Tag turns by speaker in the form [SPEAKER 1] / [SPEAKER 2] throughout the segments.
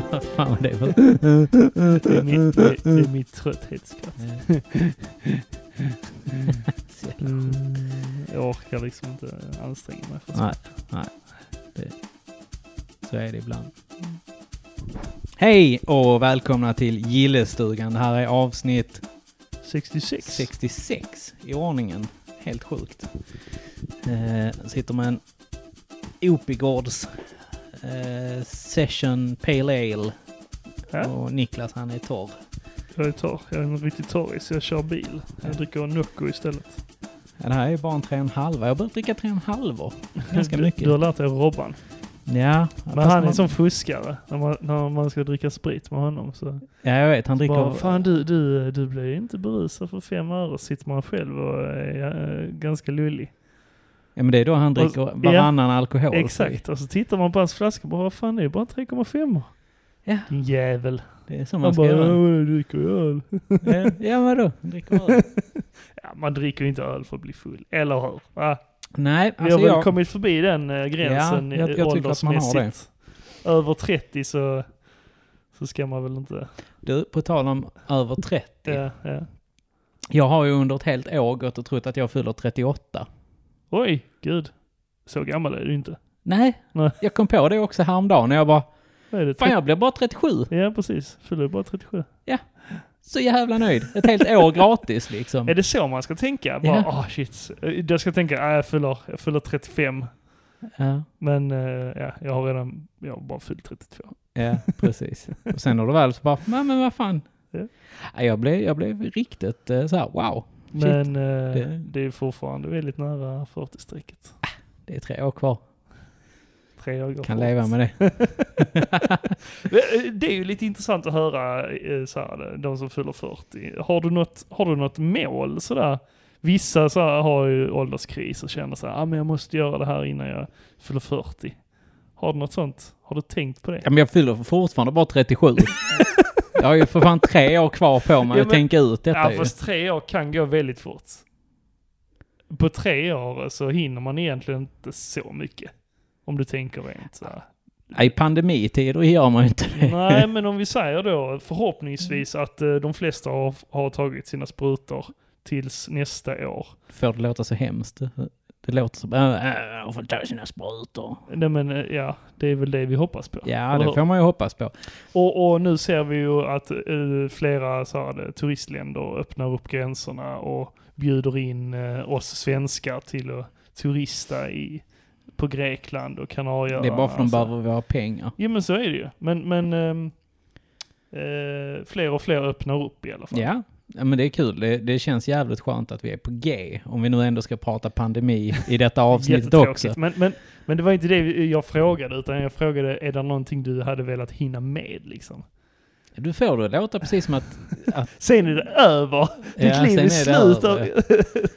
[SPEAKER 1] Vad fan var det för... Mm.
[SPEAKER 2] Det är mitt, det, det är mitt trötthetsskratt.
[SPEAKER 1] Så jävla
[SPEAKER 2] Mm,
[SPEAKER 1] sjukt.
[SPEAKER 2] jag orkar liksom inte anstränga mig för sånt.
[SPEAKER 1] Nej, nej. Det, så är det ibland. Hej och välkomna till Gillestugan. Det här är avsnitt
[SPEAKER 2] 66.
[SPEAKER 1] 66 i ordningen. Helt sjukt. Eh, sitter med en Opigårds eh, Session Pale Ale
[SPEAKER 2] Ja,
[SPEAKER 1] och Niklas han är torr.
[SPEAKER 2] jag är torr. Jag är en riktig torris. Jag kör bil. Jag dricker Nocco istället.
[SPEAKER 1] Ja, det här är bara en tre och en halva. Jag har börjat dricka tre och en halva. Ganska
[SPEAKER 2] du,
[SPEAKER 1] mycket.
[SPEAKER 2] Du har lärt dig Robban.
[SPEAKER 1] Ja,
[SPEAKER 2] Men
[SPEAKER 1] fast
[SPEAKER 2] han är
[SPEAKER 1] man-
[SPEAKER 2] som fuskare. När man, när man ska dricka sprit med honom så...
[SPEAKER 1] Ja, jag vet. Han dricker...
[SPEAKER 2] Bara, fan du, du, du blir ju inte berusad för fem öre. Sitter man själv och är eh, ganska lullig.
[SPEAKER 1] Ja, men det är då han
[SPEAKER 2] Och-
[SPEAKER 1] dricker
[SPEAKER 2] ja.
[SPEAKER 1] varannan alkohol.
[SPEAKER 2] Exakt. Och så tittar man på hans flaska och bara, vad fan det är ju bara 3,5.
[SPEAKER 1] Ja,
[SPEAKER 2] Din jävel.
[SPEAKER 1] det är så man
[SPEAKER 2] Han
[SPEAKER 1] ska
[SPEAKER 2] bara, ja,
[SPEAKER 1] göra.
[SPEAKER 2] du dricker öl.
[SPEAKER 1] Ja, ja, vadå? Han dricker öl.
[SPEAKER 2] Ja, man dricker ju inte öl för att bli full, eller hur? Va?
[SPEAKER 1] Nej,
[SPEAKER 2] Vi har
[SPEAKER 1] alltså
[SPEAKER 2] väl
[SPEAKER 1] jag...
[SPEAKER 2] kommit förbi den eh, gränsen
[SPEAKER 1] Ja, jag- jag
[SPEAKER 2] eh,
[SPEAKER 1] tycker att man har det.
[SPEAKER 2] åldersmässigt. Över 30 så, så ska man väl inte...
[SPEAKER 1] Du, på tal om över 30.
[SPEAKER 2] Ja, ja.
[SPEAKER 1] Jag har ju under ett helt år gått och trott att jag fyller 38.
[SPEAKER 2] Oj, gud. Så gammal är du inte.
[SPEAKER 1] Nej,
[SPEAKER 2] Nej.
[SPEAKER 1] jag kom på det också häromdagen när jag bara,
[SPEAKER 2] Vad är det?
[SPEAKER 1] fan jag blev bara 37.
[SPEAKER 2] Ja, precis. Fyller du bara 37?
[SPEAKER 1] Så jävla nöjd. Ett helt år gratis liksom.
[SPEAKER 2] Är det så man ska tänka? Bara,
[SPEAKER 1] Ja.
[SPEAKER 2] ah shit. Jag ska tänka, ah, jag, fyller, jag fyller 35.
[SPEAKER 1] Ja,
[SPEAKER 2] Men eh, ja, jag har redan, jag har bara fyllt 32.
[SPEAKER 1] ja, precis. Och sen när du väl så bara, nej men vad fan.
[SPEAKER 2] Ja.
[SPEAKER 1] Ja. Jag, blev, jag blev riktigt eh, så här, wow. Shit.
[SPEAKER 2] Men eh,
[SPEAKER 1] Det-
[SPEAKER 2] det är fortfarande väldigt nära 40-strecket.
[SPEAKER 1] Det är tre år kvar.
[SPEAKER 2] Tre år går
[SPEAKER 1] Kan
[SPEAKER 2] fort.
[SPEAKER 1] leva med det.
[SPEAKER 2] Det är ju lite intressant att höra eh, så här, de som fyller 40. Har du något, har du något mål sådär? Vissa så här, har ju ålderskris och känner så här, ah, men jag måste göra det här innan jag fyller 40. Har du något sånt? Har du tänkt på det?
[SPEAKER 1] Ja, men jag fyller fortfarande bara 37. jag har ju för fan tre år kvar på mig
[SPEAKER 2] Ja,
[SPEAKER 1] att
[SPEAKER 2] men-
[SPEAKER 1] tänka ut detta
[SPEAKER 2] Ja,
[SPEAKER 1] ju.
[SPEAKER 2] fast tre år kan gå väldigt fort. På tre år så hinner man egentligen inte så mycket. Om du tänker rent så här.
[SPEAKER 1] Ja, I pandemitider gör man ju inte det.
[SPEAKER 2] Nej, men om vi säger då förhoppningsvis att eh, de flesta har, har tagit sina sprutor tills nästa år.
[SPEAKER 1] Får det låta så hemskt? Det låter som, äh, äh, får ta sina sprutor.
[SPEAKER 2] Nej men eh, ja, det är väl det vi hoppas på.
[SPEAKER 1] Ja,
[SPEAKER 2] Eller
[SPEAKER 1] det
[SPEAKER 2] hur?
[SPEAKER 1] får man ju hoppas på.
[SPEAKER 2] och, och nu ser vi ju att eh, flera så här, eh, turistländer öppnar upp gränserna och bjuder in eh, oss svenskar till att turista i, på Grekland och Kanarieöarna.
[SPEAKER 1] Det är bara för de
[SPEAKER 2] och så.
[SPEAKER 1] behöver våra pengar.
[SPEAKER 2] Ja men så är det ju. Men, men ehm, eh, fler och fler öppnar upp i alla fall.
[SPEAKER 1] Ja. ja, men det är kul. Det, det känns jävligt skönt att vi är på G. Om vi nu ändå ska prata pandemi i detta avsnittet
[SPEAKER 2] Jättetråkigt.
[SPEAKER 1] också.
[SPEAKER 2] Men, men, men det var inte det jag frågade, utan jag frågade är det någonting du hade velat hinna med liksom?
[SPEAKER 1] Du får det låta precis som att...
[SPEAKER 2] Sen är det över! Ditt
[SPEAKER 1] Ja,
[SPEAKER 2] liv
[SPEAKER 1] sen
[SPEAKER 2] är,
[SPEAKER 1] är det
[SPEAKER 2] slut
[SPEAKER 1] över.
[SPEAKER 2] av-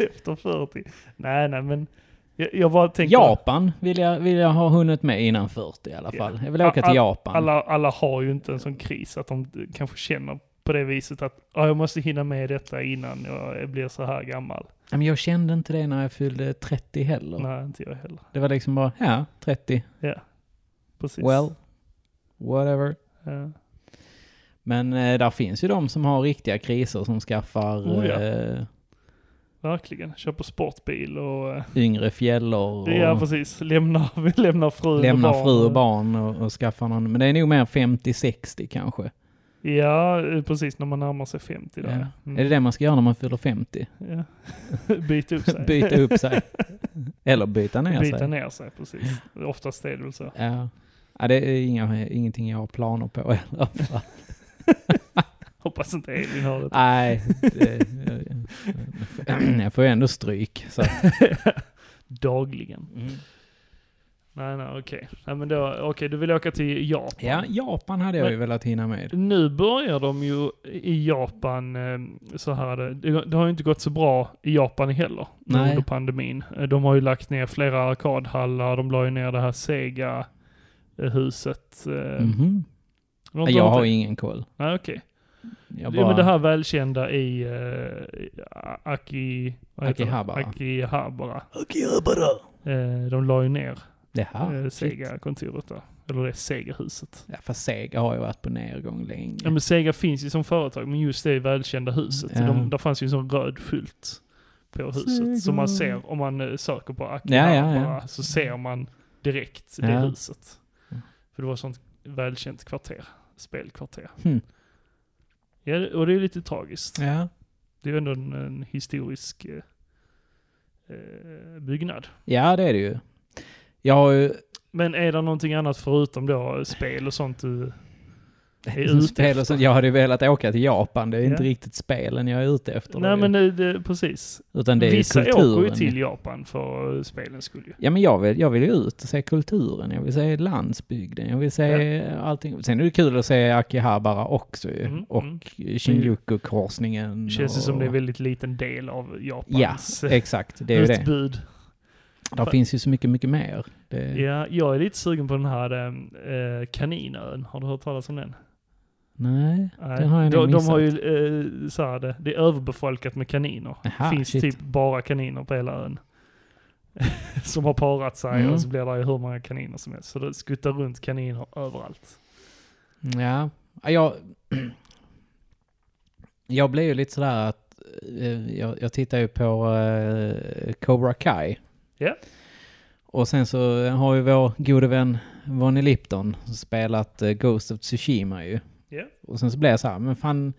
[SPEAKER 2] efter 40. Nej, nej, men jag, jag bara tänkte...
[SPEAKER 1] Japan vill jag, vill jag ha hunnit med innan 40 i alla
[SPEAKER 2] Ja.
[SPEAKER 1] fall. Jag vill åka till
[SPEAKER 2] All-
[SPEAKER 1] Japan.
[SPEAKER 2] Alla, alla har ju inte en sån kris att de kanske känner på det viset att ah, jag måste hinna med detta innan jag blir så här gammal.
[SPEAKER 1] Ja, Men jag kände inte det när jag fyllde 30 heller.
[SPEAKER 2] Nej, inte jag heller.
[SPEAKER 1] Det var liksom bara, ja, 30,
[SPEAKER 2] Precis.
[SPEAKER 1] well, whatever.
[SPEAKER 2] Ja.
[SPEAKER 1] Men eh, där finns ju de som har riktiga kriser som skaffar
[SPEAKER 2] Oh, ja.
[SPEAKER 1] eh,
[SPEAKER 2] Verkligen. Köper sportbil och... eh,
[SPEAKER 1] yngre fjällor och
[SPEAKER 2] Ja, precis. Lämnar, lämnar frun
[SPEAKER 1] lämnar
[SPEAKER 2] och barn.
[SPEAKER 1] fru och barn och, och skaffar någon. Men det är nog mer 50-60 kanske.
[SPEAKER 2] Mm. Ja, eh, precis. När man närmar sig 50
[SPEAKER 1] Ja.
[SPEAKER 2] där. Mm.
[SPEAKER 1] Är det det man ska göra när man fyller 50?
[SPEAKER 2] Ja. Byta upp sig.
[SPEAKER 1] Byta upp sig. Eller byta ner
[SPEAKER 2] Byta
[SPEAKER 1] sig.
[SPEAKER 2] ner sig, precis. Oftast är det väl så.
[SPEAKER 1] Ja. Ja, det är inga, ingenting jag har planer på i alla fall.
[SPEAKER 2] Hoppas inte Elin har det.
[SPEAKER 1] Nej, det, jag, jag får ju ändå stryk. Så. att-
[SPEAKER 2] Dagligen. Nej, nej, okej. Nej, men då, okej, du vill åka till Japan.
[SPEAKER 1] Ja, Japan hade jag ju velat hinna med.
[SPEAKER 2] Nu börjar de ju i Japan eh, så här. Det, det har ju inte gått så bra i Japan heller nu
[SPEAKER 1] Nej.
[SPEAKER 2] under pandemin. Eh, De har ju lagt ner flera arkadhallar. De la ju ner det här Sega-huset. eh, Mm-hmm.
[SPEAKER 1] Mhm. Jag har ingen koll.
[SPEAKER 2] Nej, okej.
[SPEAKER 1] Jag
[SPEAKER 2] Ja, men det
[SPEAKER 1] bara-
[SPEAKER 2] här välkända i eh, Aki... vad heter det?
[SPEAKER 1] Akihabara.
[SPEAKER 2] Akihabara.
[SPEAKER 1] Akihabara.
[SPEAKER 2] Eh, de la ju ner.
[SPEAKER 1] Jaha, Ah,
[SPEAKER 2] eh,
[SPEAKER 1] shit.
[SPEAKER 2] Sega-kontoret där. Eller det Sega-huset.
[SPEAKER 1] Ja, fast Sega har ju varit på nedgång länge.
[SPEAKER 2] Ja, men Sega finns ju som företag, men just det välkända huset.
[SPEAKER 1] Ja.
[SPEAKER 2] De, där fanns ju en sån röd skylt på huset.
[SPEAKER 1] Sega.
[SPEAKER 2] Som man ser om man eh, söker på
[SPEAKER 1] Ja,
[SPEAKER 2] Akihabara.
[SPEAKER 1] ja, ja.
[SPEAKER 2] Så ser man direkt det
[SPEAKER 1] Ja.
[SPEAKER 2] huset.
[SPEAKER 1] Mm.
[SPEAKER 2] För det var ett sånt välkänt kvarter. Spelkvarter.
[SPEAKER 1] Hmm.
[SPEAKER 2] Ja, det- och det är ju lite tragiskt.
[SPEAKER 1] Ja.
[SPEAKER 2] Det är ju ändå en, en historisk eh, eh, byggnad.
[SPEAKER 1] ja, det är det ju. Jag har ju...
[SPEAKER 2] Men är det någonting annat förutom då spel och sånt du... är
[SPEAKER 1] som
[SPEAKER 2] ute
[SPEAKER 1] spel och sånt. Jag hade ju velat åka till Japan. Det är
[SPEAKER 2] Ja.
[SPEAKER 1] inte riktigt spelen jag är ute efter.
[SPEAKER 2] Nej
[SPEAKER 1] då ju.
[SPEAKER 2] men det, det, precis.
[SPEAKER 1] Utan det är
[SPEAKER 2] Vissa
[SPEAKER 1] kulturen.
[SPEAKER 2] åker ju till Japan för eh, spelens skull ju.
[SPEAKER 1] Ja, men jag vill, jag vill ju ut och se kulturen. Jag vill se landsbygden. Jag vill se allting. Sen är det kul att se Akihabara också ju.
[SPEAKER 2] Mm,
[SPEAKER 1] Och
[SPEAKER 2] mm.
[SPEAKER 1] Shinjuku-korsningen.
[SPEAKER 2] Det känns ju
[SPEAKER 1] och...
[SPEAKER 2] som det är en väldigt liten del av
[SPEAKER 1] Ja,
[SPEAKER 2] Japans eh,
[SPEAKER 1] exakt. Det är ju det.
[SPEAKER 2] utbud.
[SPEAKER 1] Där finns ju så mycket, mycket mer. Det...
[SPEAKER 2] Ja, jag är lite sugen på den här eh, kaninön. Har du hört talas om den?
[SPEAKER 1] Nej.
[SPEAKER 2] Nej.
[SPEAKER 1] Den har jag nog
[SPEAKER 2] de, de har
[SPEAKER 1] missat.
[SPEAKER 2] ju eh, så här, det, det är överbefolkat med kaniner.
[SPEAKER 1] Aha,
[SPEAKER 2] finns
[SPEAKER 1] shit.
[SPEAKER 2] typ bara kaniner på hela ön. som har parat sig
[SPEAKER 1] Mm.
[SPEAKER 2] och så blir det ju hur många kaniner som helst. Så det skuttar runt kaniner överallt.
[SPEAKER 1] Ja, Ja, jag... Jag blev ju lite sådär att... eh, Jag, jag tittar ju på eh, Cobra Kai.
[SPEAKER 2] Ja.
[SPEAKER 1] Och sen så har ju vår gode vän Vonnie Lipton spelat eh, Ghost of Tsushima ju.
[SPEAKER 2] Ja.
[SPEAKER 1] Och sen så blev jag så här, men fan,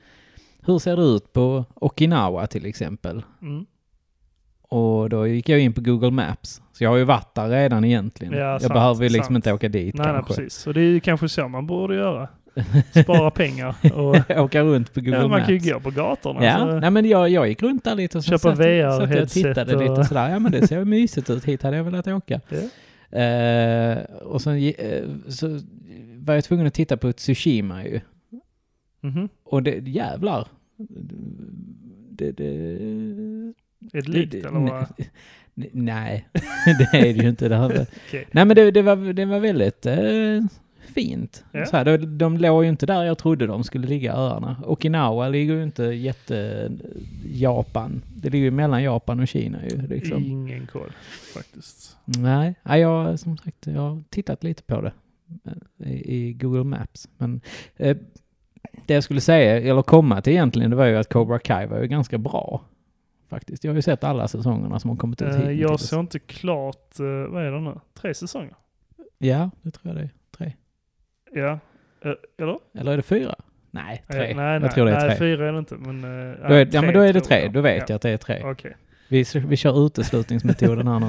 [SPEAKER 1] hur ser det ut på Okinawa till exempel?
[SPEAKER 2] Mm.
[SPEAKER 1] Och då gick jag in på Google Maps. Så jag har ju varit där redan egentligen.
[SPEAKER 2] Ja,
[SPEAKER 1] jag
[SPEAKER 2] sant,
[SPEAKER 1] behöver ju liksom
[SPEAKER 2] sant.
[SPEAKER 1] inte åka dit
[SPEAKER 2] Nej, nej,
[SPEAKER 1] kanske.
[SPEAKER 2] precis. Och det är ju kanske så man borde göra. Spara pengar och
[SPEAKER 1] åka runt på Google
[SPEAKER 2] ja, man
[SPEAKER 1] Maps.
[SPEAKER 2] kan ju gå på gatorna.
[SPEAKER 1] Ja,
[SPEAKER 2] så-
[SPEAKER 1] nej men jag, jag gick runt där lite och så
[SPEAKER 2] Alltså, Köpa
[SPEAKER 1] satt, jag- satt jag och
[SPEAKER 2] VR-headset
[SPEAKER 1] tittade
[SPEAKER 2] och-
[SPEAKER 1] lite och sådär. Ja men det ser ju mysigt ut, hit hade jag velat åka.
[SPEAKER 2] Ja.
[SPEAKER 1] Eh, och sen ge- eh, så var jag tvungen att titta på Tsushima ju.
[SPEAKER 2] Mhm.
[SPEAKER 1] Och det, jävlar. Det, det,
[SPEAKER 2] Är det likt
[SPEAKER 1] det-
[SPEAKER 2] eller vad?
[SPEAKER 1] ne- Nej, det är det ju inte. Det har,
[SPEAKER 2] Okej.
[SPEAKER 1] Nej men det, det, var, det var väldigt eh, fint.
[SPEAKER 2] Ja.
[SPEAKER 1] Så här, de, de låg ju inte där jag trodde de skulle ligga öarna. Okinawa ligger ju inte jätte... Japan. Det ligger ju mellan Japan och Kina ju. Liksom.
[SPEAKER 2] Ingen koll faktiskt.
[SPEAKER 1] Nej, nej, jag som sagt, jag har tittat lite på det eh, i, i Google Maps. Men eh, det jag skulle säga, eller komma till egentligen, det var ju att Cobra Kai var ju ganska bra. Faktiskt. Jag har ju sett alla säsongerna som har kommit ut
[SPEAKER 2] Eh,
[SPEAKER 1] hittills.
[SPEAKER 2] jag såg inte klart, eh, vad är det nu? Tre säsonger?
[SPEAKER 1] Ja, det tror jag det är. Tre.
[SPEAKER 2] Ja. Eh, eller?
[SPEAKER 1] Eller är det fyra? Nej,
[SPEAKER 2] Eh,
[SPEAKER 1] tre.
[SPEAKER 2] nej,
[SPEAKER 1] jag
[SPEAKER 2] nej,
[SPEAKER 1] tror det är
[SPEAKER 2] nej,
[SPEAKER 1] tre.
[SPEAKER 2] fyra är det inte. Men, eh,
[SPEAKER 1] då
[SPEAKER 2] nej,
[SPEAKER 1] är, ja, men då är det tre. Då vet
[SPEAKER 2] ja.
[SPEAKER 1] jag att det är tre.
[SPEAKER 2] Okej.
[SPEAKER 1] Vi, vi kör uteslutningsmetoden här nu.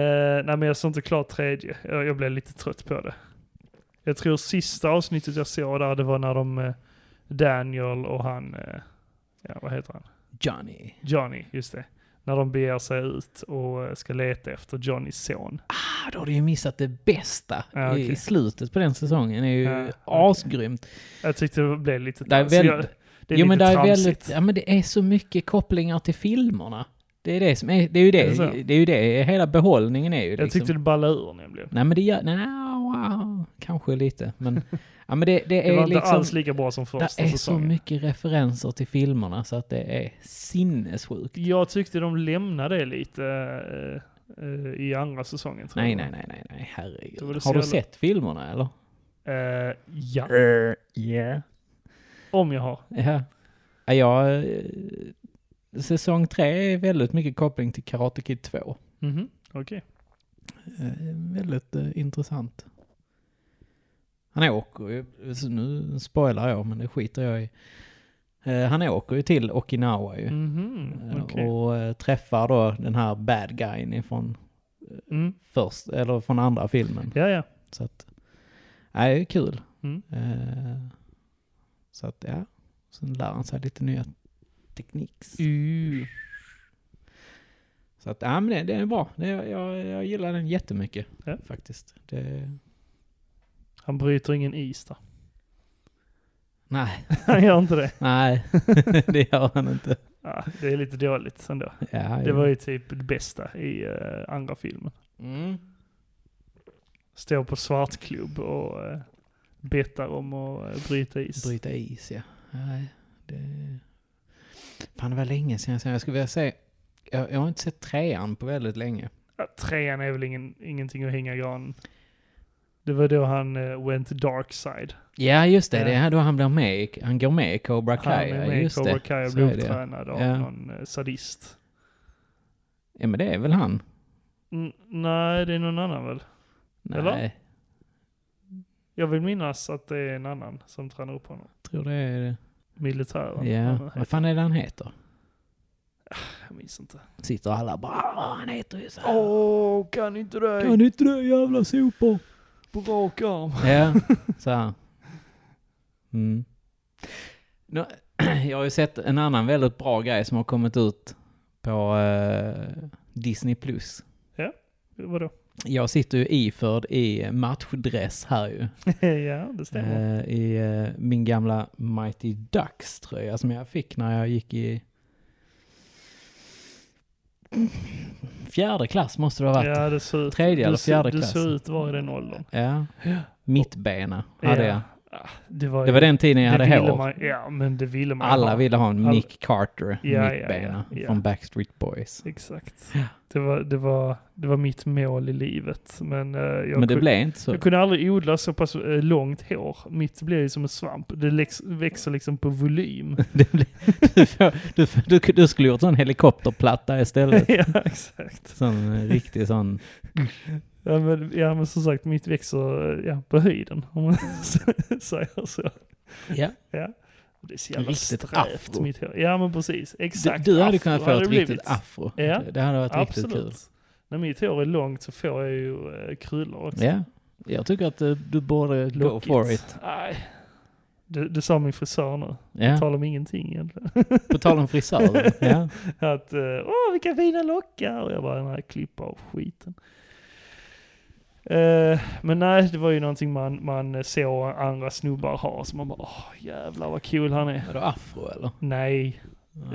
[SPEAKER 2] Eh, nej men jag såg inte klart tredje. Jag, jag blev lite trött på det. Jag tror sista avsnittet jag såg där, det var när de eh, Daniel och han, eh, ja vad heter han?
[SPEAKER 1] Johnny.
[SPEAKER 2] Johnny, just det. När de beger sig ut och eh, ska leta efter Johnnys son.
[SPEAKER 1] Ah, då har du ju missat det bästa
[SPEAKER 2] Ja,
[SPEAKER 1] i
[SPEAKER 2] okej.
[SPEAKER 1] slutet på den säsongen. Det är ju
[SPEAKER 2] Ja, okej.
[SPEAKER 1] asgrymt.
[SPEAKER 2] Jag tyckte det blev lite...
[SPEAKER 1] Det är
[SPEAKER 2] så
[SPEAKER 1] väldigt-
[SPEAKER 2] jag, det är
[SPEAKER 1] Jo men det
[SPEAKER 2] lite
[SPEAKER 1] är
[SPEAKER 2] tramsigt.
[SPEAKER 1] väldigt, ja men det är så mycket kopplingar till filmerna. Det är det som är, det är ju det,
[SPEAKER 2] Är det så?
[SPEAKER 1] det, är ju det, hela behållningen är ju
[SPEAKER 2] Jag
[SPEAKER 1] liksom.
[SPEAKER 2] tyckte det ballade ur nämligen.
[SPEAKER 1] Nej men det gör, nej, wow, kanske lite, men, ja men det, det
[SPEAKER 2] Det var
[SPEAKER 1] är
[SPEAKER 2] inte
[SPEAKER 1] liksom,
[SPEAKER 2] alls lika bra som
[SPEAKER 1] det är
[SPEAKER 2] första
[SPEAKER 1] så
[SPEAKER 2] säsongen.
[SPEAKER 1] mycket referenser till filmerna så att det är sinnessjukt.
[SPEAKER 2] Jag tyckte de lämnade det lite eh, eh, i andra säsongen. Tror
[SPEAKER 1] Nej,
[SPEAKER 2] jag.
[SPEAKER 1] nej, nej, nej, nej, herregud.
[SPEAKER 2] Det var det
[SPEAKER 1] Har du
[SPEAKER 2] så jävla-
[SPEAKER 1] sett filmerna eller?
[SPEAKER 2] Eh, ja,
[SPEAKER 1] Yeah.
[SPEAKER 2] om jag har.
[SPEAKER 1] Ja. Ja, jag, eh, säsong tre är väldigt mycket koppling till Karate Kid 2.
[SPEAKER 2] Mhm, Okej.
[SPEAKER 1] Eh, väldigt eh, intressant. Han åker ju, så nu spoilar jag men det skiter jag i. Eh, han åker ju till Okinawa ju.
[SPEAKER 2] Mhm,
[SPEAKER 1] Eh,
[SPEAKER 2] okej.
[SPEAKER 1] Och eh, träffar då den här bad guyen från
[SPEAKER 2] Mm.
[SPEAKER 1] först, eller från andra filmen.
[SPEAKER 2] Ja, ja.
[SPEAKER 1] Så att, nej det är kul.
[SPEAKER 2] Mm.
[SPEAKER 1] Eh, så att ja, sen lär han sig lite nya tekniks.
[SPEAKER 2] Uh.
[SPEAKER 1] Så att, ja men det, det är bra. Det, jag, jag gillar den jättemycket
[SPEAKER 2] Ja.
[SPEAKER 1] faktiskt. Det,
[SPEAKER 2] Han bryter ingen is där.
[SPEAKER 1] nej.
[SPEAKER 2] Han gör inte det.
[SPEAKER 1] Nej, det gör han inte.
[SPEAKER 2] Ah, det är lite dåligt ändå.
[SPEAKER 1] Ja,
[SPEAKER 2] Det var ju typ det bästa i eh, andra filmen.
[SPEAKER 1] Mm.
[SPEAKER 2] Står på svartklubb och eh, bettar om att eh, bryta is.
[SPEAKER 1] Bryta is, ja. Nej, det... Fan, det var länge sedan jag såg Jag skulle vilja se... Jag, jag har inte sett trean på väldigt länge.
[SPEAKER 2] ja, trean är väl ingen, ingenting att hänga i granen. Det var då han eh, went dark side.
[SPEAKER 1] Ja, just det.
[SPEAKER 2] Ja.
[SPEAKER 1] Det är då han blir med. i- Han går med i Cobra
[SPEAKER 2] Han
[SPEAKER 1] Kai.
[SPEAKER 2] är
[SPEAKER 1] ja,
[SPEAKER 2] med i
[SPEAKER 1] just
[SPEAKER 2] Cobra
[SPEAKER 1] det.
[SPEAKER 2] Kai och
[SPEAKER 1] Så
[SPEAKER 2] blev
[SPEAKER 1] är det, ja.
[SPEAKER 2] upptränad av
[SPEAKER 1] Ja.
[SPEAKER 2] någon eh, sadist.
[SPEAKER 1] Ja, men det är väl han?
[SPEAKER 2] N- nej, det är någon annan väl?
[SPEAKER 1] Nej,
[SPEAKER 2] Eller? Jag vill minnas att det är en annan som tränar upp honom.
[SPEAKER 1] tror det är...
[SPEAKER 2] Militären.
[SPEAKER 1] Ja, vad fan är det han heter?
[SPEAKER 2] Jag minns inte.
[SPEAKER 1] Sitter alla bara "Åh, han heter ju så här."
[SPEAKER 2] Åh, kan inte det!
[SPEAKER 1] Kan inte du jävla sopor?
[SPEAKER 2] På rak arm.
[SPEAKER 1] Ja, så här. Mm. Nå, Jag har ju sett en annan väldigt bra grej som har kommit ut på eh, Disney+. Plus.
[SPEAKER 2] Vadå?
[SPEAKER 1] Jag sitter ju iförd i matchdress här ju.
[SPEAKER 2] ja, det stämmer.
[SPEAKER 1] Eh, I eh, min gamla Mighty Ducks tröja som jag fick när jag gick i fjärde klass måste det ha varit.
[SPEAKER 2] ja, det ser ut.
[SPEAKER 1] Tredje
[SPEAKER 2] du
[SPEAKER 1] eller
[SPEAKER 2] ser-
[SPEAKER 1] fjärde
[SPEAKER 2] Du
[SPEAKER 1] klass.
[SPEAKER 2] ser ut att vara i den åldern.
[SPEAKER 1] Ja. Mittbena hade jag.
[SPEAKER 2] Ah, Det var,
[SPEAKER 1] Det var den tiden jag
[SPEAKER 2] det
[SPEAKER 1] hade
[SPEAKER 2] ville
[SPEAKER 1] hår.
[SPEAKER 2] Man, ja, men det ville man
[SPEAKER 1] Alla
[SPEAKER 2] ha.
[SPEAKER 1] ville ha en
[SPEAKER 2] Alla-
[SPEAKER 1] Nick Carter
[SPEAKER 2] Ja, ja,
[SPEAKER 1] mittbena
[SPEAKER 2] ja, ja.
[SPEAKER 1] från Backstreet Boys.
[SPEAKER 2] Exakt.
[SPEAKER 1] Ja.
[SPEAKER 2] Det var, det, var, det var mitt mål i livet. Men, eh, jag,
[SPEAKER 1] Men det
[SPEAKER 2] kunde,
[SPEAKER 1] blev inte så.
[SPEAKER 2] jag kunde aldrig odla så pass eh, långt hår. Mitt blev ju som en svamp. Det läx, växer liksom på volym.
[SPEAKER 1] Det blev- du, får- du, får- du, du skulle gjort sån helikopterplatta istället.
[SPEAKER 2] ja, exakt.
[SPEAKER 1] Sån eh, riktig sån.
[SPEAKER 2] Ja men, ja, men som sagt, mitt växer eh, ja, på höjden. Om man säger så.
[SPEAKER 1] Ja.
[SPEAKER 2] Ja. Det är så jävla
[SPEAKER 1] Riktigt
[SPEAKER 2] strävt
[SPEAKER 1] afro.
[SPEAKER 2] mitt hår. Ja men precis,
[SPEAKER 1] Du,
[SPEAKER 2] exakt.
[SPEAKER 1] du hade
[SPEAKER 2] afro
[SPEAKER 1] kunnat få ett
[SPEAKER 2] det
[SPEAKER 1] riktigt
[SPEAKER 2] blivit.
[SPEAKER 1] afro.
[SPEAKER 2] Ja.
[SPEAKER 1] Det, det hade varit
[SPEAKER 2] Absolut.
[SPEAKER 1] riktigt kul.
[SPEAKER 2] När mitt hår är långt så får jag ju eh, kryllor också.
[SPEAKER 1] Ja. Jag tycker att eh, du borde go
[SPEAKER 2] Lockigt.
[SPEAKER 1] for it.
[SPEAKER 2] Nej. Du, du sa min frisör nu.
[SPEAKER 1] Ja.
[SPEAKER 2] Talar om ingenting egentligen.
[SPEAKER 1] På tal om frisörer. ja.
[SPEAKER 2] Att, eh, åh vilka fina lockar! Och jag bara, nej klipp av skiten. Eh, men nej, det var ju någonting man, man såg andra snubbar ha, så man bara, åh jävlar vad cool han är.
[SPEAKER 1] Var det afro eller?
[SPEAKER 2] Nej,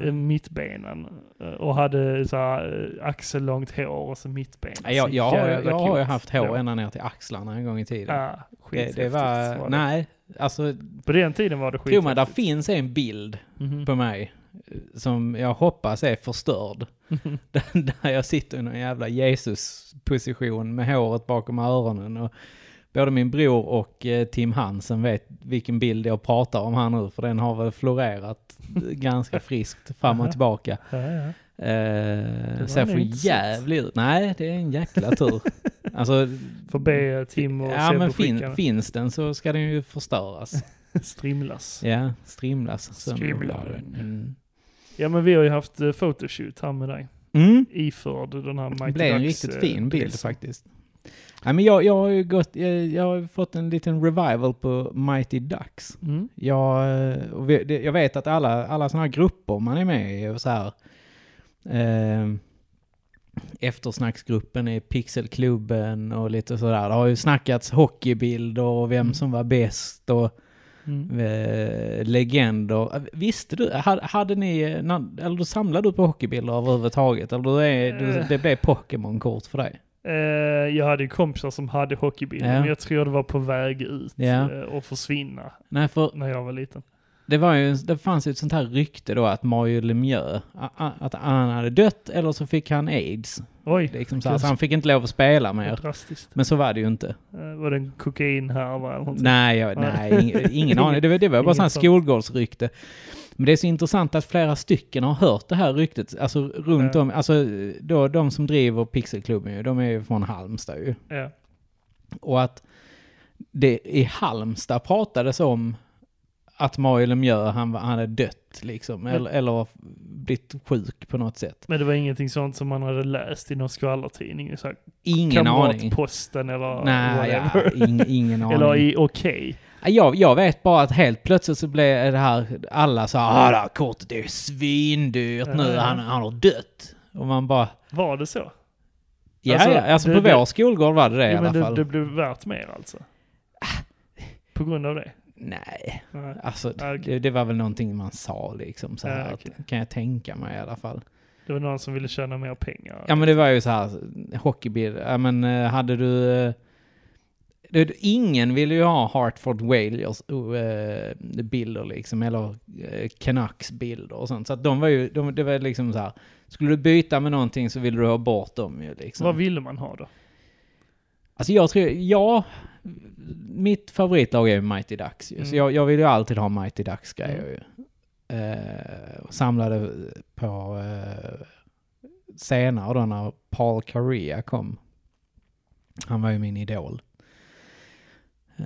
[SPEAKER 2] eh, mittbenen. Eh, Och hade så här, eh, axellångt hår och så mittben.
[SPEAKER 1] Nej, jag, jag, har,
[SPEAKER 2] Jävla
[SPEAKER 1] jag har ju
[SPEAKER 2] coolt.
[SPEAKER 1] haft hår
[SPEAKER 2] Ja.
[SPEAKER 1] ända ner till axlarna en gång i tiden.
[SPEAKER 2] Ja,
[SPEAKER 1] det,
[SPEAKER 2] skithäftigt
[SPEAKER 1] det var,
[SPEAKER 2] det.
[SPEAKER 1] nej, alltså
[SPEAKER 2] På den tiden var det skit.
[SPEAKER 1] tro mig, där finns en bild på mig eh, som jag hoppas är förstörd. Där- Där jag sitter i någon jävla Jesus-position med håret bakom öronen. Och både min bror och eh, Tim Hansen vet vilken bild jag pratar om här nu, för den har väl florerat ganska friskt fram och
[SPEAKER 2] Aha.
[SPEAKER 1] tillbaka.
[SPEAKER 2] Ja, ja.
[SPEAKER 1] Eh,
[SPEAKER 2] var
[SPEAKER 1] ser
[SPEAKER 2] nog
[SPEAKER 1] för
[SPEAKER 2] inte sött.
[SPEAKER 1] jävligt ut. Nej, det är en jäkla tur. alltså,
[SPEAKER 2] Får be Tim och
[SPEAKER 1] ja,
[SPEAKER 2] Sebbe
[SPEAKER 1] men
[SPEAKER 2] skicka
[SPEAKER 1] fin,
[SPEAKER 2] den.
[SPEAKER 1] finns den så ska den ju förstöras.
[SPEAKER 2] Strimlas. Ja.
[SPEAKER 1] Ja, strimlas. sönder.
[SPEAKER 2] Strimlar den.
[SPEAKER 1] Mm.
[SPEAKER 2] men vi har ju haft eh, photoshoot här med dig.
[SPEAKER 1] Mm.
[SPEAKER 2] Iförd den här Mighty
[SPEAKER 1] Det blev en
[SPEAKER 2] Ducks,
[SPEAKER 1] riktigt
[SPEAKER 2] eh,
[SPEAKER 1] fin bild
[SPEAKER 2] dress.
[SPEAKER 1] faktiskt. Nej, men jag, jag, har ju gått, jag, jag har ju fått en liten revival på Mighty Ducks.
[SPEAKER 2] Mm.
[SPEAKER 1] Jag, eh, och vi- det- jag vet att alla, alla sådana här grupper man är med i och så här. Eh, eftersnacksgruppen är Pixelklubben och lite sådär. Det har ju snackats hockeybilder och vem
[SPEAKER 2] Mm.
[SPEAKER 1] som var bäst och
[SPEAKER 2] Mm.
[SPEAKER 1] eh, legender. Visste du, hade, hade ni, eh, när- eller samlade du på hockeybilder överhuvudtaget? Eller du är, du,
[SPEAKER 2] Eh.
[SPEAKER 1] det blev Pokémon-kort för dig?
[SPEAKER 2] Eh, jag hade ju kompisar som hade hockeybilder,
[SPEAKER 1] Ja.
[SPEAKER 2] men jag tror det var på väg ut
[SPEAKER 1] Ja.
[SPEAKER 2] eh, och försvinna
[SPEAKER 1] Nej, för
[SPEAKER 2] när jag var liten.
[SPEAKER 1] det, var ju, det fanns ju ett sånt här rykte då att Mario Lemieux, a- a- att han hade dött eller så fick han aids.
[SPEAKER 2] Oj,
[SPEAKER 1] Liksom så, här, så han fick inte lov att spela mer.
[SPEAKER 2] drastiskt.
[SPEAKER 1] Men så var det ju inte.
[SPEAKER 2] Eh, var det en kokainhärva eller någonting?
[SPEAKER 1] Nej, jag,
[SPEAKER 2] Nej.
[SPEAKER 1] nej ing, ingen aning. Det var, det var bara
[SPEAKER 2] Inget
[SPEAKER 1] sånt
[SPEAKER 2] sånt.
[SPEAKER 1] skolgårdsrykte. Men det är så intressant att flera stycken har hört det här ryktet, alltså runt
[SPEAKER 2] Ja.
[SPEAKER 1] om, alltså då, de som driver Pixelklubben ju, de är ju från Halmstad ju.
[SPEAKER 2] Ja.
[SPEAKER 1] Och att det i Halmstad pratades om att Mario Lemieux, han, var- han hade dött liksom, eller, eller blivit sjuk på något sätt.
[SPEAKER 2] Men det var ingenting sånt som man hade läst i någon skvallertidning? Så här,
[SPEAKER 1] Ingen aning.
[SPEAKER 2] Kamratposten eller
[SPEAKER 1] Nej, ja,
[SPEAKER 2] whatever.
[SPEAKER 1] ing, ingen aning.
[SPEAKER 2] Eller i Okej.
[SPEAKER 1] Jag, jag vet bara att helt plötsligt så blev det här, alla sa ah, det här kortet är svindyrt nu,
[SPEAKER 2] Ja.
[SPEAKER 1] han, han har dött. Och man bara,
[SPEAKER 2] Var det så?
[SPEAKER 1] ja
[SPEAKER 2] Alltså,
[SPEAKER 1] ja, alltså
[SPEAKER 2] det-
[SPEAKER 1] på
[SPEAKER 2] det-
[SPEAKER 1] vår skolgård var det det i
[SPEAKER 2] Jo,
[SPEAKER 1] alla
[SPEAKER 2] men det,
[SPEAKER 1] fall. Ah.
[SPEAKER 2] det blev värt mer alltså? På grund av det?
[SPEAKER 1] Nej,
[SPEAKER 2] Nej.
[SPEAKER 1] alltså
[SPEAKER 2] Ah, okej.
[SPEAKER 1] det, det var väl någonting man sa liksom så
[SPEAKER 2] Ja,
[SPEAKER 1] här,
[SPEAKER 2] okej.
[SPEAKER 1] att, kan jag tänka mig i alla fall.
[SPEAKER 2] Det var någon som ville tjäna mer pengar?
[SPEAKER 1] alltså, Ja men det var ju så här hockeybil. Ja men eh, hade du eh, det- Ingen ville ju ha Hartford Whalers oh, eh, bilder liksom, eller eh, Canucks bilder och sånt. Så att de var ju, de, det var liksom så här, skulle du byta med någonting så ville du ha bort dem ju liksom.
[SPEAKER 2] Vad ville man ha då?
[SPEAKER 1] Alltså jag tror, ja, mitt favoritlag är ju Mighty Ducks ju. Så
[SPEAKER 2] Mm.
[SPEAKER 1] jag, jag vill ju alltid ha Mighty Ducks grejer
[SPEAKER 2] Mm.
[SPEAKER 1] ju. Eh, och samlade på eh, senare då när Paul Correa kom. Han var ju min idol. Eh,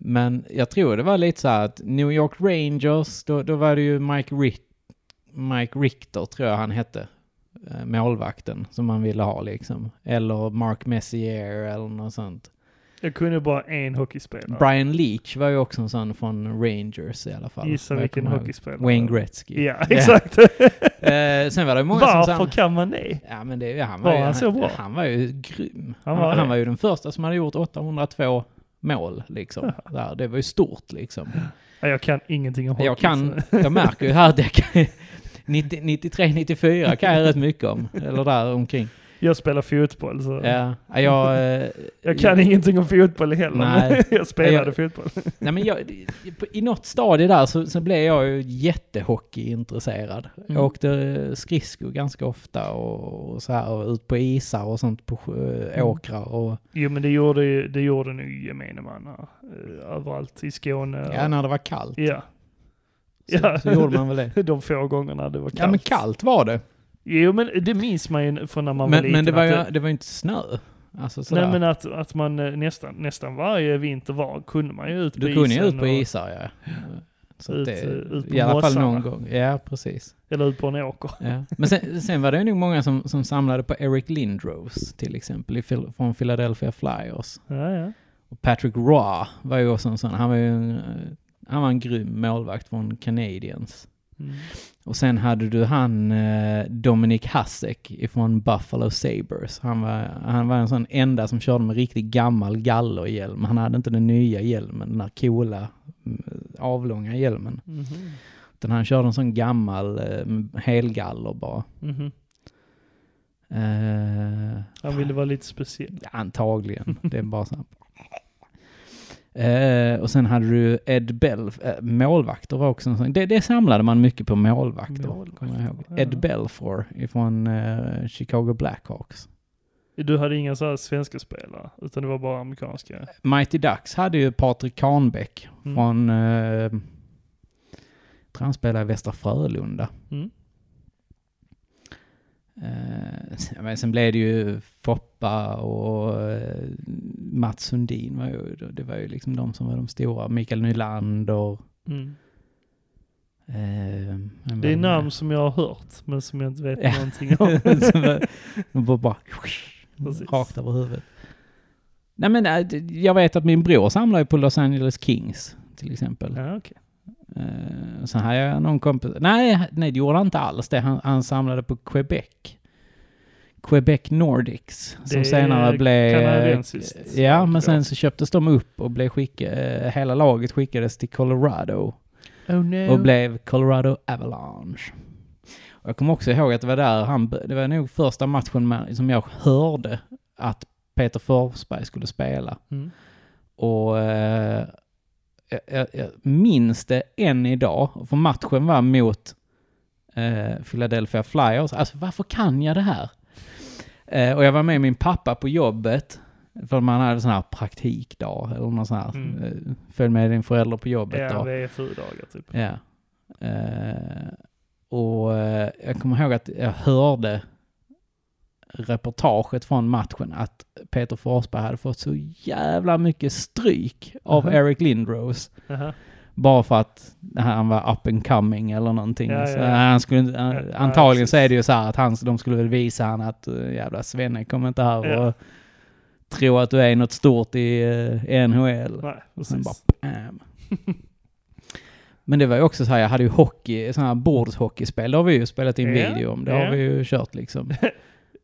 [SPEAKER 1] Men jag tror det var lite så här att New York Rangers, då, då var det ju Mike, Rick, Mike Richter tror jag han hette, eh, målvakten som man ville ha liksom. Eller Mark Messier eller något sånt.
[SPEAKER 2] Jag kunde bara en hockeyspelare.
[SPEAKER 1] Brian Leach var ju också en sån från Rangers i alla fall.
[SPEAKER 2] Gissa
[SPEAKER 1] vad jag
[SPEAKER 2] vilken
[SPEAKER 1] kommer ihåg.
[SPEAKER 2] hockeyspelare.
[SPEAKER 1] Wayne Gretzky.
[SPEAKER 2] Ja,
[SPEAKER 1] Ja.
[SPEAKER 2] exakt.
[SPEAKER 1] Eh, sen var det många som
[SPEAKER 2] Varför
[SPEAKER 1] sa...
[SPEAKER 2] kan man det?
[SPEAKER 1] Ja, men det, han,
[SPEAKER 2] Var
[SPEAKER 1] var ju,
[SPEAKER 2] han så bra?
[SPEAKER 1] han var ju grym. Han
[SPEAKER 2] Han var
[SPEAKER 1] var,
[SPEAKER 2] det.
[SPEAKER 1] han var ju den första som hade gjort 802 mål liksom. Där, det var ju stort liksom.
[SPEAKER 2] Ja, Jag kan ingenting om hockey.
[SPEAKER 1] Jag kan,
[SPEAKER 2] så-
[SPEAKER 1] jag märker ju här att jag kan, 90, 93, 94 kan jag rätt mycket om. Eller där omkring.
[SPEAKER 2] Jag spelar fotboll så.
[SPEAKER 1] Ja, jag, eh,
[SPEAKER 2] Jag kan ingenting om fotboll heller.
[SPEAKER 1] Nej.
[SPEAKER 2] Men jag spelade
[SPEAKER 1] Jag-
[SPEAKER 2] fotboll.
[SPEAKER 1] nej men jag, i något stadie där så, så blev jag ju jättehockeyintresserad.
[SPEAKER 2] Mm.
[SPEAKER 1] Jag åkte eh, skridskor ganska ofta och, och så här och ut på isar och sånt på sjö,
[SPEAKER 2] Mm.
[SPEAKER 1] åkrar och
[SPEAKER 2] Jo men det gjorde, ju- det gjorde nu gemene man här. Eh, Överallt i Skåne.
[SPEAKER 1] ja, när det var kallt.
[SPEAKER 2] ja.
[SPEAKER 1] Så,
[SPEAKER 2] Ja.
[SPEAKER 1] så gjorde man väl det.
[SPEAKER 2] De få gångerna det var kallt.
[SPEAKER 1] Ja men kallt var det.
[SPEAKER 2] Jo men det minns man ju från när man var
[SPEAKER 1] Men,
[SPEAKER 2] liten.
[SPEAKER 1] men det var
[SPEAKER 2] att
[SPEAKER 1] ju det var ju inte snö. Alltså sådär.
[SPEAKER 2] Nej men att, att man eh, nästan, nästan varje vinter var kunde man ju ut på
[SPEAKER 1] Du kunde ju
[SPEAKER 2] isen
[SPEAKER 1] ut på
[SPEAKER 2] och-
[SPEAKER 1] isar ja. Så att
[SPEAKER 2] Ut,
[SPEAKER 1] det,
[SPEAKER 2] eh, ut på
[SPEAKER 1] I alla fall
[SPEAKER 2] mossarna.
[SPEAKER 1] någon gång. Ja, precis.
[SPEAKER 2] Eller ut på en åker.
[SPEAKER 1] Ja. Men sen, sen var det ju nog många som, som samlade på Eric Lindros till exempel i, Phil- från Philadelphia Flyers.
[SPEAKER 2] Ja, ja.
[SPEAKER 1] Och Patrick Roy var ju också en sån. Han var ju en, eh, han var en grym målvakt från Canadiens.
[SPEAKER 2] Mm.
[SPEAKER 1] Och sen hade du han eh, Dominic Hasek ifrån Buffalo Sabres. Han var, han var en sån enda som körde med riktigt gammal gallerhjälm. Han hade inte den nya hjälmen, den där coola mm, avlånga hjälmen.
[SPEAKER 2] Mhm.
[SPEAKER 1] Utan han körde en sån gammal eh, helgaller bara.
[SPEAKER 2] Mhm.
[SPEAKER 1] Eh,
[SPEAKER 2] Han ville vara lite speciell.
[SPEAKER 1] antagligen, det är bara så. här. Eh, och sen hade du Ed Belf, eh, målvakter var också en sån. Det, det samlade man mycket på målvakter,
[SPEAKER 2] Målvakter,
[SPEAKER 1] kommer jag ihåg.
[SPEAKER 2] ja.
[SPEAKER 1] Ed Belfour ifrån eh, Chicago Blackhawks.
[SPEAKER 2] Du hade inga så här svenska spelare, utan det var bara amerikanska.
[SPEAKER 1] Mighty Ducks hade ju Patrik Kahnbäck
[SPEAKER 2] Mm.
[SPEAKER 1] från, eh, jag tror han spelade i Västra Frölunda.
[SPEAKER 2] Mm.
[SPEAKER 1] Eh, sen- men sen blev det ju Foppa och eh, Mats Sundin var ju, det var ju liksom de som var de stora. Mikael Nylander.
[SPEAKER 2] Mm.
[SPEAKER 1] Eh, vem var
[SPEAKER 2] Det är
[SPEAKER 1] mer?
[SPEAKER 2] namn som jag har hört, men som jag inte vet
[SPEAKER 1] Ja.
[SPEAKER 2] någonting om.
[SPEAKER 1] Som var- de bara, bara
[SPEAKER 2] Precis.
[SPEAKER 1] rakt över huvudet. Nej men eh, d- jag vet att min bror samlar ju på Los Angeles Kings till exempel.
[SPEAKER 2] ja, okej.
[SPEAKER 1] Eh, sen hade jag någon kompis, nej, nej det gjorde han inte alls det, han, han samlade på Quebec. Quebec Nordics, som
[SPEAKER 2] Det
[SPEAKER 1] senare
[SPEAKER 2] är
[SPEAKER 1] blev...
[SPEAKER 2] kanadensiskt.
[SPEAKER 1] Ja, men
[SPEAKER 2] Ja.
[SPEAKER 1] sen så köptes de upp och blev skick, eh, hela laget skickades till Colorado
[SPEAKER 2] Oh no.
[SPEAKER 1] och blev Colorado Avalanche. Och jag kommer också ihåg att det var där han, det var nog första matchen med, som jag hörde att Peter Forsberg skulle spela.
[SPEAKER 2] Mm.
[SPEAKER 1] Och eh, jag, jag, jag minns det än idag, för matchen var mot eh, Philadelphia Flyers. Alltså varför kan jag det här? Eh, och jag var med min pappa på jobbet, för man hade sån här praktikdag eller någon sån här,
[SPEAKER 2] Mm.
[SPEAKER 1] eh, följ med din förälder på jobbet
[SPEAKER 2] Ja,
[SPEAKER 1] dag.
[SPEAKER 2] VFU-dagar typ.
[SPEAKER 1] Ja. Eh, och eh, jag kommer ihåg att jag hörde reportaget från matchen att Peter Forsberg hade fått så jävla mycket stryk av
[SPEAKER 2] Mhm.
[SPEAKER 1] Eric Lindros.
[SPEAKER 2] Jaha.
[SPEAKER 1] Bara för att han var up and coming eller någonting.
[SPEAKER 2] Ja, ja,
[SPEAKER 1] så
[SPEAKER 2] ja.
[SPEAKER 1] Han skulle, inte- han-
[SPEAKER 2] Ja, ja,
[SPEAKER 1] antagligen så är
[SPEAKER 2] precis.
[SPEAKER 1] det ju så här att han, de skulle väl visa han att eh, jävla svenne kom inte här
[SPEAKER 2] Ja.
[SPEAKER 1] och tro att du är något stort i eh, NHL.
[SPEAKER 2] Nej,
[SPEAKER 1] Och sen
[SPEAKER 2] precis.
[SPEAKER 1] bara bam. Ehm. Men det var ju också så här, jag hade ju hockey, sådana här bordshockeyspel, det har vi ju spelat in
[SPEAKER 2] Ja,
[SPEAKER 1] video om, det
[SPEAKER 2] ja.
[SPEAKER 1] har vi ju kört liksom.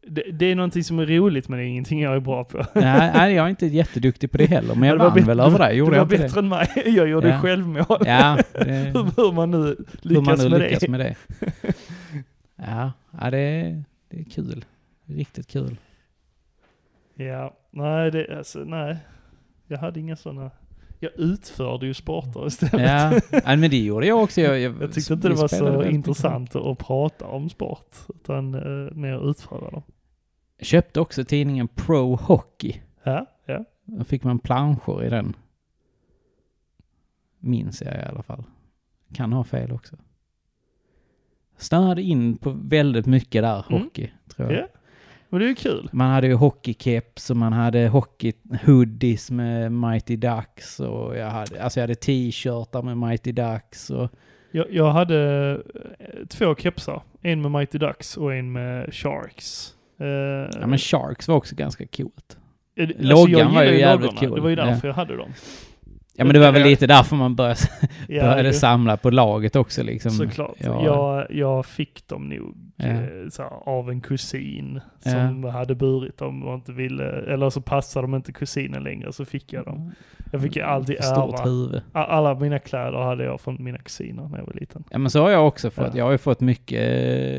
[SPEAKER 2] Det, det är någonting som är roligt, men det är ingenting jag är bra på.
[SPEAKER 1] nej, nej, jag är inte jätteduktig på det heller, men jag
[SPEAKER 2] Men det var
[SPEAKER 1] vann
[SPEAKER 2] bet-
[SPEAKER 1] väl över det, gjorde
[SPEAKER 2] det var
[SPEAKER 1] jag inte
[SPEAKER 2] bättre
[SPEAKER 1] det?
[SPEAKER 2] än mig. Jag gjorde
[SPEAKER 1] Ja.
[SPEAKER 2] självmål.
[SPEAKER 1] Ja, det,
[SPEAKER 2] Hur, hur man nu
[SPEAKER 1] hur man
[SPEAKER 2] lyckas
[SPEAKER 1] nu
[SPEAKER 2] med
[SPEAKER 1] lyckas
[SPEAKER 2] det.
[SPEAKER 1] med det. Ja, ja det, är, det är kul. Riktigt kul.
[SPEAKER 2] Ja, nej, det, alltså, nej. Jag hade inga sådana. Jag utförde ju sporter istället.
[SPEAKER 1] Ja, ja, men det gjorde jag också. Jag, jag,
[SPEAKER 2] Jag tyckte inte
[SPEAKER 1] vi
[SPEAKER 2] det var
[SPEAKER 1] spelade
[SPEAKER 2] så
[SPEAKER 1] väldigt mycket.
[SPEAKER 2] intressant att prata om sport, utan eh, mer utföra dem.
[SPEAKER 1] Jag köpte också tidningen Pro Hockey.
[SPEAKER 2] Ja, ja.
[SPEAKER 1] Då fick man planscher i den. Minns jag i alla fall. Kan ha fel också. Stannade in på väldigt mycket där,
[SPEAKER 2] Mm.
[SPEAKER 1] hockey, tror jag.
[SPEAKER 2] Ja. Men det är ju kul.
[SPEAKER 1] Man hade ju hockeykeps och man hade hockeyhoodies med Mighty Ducks och jag hade, alltså jag hade t-shirtar med Mighty Ducks och
[SPEAKER 2] Jag, jag hade eh, två kepsar. En med Mighty Ducks och en med Sharks. Eh,
[SPEAKER 1] ja men Sharks var också ganska coolt.
[SPEAKER 2] eh, alltså,
[SPEAKER 1] loggan
[SPEAKER 2] jag
[SPEAKER 1] var ju
[SPEAKER 2] gillar
[SPEAKER 1] jävligt
[SPEAKER 2] loggorna.
[SPEAKER 1] cool.
[SPEAKER 2] Det var ju
[SPEAKER 1] Ja.
[SPEAKER 2] därför jag hade dem.
[SPEAKER 1] Ja men det var
[SPEAKER 2] Ja.
[SPEAKER 1] väl lite därför man började,
[SPEAKER 2] Ja,
[SPEAKER 1] började
[SPEAKER 2] ju.
[SPEAKER 1] samla på laget också liksom.
[SPEAKER 2] Såklart.
[SPEAKER 1] Ja.
[SPEAKER 2] Jag, jag fick dem nog
[SPEAKER 1] Ja.
[SPEAKER 2] eh, så här, av en kusin som hade burit dem och inte ville, eller så passade de inte kusinen längre så fick jag dem. Jag fick ju alltid
[SPEAKER 1] Mm, För stort
[SPEAKER 2] ärva.
[SPEAKER 1] huvud.
[SPEAKER 2] A- Alla mina kläder hade jag från mina kusiner när jag var liten.
[SPEAKER 1] Ja men så har jag också fått.
[SPEAKER 2] Ja.
[SPEAKER 1] Jag har ju fått mycket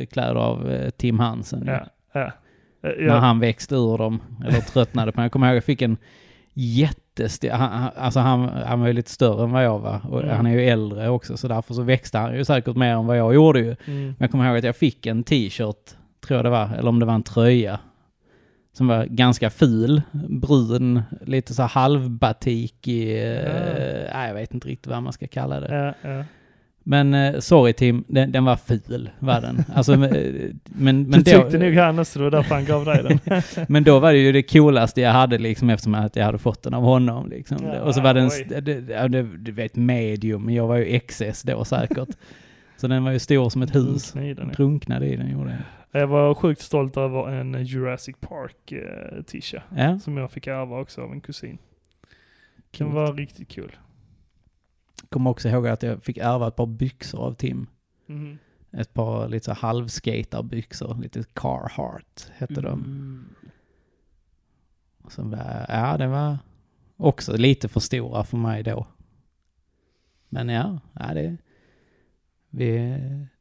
[SPEAKER 1] eh, kläder av eh, Tim Hansen.
[SPEAKER 2] Ja. Ja. Eh,
[SPEAKER 1] När
[SPEAKER 2] Jag,
[SPEAKER 1] han växte ur dem, eller tröttnade på dem. Jag kommer ihåg jag fick en jättestor, han, han- alltså han, han var ju lite större än vad jag var. Och
[SPEAKER 2] Mm.
[SPEAKER 1] han är ju äldre också så därför så växte han ju säkert mer än vad jag gjorde ju. Men
[SPEAKER 2] mm,
[SPEAKER 1] jag kommer ihåg att jag fick en t-shirt, tror jag det var, eller om det var en tröja. Som var ganska ful, brun, lite så här halvbatik i, eh, nej jag vet inte riktigt vad man ska kalla det.
[SPEAKER 2] ja, ja.
[SPEAKER 1] Men eh, sorry Tim, den, den var ful, var den. Alltså, men, eh, men,
[SPEAKER 2] Du
[SPEAKER 1] men, då,
[SPEAKER 2] tyckte nog han också, det var därför han gav dig den.
[SPEAKER 1] men då var det ju det coolaste jag hade liksom eftersom att jag hade fått den av honom. Liksom.
[SPEAKER 2] Ja,
[SPEAKER 1] och så var den,
[SPEAKER 2] oj.
[SPEAKER 1] det, det, det, du vet medium, jag var ju XS då säkert. så den var ju stor som ett hus.
[SPEAKER 2] Drunknade i den, ja.
[SPEAKER 1] Drunknade i den gjorde jag.
[SPEAKER 2] Jag var sjukt stolt över en Jurassic Park eh, tisha
[SPEAKER 1] Ja,
[SPEAKER 2] som jag fick ärva också av en kusin. Den
[SPEAKER 1] coolt.
[SPEAKER 2] var riktigt kul.
[SPEAKER 1] Kommer också ihåg att jag fick ärva ett par byxor av Tim.
[SPEAKER 2] Mhm.
[SPEAKER 1] Ett par lite så här halvskaterbyxor, lite Carhartt hette de. Och Sen var, ja, det var också lite för stora för mig då. Men ja, ja det, vi,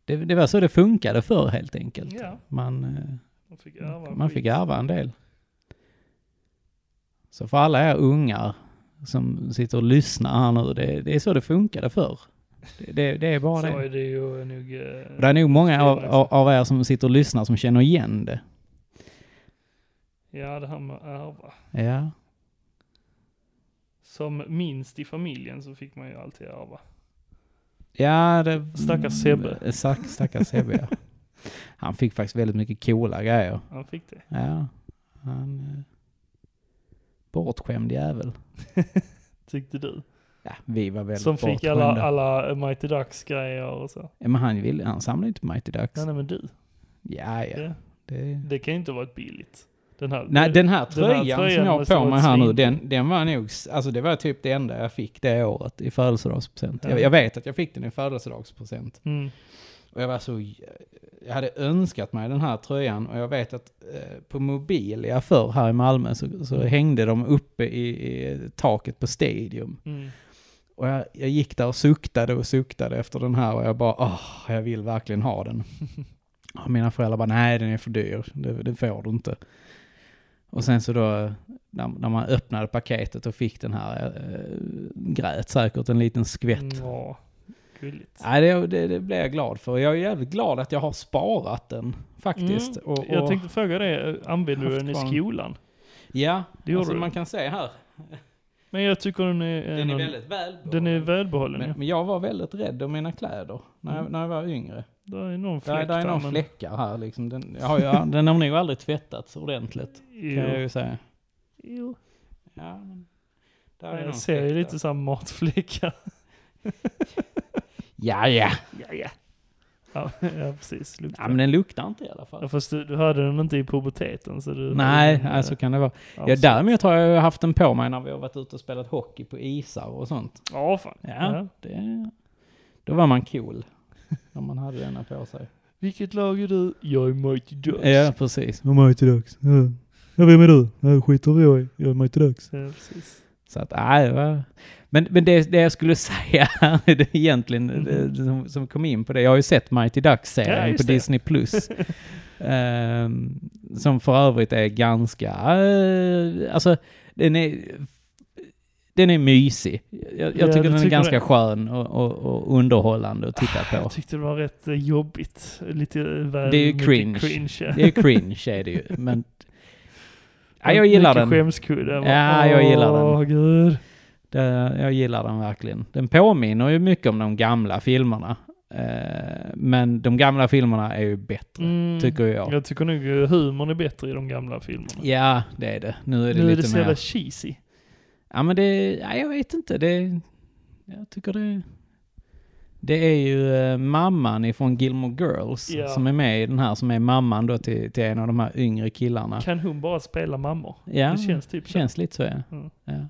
[SPEAKER 1] det, det var så det funkade förr helt enkelt.
[SPEAKER 2] Ja,
[SPEAKER 1] Man, eh,
[SPEAKER 2] man fick ärva.
[SPEAKER 1] man fick
[SPEAKER 2] skit.
[SPEAKER 1] ärva en del. Så för alla er ungar som sitter och lyssnar här nu, det, det är så det funkade förr. Det, det, det är bara
[SPEAKER 2] Så
[SPEAKER 1] det.
[SPEAKER 2] är det ju nog... eh,
[SPEAKER 1] Och det är nog många av,
[SPEAKER 2] skrivet.
[SPEAKER 1] av- av er som sitter och lyssnar som känner igen det.
[SPEAKER 2] Ja, det här med att ärva.
[SPEAKER 1] Ja,
[SPEAKER 2] Som minst i familjen så fick man ju alltid ärva.
[SPEAKER 1] Ja, det...
[SPEAKER 2] Stackars Sebbe.
[SPEAKER 1] Stack, stackars Sebbe, ja. Han fick faktiskt väldigt mycket coola grejer.
[SPEAKER 2] Han fick det.
[SPEAKER 1] Ja. Han... eh, Bortskämd jävel.
[SPEAKER 2] Tyckte du.
[SPEAKER 1] Ja, vi var väldigt
[SPEAKER 2] Som fick
[SPEAKER 1] bortskämda.
[SPEAKER 2] alla, alla Mighty Ducks grejer och så.
[SPEAKER 1] Ja, men han, ville, han samlade inte Mighty Ducks.
[SPEAKER 2] Nej, nej men du.
[SPEAKER 1] Ja, ja.
[SPEAKER 2] Det,
[SPEAKER 1] Det...
[SPEAKER 2] det kan ju inte vara ett billigt. Den här.
[SPEAKER 1] Nej, den här
[SPEAKER 2] Den här
[SPEAKER 1] tröjan,
[SPEAKER 2] tröjan
[SPEAKER 1] som jag har
[SPEAKER 2] måste
[SPEAKER 1] på
[SPEAKER 2] vara
[SPEAKER 1] mig
[SPEAKER 2] ett
[SPEAKER 1] här nu,
[SPEAKER 2] svin.
[SPEAKER 1] den, den var nog... s- Alltså det var typ det enda jag fick det året i födelsedagspresent.
[SPEAKER 2] Ja.
[SPEAKER 1] Jag, jag vet att jag fick den i födelsedagspresent.
[SPEAKER 2] Mm.
[SPEAKER 1] Och jag var så... Jag hade önskat mig den här tröjan och jag vet att eh, på Mobilia förr här i Malmö så, så hängde de uppe i, i taket på Stadium.
[SPEAKER 2] Mm.
[SPEAKER 1] Och jag, jag gick där och suktade och suktade efter den här och jag bara åh, jag vill verkligen ha den. Och mina föräldrar bara nej, den är för dyr, det, det får du inte. Och sen så då, när, när man öppnade paketet och fick den här, eh, grät säkert en liten skvätt.
[SPEAKER 2] Mm. Ja, gulligt.
[SPEAKER 1] Nej, det, det, det blir jag glad för. Jag är jävligt glad att jag har sparat den faktiskt.
[SPEAKER 2] Mm.
[SPEAKER 1] Och, och,
[SPEAKER 2] Jag tänkte fråga dig, eh, använder du
[SPEAKER 1] haft
[SPEAKER 2] den i
[SPEAKER 1] kvar den.
[SPEAKER 2] skolan?
[SPEAKER 1] ja,
[SPEAKER 2] Det gjorde
[SPEAKER 1] alltså,
[SPEAKER 2] du.
[SPEAKER 1] man kan se här.
[SPEAKER 2] Men jag tycker den är...
[SPEAKER 1] Den är
[SPEAKER 2] en-
[SPEAKER 1] väldigt väl.
[SPEAKER 2] den är välbehållen
[SPEAKER 1] men,
[SPEAKER 2] ja.
[SPEAKER 1] men jag var väldigt rädd om mina kläder när, jag,
[SPEAKER 2] Mm.
[SPEAKER 1] när jag var yngre.
[SPEAKER 2] Det är någon
[SPEAKER 1] Där,
[SPEAKER 2] fläkt
[SPEAKER 1] där är några
[SPEAKER 2] men-
[SPEAKER 1] fläckar här liksom. Den, jag har, ju- den har nog aldrig tvättats ordentligt. Kan jag
[SPEAKER 2] Jo.
[SPEAKER 1] ju säga.
[SPEAKER 2] jo.
[SPEAKER 1] Ja, men, där är någon
[SPEAKER 2] Jag ser ju
[SPEAKER 1] fläck
[SPEAKER 2] lite
[SPEAKER 1] där.
[SPEAKER 2] såhär matfläckar.
[SPEAKER 1] Ja, ja.
[SPEAKER 2] ja, ja. Ja, ja precis. Luktar.
[SPEAKER 1] Ja, men den luktar inte i alla
[SPEAKER 2] Ja,
[SPEAKER 1] fall.
[SPEAKER 2] fast du, du hörde den inte i puberteten så du...
[SPEAKER 1] Nej,
[SPEAKER 2] den, eh,
[SPEAKER 1] nej, så kan det vara. Ja,
[SPEAKER 2] absolut.
[SPEAKER 1] däremot har jag ju haft den på mig när vi har varit ute och spelat hockey på isar och sånt.
[SPEAKER 2] Ja, fan.
[SPEAKER 1] Ja.
[SPEAKER 2] Ja.
[SPEAKER 1] Det, då var man cool. När man hade denna på sig.
[SPEAKER 2] Vilket lag är du? Jag är Mighty Ducks.
[SPEAKER 1] Ja, precis.
[SPEAKER 3] Jag är Mighty Ducks. Ja. Ja, vem är du? Jag skiter i jag Jag är Mighty Ducks.
[SPEAKER 2] Ja, precis.
[SPEAKER 1] Så att, nej, det var... Men, men det, det jag skulle säga det är egentligen,
[SPEAKER 2] Mhm.
[SPEAKER 1] det, som, som kom in på det, jag har ju sett Mighty
[SPEAKER 2] Ja,
[SPEAKER 1] Ducks-serien
[SPEAKER 2] just
[SPEAKER 1] på
[SPEAKER 2] det.
[SPEAKER 1] Disney+. Plus. Ehm, som för övrigt är ganska, eh, alltså den är, Den är mysig. Jag, jag tycker
[SPEAKER 2] Ja,
[SPEAKER 1] Ah,
[SPEAKER 2] du
[SPEAKER 1] den är
[SPEAKER 2] tycker
[SPEAKER 1] ganska
[SPEAKER 2] det?
[SPEAKER 1] skön och, och, och underhållande att titta på.
[SPEAKER 2] Jag tyckte det var rätt eh, jobbigt. Lite väl
[SPEAKER 1] Det är ju
[SPEAKER 2] mycket
[SPEAKER 1] cringe.
[SPEAKER 2] cringe ja.
[SPEAKER 1] Det är cringe är det ju, men... Ja, jag gillar
[SPEAKER 2] Mycket
[SPEAKER 1] den.
[SPEAKER 2] skämskudde.
[SPEAKER 1] Ja, jag gillar den.
[SPEAKER 2] Åh, gud.
[SPEAKER 1] Det, jag gillar den verkligen. Den påminner ju mycket om de gamla filmerna. Eh, men de gamla filmerna är ju bättre,
[SPEAKER 2] Mm.
[SPEAKER 1] tycker jag.
[SPEAKER 2] Jag tycker nog eh, humorn är bättre i de gamla filmerna.
[SPEAKER 1] Ja, det är det. Nu är det
[SPEAKER 2] nu är det
[SPEAKER 1] lite
[SPEAKER 2] så jävla
[SPEAKER 1] mer...
[SPEAKER 2] cheesy.
[SPEAKER 1] Ja, men det... Ja, jag vet inte. Det... Jag tycker det... Det är ju eh, mamman ifrån Gilmore Girls
[SPEAKER 2] Ja.
[SPEAKER 1] som är med i den här, som är mamman då till, till en av de här yngre killarna.
[SPEAKER 2] Kan hon bara spela mammor?
[SPEAKER 1] Ja,
[SPEAKER 2] Det känns typ så.
[SPEAKER 1] känns lite så ja.
[SPEAKER 2] Mm.
[SPEAKER 1] ja.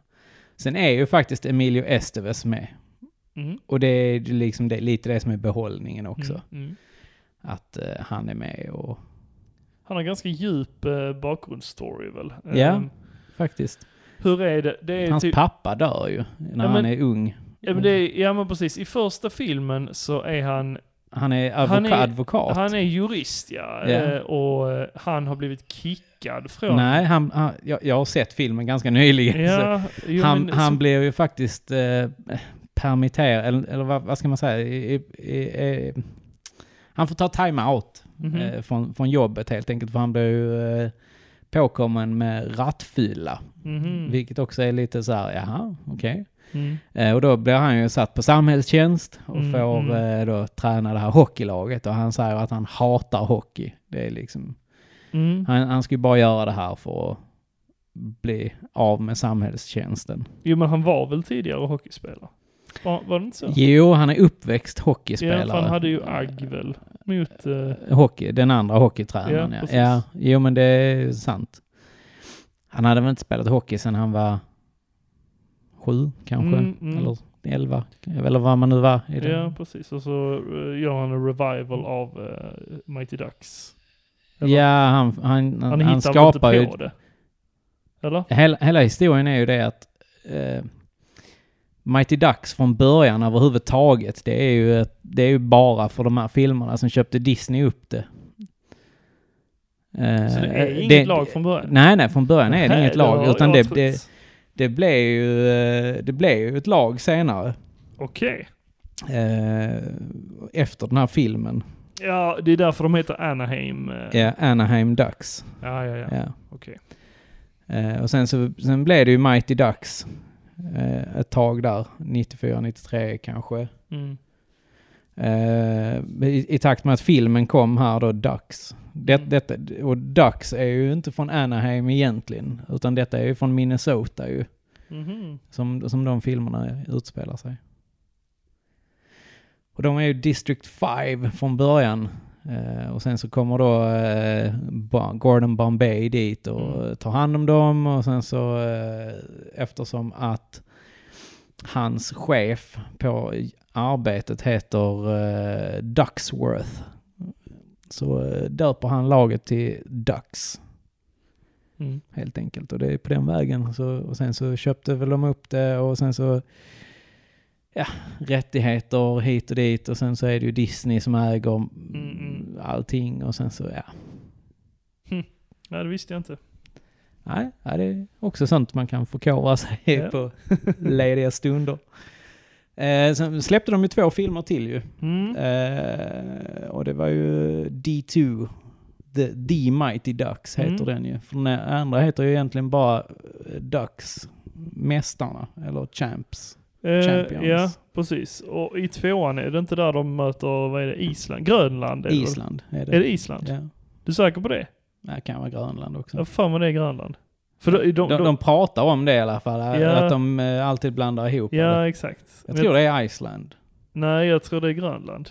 [SPEAKER 1] Sen är ju faktiskt Emilio Estevez med.
[SPEAKER 2] Mm.
[SPEAKER 1] Och det är ju liksom det, lite det som är behållningen också.
[SPEAKER 2] Mm. Mm.
[SPEAKER 1] Att eh, han är med och
[SPEAKER 2] Han har ganska djup eh, bakgrundsstory väl?
[SPEAKER 1] Ja.
[SPEAKER 2] Ehm,
[SPEAKER 1] faktiskt.
[SPEAKER 2] hur är det? Det är
[SPEAKER 1] Hans
[SPEAKER 2] typ...
[SPEAKER 1] pappa dör ju när
[SPEAKER 2] Ja, men-
[SPEAKER 1] han är ung.
[SPEAKER 2] Ja men, det är, ja men precis, i första filmen så är han,
[SPEAKER 1] Han är, advoka-
[SPEAKER 2] Han är-
[SPEAKER 1] advokat.
[SPEAKER 2] han är jurist ja,
[SPEAKER 1] Ja.
[SPEAKER 2] Eh, och eh, han har blivit kickad från...
[SPEAKER 1] Nej, han, han, jag, jag har sett filmen ganska nyligen. så
[SPEAKER 2] Ja, jo,
[SPEAKER 1] Alltså, han
[SPEAKER 2] men,
[SPEAKER 1] han
[SPEAKER 2] så,
[SPEAKER 1] blev ju faktiskt eh, permitterad, eller, eller vad, vad ska man säga? I, i, i, eh, han får ta time-out
[SPEAKER 2] Mhm.
[SPEAKER 1] eh, från, från jobbet helt enkelt, för han blev ju eh, påkommen med rattfylla.
[SPEAKER 2] Mhm.
[SPEAKER 1] Vilket också är lite så här, jaha, okej.
[SPEAKER 2] Mm.
[SPEAKER 1] Eh, Och då blir han ju satt på samhällstjänst och
[SPEAKER 2] Mm,
[SPEAKER 1] får
[SPEAKER 2] mm.
[SPEAKER 1] eh, då träna det här hockeylaget och han säger att han hatar hockey. Det är liksom,
[SPEAKER 2] Mm.
[SPEAKER 1] han, han ska ju bara göra det här för att bli av med samhällstjänsten.
[SPEAKER 2] Jo men han var väl tidigare hockeyspelare? Var, var det inte så?
[SPEAKER 1] Jo, han är uppväxt hockeyspelare.
[SPEAKER 2] Ja, för han hade ju agg väl? Mot... eh,
[SPEAKER 1] Hockey, den andra hockeytränaren
[SPEAKER 2] Ja,
[SPEAKER 1] ja.
[SPEAKER 2] precis.
[SPEAKER 1] Ja, Jo men det är sant. Han hade väl inte spelat hockey sedan han var sju kanske,
[SPEAKER 2] Mm, mm.
[SPEAKER 1] eller elva, eller vad man nu var. I den.
[SPEAKER 2] ja, precis. Och så eh, gör han en revival av eh, Mighty Ducks. Eller?
[SPEAKER 1] Ja, han, han,
[SPEAKER 2] Han
[SPEAKER 1] han,
[SPEAKER 2] hittar väl inte
[SPEAKER 1] skapar
[SPEAKER 2] på
[SPEAKER 1] ju...
[SPEAKER 2] det? Eller?
[SPEAKER 1] Hela, hela historien är ju det att eh, Mighty Ducks från början överhuvudtaget, det är, ju, ett- det är ju bara för de här filmerna som köpte Disney upp det. Eh,
[SPEAKER 2] Så det är inget
[SPEAKER 1] det-
[SPEAKER 2] lag från början?
[SPEAKER 1] Nej, nej, från början är det
[SPEAKER 2] Nej,
[SPEAKER 1] inget lag.
[SPEAKER 2] har
[SPEAKER 1] utan
[SPEAKER 2] jag
[SPEAKER 1] det,
[SPEAKER 2] trott.
[SPEAKER 1] det, det, blev ju, eh, det blev ju ett lag senare.
[SPEAKER 2] Okej.
[SPEAKER 1] Eh, efter den här filmen.
[SPEAKER 2] Ja, det är därför de heter Anaheim. eh.
[SPEAKER 1] Ja, Anaheim Ducks.
[SPEAKER 2] Ja, ja, ja.
[SPEAKER 1] Ja.
[SPEAKER 2] Okej.
[SPEAKER 1] Eh, och sen, så, sen blev det ju Mighty Ducks eh, ett tag där, 94, 93 kanske.
[SPEAKER 2] Mm.
[SPEAKER 1] Eh, i, I takt med att filmen kom här då, Ducks. Det,
[SPEAKER 2] Mm.
[SPEAKER 1] detta, och Ducks är ju inte från Anaheim egentligen, utan detta är ju från Minnesota ju,
[SPEAKER 2] Mhm.
[SPEAKER 1] som, som de filmerna utspelar sig. Och de är ju District 5 från början. Eh, och sen så kommer då eh, Ba- Gordon Bombay dit och
[SPEAKER 2] Mm.
[SPEAKER 1] tar hand om dem och sen så eh, eftersom att hans chef på arbetet heter eh, Ducksworth så eh, döper han laget till Ducks
[SPEAKER 2] Mm.
[SPEAKER 1] helt enkelt. Och det är på den vägen. Så, och sen så köpte väl de upp det och sen så ja, rättigheter hit och dit och sen så är det ju Disney som äger
[SPEAKER 2] mm.
[SPEAKER 1] allting och sen så ja.
[SPEAKER 2] Nej, det visste jag inte.
[SPEAKER 1] Nej, ja, det är också sånt man kan förkovra sig i
[SPEAKER 2] Ja.
[SPEAKER 1] på lediga stunder. Eh, sen släppte de ju två filmer till ju.
[SPEAKER 2] Mm.
[SPEAKER 1] Eh, och det var ju D2. The, The Mighty Ducks heter
[SPEAKER 2] Mm.
[SPEAKER 1] den ju. För den andra heter ju egentligen bara eh, Ducks. Mästarna, eller Champs.
[SPEAKER 2] Eh,
[SPEAKER 1] Champions.
[SPEAKER 2] Ja, precis. Och i tvåan, är det inte där de möter, vad är det, Island? Grönland? är det väl?
[SPEAKER 1] Island är det.
[SPEAKER 2] Är det Island?
[SPEAKER 1] Ja.
[SPEAKER 2] Du är säker på det?
[SPEAKER 1] Nej, kan vara Grönland också.
[SPEAKER 2] Ja, fan vad det är Grönland. För de, de,
[SPEAKER 1] De, de, pratar om det i alla fall,
[SPEAKER 2] Ja.
[SPEAKER 1] att de eh, alltid blandar ihop det.
[SPEAKER 2] ja, exakt.
[SPEAKER 1] Jag
[SPEAKER 2] Men
[SPEAKER 1] tror det är Island.
[SPEAKER 2] Nej, jag tror det är Grönland.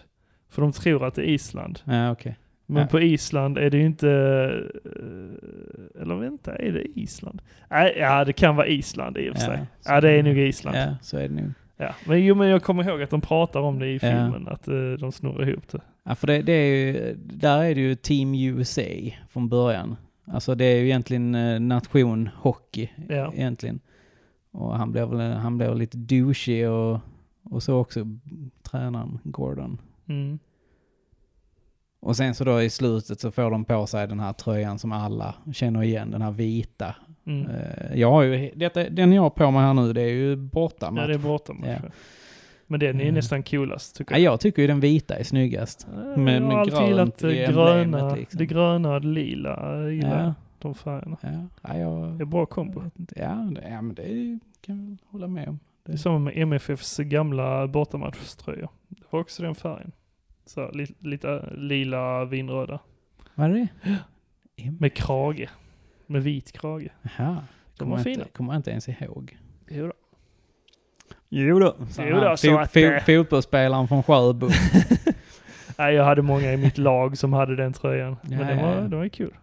[SPEAKER 2] För de tror att det är Island.
[SPEAKER 1] Ja, okej.
[SPEAKER 2] Men
[SPEAKER 1] Ja.
[SPEAKER 2] på Island är det ju inte... eh, Eller vänta, är det Island? Nej, ja det kan vara Island i och för
[SPEAKER 1] Ja,
[SPEAKER 2] sig.
[SPEAKER 1] så-
[SPEAKER 2] Ja, det är nog Island. Ja.
[SPEAKER 1] Ja, så är det nog.
[SPEAKER 2] Men jo, men jag kommer ihåg att de pratar om det i
[SPEAKER 1] Ja.
[SPEAKER 2] filmen, att eh, de snurrar ihop det.
[SPEAKER 1] Ja, för det, det är ju, där är det ju Team USA från början. Alltså det är ju egentligen eh, nation hockey
[SPEAKER 2] Ja.
[SPEAKER 1] egentligen. Och han blev väl han blev lite douchey och, och så också tränaren Gordon.
[SPEAKER 2] Mm.
[SPEAKER 1] Och sen så då i slutet så får de på sig den här tröjan som alla känner igen, den här vita.
[SPEAKER 2] Mm.
[SPEAKER 1] Eh, Jag har ju, detta, den jag har på mig här nu, det är ju borta.
[SPEAKER 2] Ja,
[SPEAKER 1] Ja,
[SPEAKER 2] det är borta
[SPEAKER 1] Ja.
[SPEAKER 2] ja. Men den är ju
[SPEAKER 1] Mm.
[SPEAKER 2] nästan coolast tycker
[SPEAKER 1] ja,
[SPEAKER 2] jag. Eh,
[SPEAKER 1] jag tycker ju den vita är snyggast. med- med
[SPEAKER 2] jag har alltid
[SPEAKER 1] grönt
[SPEAKER 2] gillat det
[SPEAKER 1] i
[SPEAKER 2] gröna,
[SPEAKER 1] emblemet, liksom.
[SPEAKER 2] det gröna och det lila. Jag gillar
[SPEAKER 1] Ja,
[SPEAKER 2] de färgerna.
[SPEAKER 1] ja, ja,
[SPEAKER 2] Det är
[SPEAKER 1] jag,
[SPEAKER 2] bra kombo.
[SPEAKER 1] ja, det, ja, men det kan jag väl hålla med om.
[SPEAKER 2] Det är samma med MFFs gamla bortamatchströjor. Det var också den färgen. Så lite, lite eh, lila vinröda.
[SPEAKER 1] Vad är det? M-
[SPEAKER 2] Med krage. Med vit krage.
[SPEAKER 1] Jaha. Kommer
[SPEAKER 2] var
[SPEAKER 1] jag,
[SPEAKER 2] fina.
[SPEAKER 1] inte, kommer jag inte ens ihåg.
[SPEAKER 2] Jodå.
[SPEAKER 1] Jodå.
[SPEAKER 2] Jodå, så att, eh,
[SPEAKER 1] Fotbollsspelaren från Sjöbo.
[SPEAKER 2] Nej, jag hade många i mitt lag som hade den tröjan. Men
[SPEAKER 1] Ja,
[SPEAKER 2] den
[SPEAKER 1] ja,
[SPEAKER 2] var,
[SPEAKER 1] ja.
[SPEAKER 2] den var ju kul.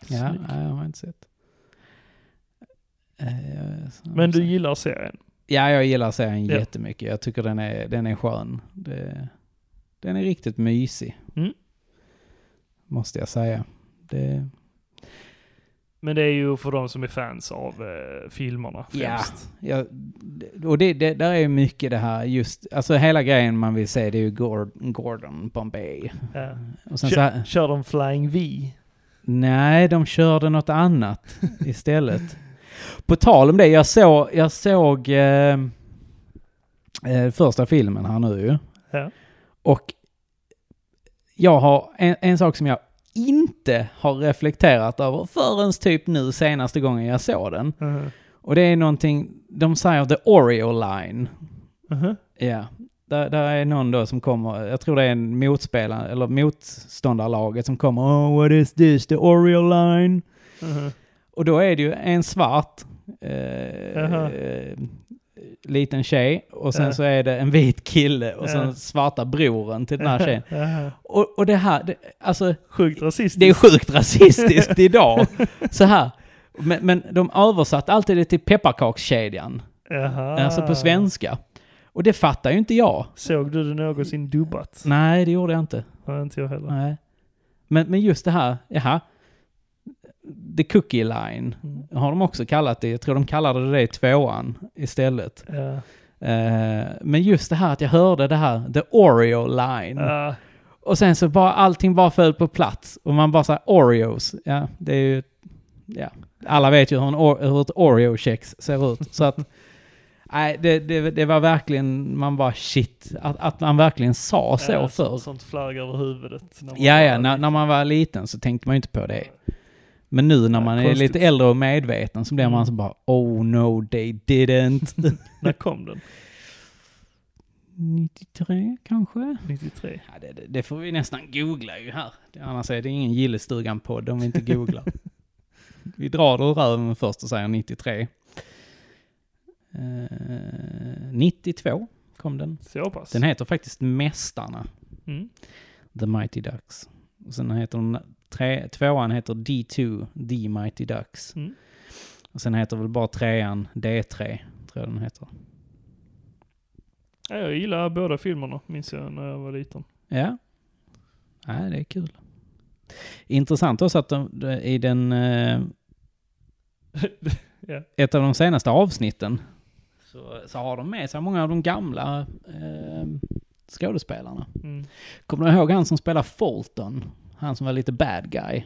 [SPEAKER 1] ja,
[SPEAKER 2] Snygg.
[SPEAKER 1] nej, jag har inte sett. Eh, så-
[SPEAKER 2] Men du gillar serien?
[SPEAKER 1] Ja, jag gillar serien
[SPEAKER 2] Ja.
[SPEAKER 1] jättemycket. Jag tycker den är, den är skön. Det, den är riktigt mysig.
[SPEAKER 2] Mm.
[SPEAKER 1] Måste jag säga. Det,
[SPEAKER 2] Men det är ju för de som är fans av eh, filmerna
[SPEAKER 1] Ja.
[SPEAKER 2] främst.
[SPEAKER 1] jag, det- och det, det, där är ju mycket det här just, alltså hela grejen man vill se det är ju Gordon, Gordon Bombay.
[SPEAKER 2] Ja.
[SPEAKER 1] Och sen så
[SPEAKER 2] Kör,
[SPEAKER 1] här,
[SPEAKER 2] kör de Flying V?
[SPEAKER 1] nej, de körde något annat istället. På tal om det, jag såg, jag såg eh, eh, första filmen här nu ju.
[SPEAKER 2] Ja.
[SPEAKER 1] Och jag har en, en sak som jag inte har reflekterat över förrän typ nu senaste gången jag såg den.
[SPEAKER 2] Mhm.
[SPEAKER 1] Och det är någonting, de säger the Oreo line.
[SPEAKER 2] Mhm.
[SPEAKER 1] Ja, där, där är någon då som kommer, jag tror det är en motspelare, eller motståndarlaget som kommer Oh what is this, the Oreo line?
[SPEAKER 2] Mhm.
[SPEAKER 1] Och då är det ju en svart eh,
[SPEAKER 2] Jaha.
[SPEAKER 1] eh, liten tjej och sen
[SPEAKER 2] Ja.
[SPEAKER 1] så är det en vit kille och sen
[SPEAKER 2] Ja.
[SPEAKER 1] svarta broren till den här tjejen.
[SPEAKER 2] Jaha.
[SPEAKER 1] Och, och det här, det, alltså
[SPEAKER 2] Sjukt rasistiskt.
[SPEAKER 1] det är sjukt rasistiskt idag. Så här. Men, men de översatte alltid det till pepparkakskedjan,
[SPEAKER 2] Jaha.
[SPEAKER 1] alltså på svenska. Och det fattar ju inte jag.
[SPEAKER 2] Såg du det någonsin dubbat?
[SPEAKER 1] Nej, det gjorde jag inte.
[SPEAKER 2] Nej, inte jag heller.
[SPEAKER 1] Mm. Nej. Men, men just det här, jaha. The cookie line
[SPEAKER 2] Mm.
[SPEAKER 1] har de också kallat det. Jag tror de kallade det det i tvåan istället.
[SPEAKER 2] Ja.
[SPEAKER 1] Eh, men just det här att jag hörde det här, the Oreo line.
[SPEAKER 2] Ja.
[SPEAKER 1] Och sen så bara allting bara föll på plats. Och man bara såhär, Oreos. Ja, det är ju... Ja. Alla vet ju hur, en, Or- hur ett Oreo-kex ser ut. Så att... Nej, det, det, det var verkligen... Man bara shit. Att, att man verkligen sa så
[SPEAKER 2] Ja,
[SPEAKER 1] förr.
[SPEAKER 2] sånt, sånt flagg över huvudet. när man
[SPEAKER 1] Ja, ja,
[SPEAKER 2] var
[SPEAKER 1] när,
[SPEAKER 2] liten.
[SPEAKER 1] när man var liten så tänkte man ju inte på det. Men nu när
[SPEAKER 2] Ja,
[SPEAKER 1] man är
[SPEAKER 2] konstigt.
[SPEAKER 1] lite äldre och medveten så blir
[SPEAKER 2] Mm.
[SPEAKER 1] man så bara Oh no, they didn't.
[SPEAKER 2] När kom den?
[SPEAKER 1] 93 kanske?
[SPEAKER 2] 93?
[SPEAKER 1] Ja, det, det- det får vi nästan googla ju här. Det- Annars är det ingen Gillestugan-podd om vi inte googlar. vi drar det ur röven först och säger 93. Eh, 92 kom den.
[SPEAKER 2] Så pass?
[SPEAKER 1] Den heter faktiskt Mästarna,
[SPEAKER 2] Mm.
[SPEAKER 1] The Mighty Ducks. Och sen heter den, tre, tvåan heter D2, The Mighty Ducks.
[SPEAKER 2] Mm.
[SPEAKER 1] Och sen heter väl bara trean D3, tror jag den heter.
[SPEAKER 2] Ja, jag gillar båda filmerna, minns jag när jag var liten.
[SPEAKER 1] Ja. Nej, det är kul. Intressant också att de, i den... eh,
[SPEAKER 2] Ja.
[SPEAKER 1] Ett av de senaste avsnitten så, så har de med sig många av de gamla eh, skådespelarna.
[SPEAKER 2] Mm.
[SPEAKER 1] Kommer du ihåg han som spelar Fulton? Han som var lite bad guy?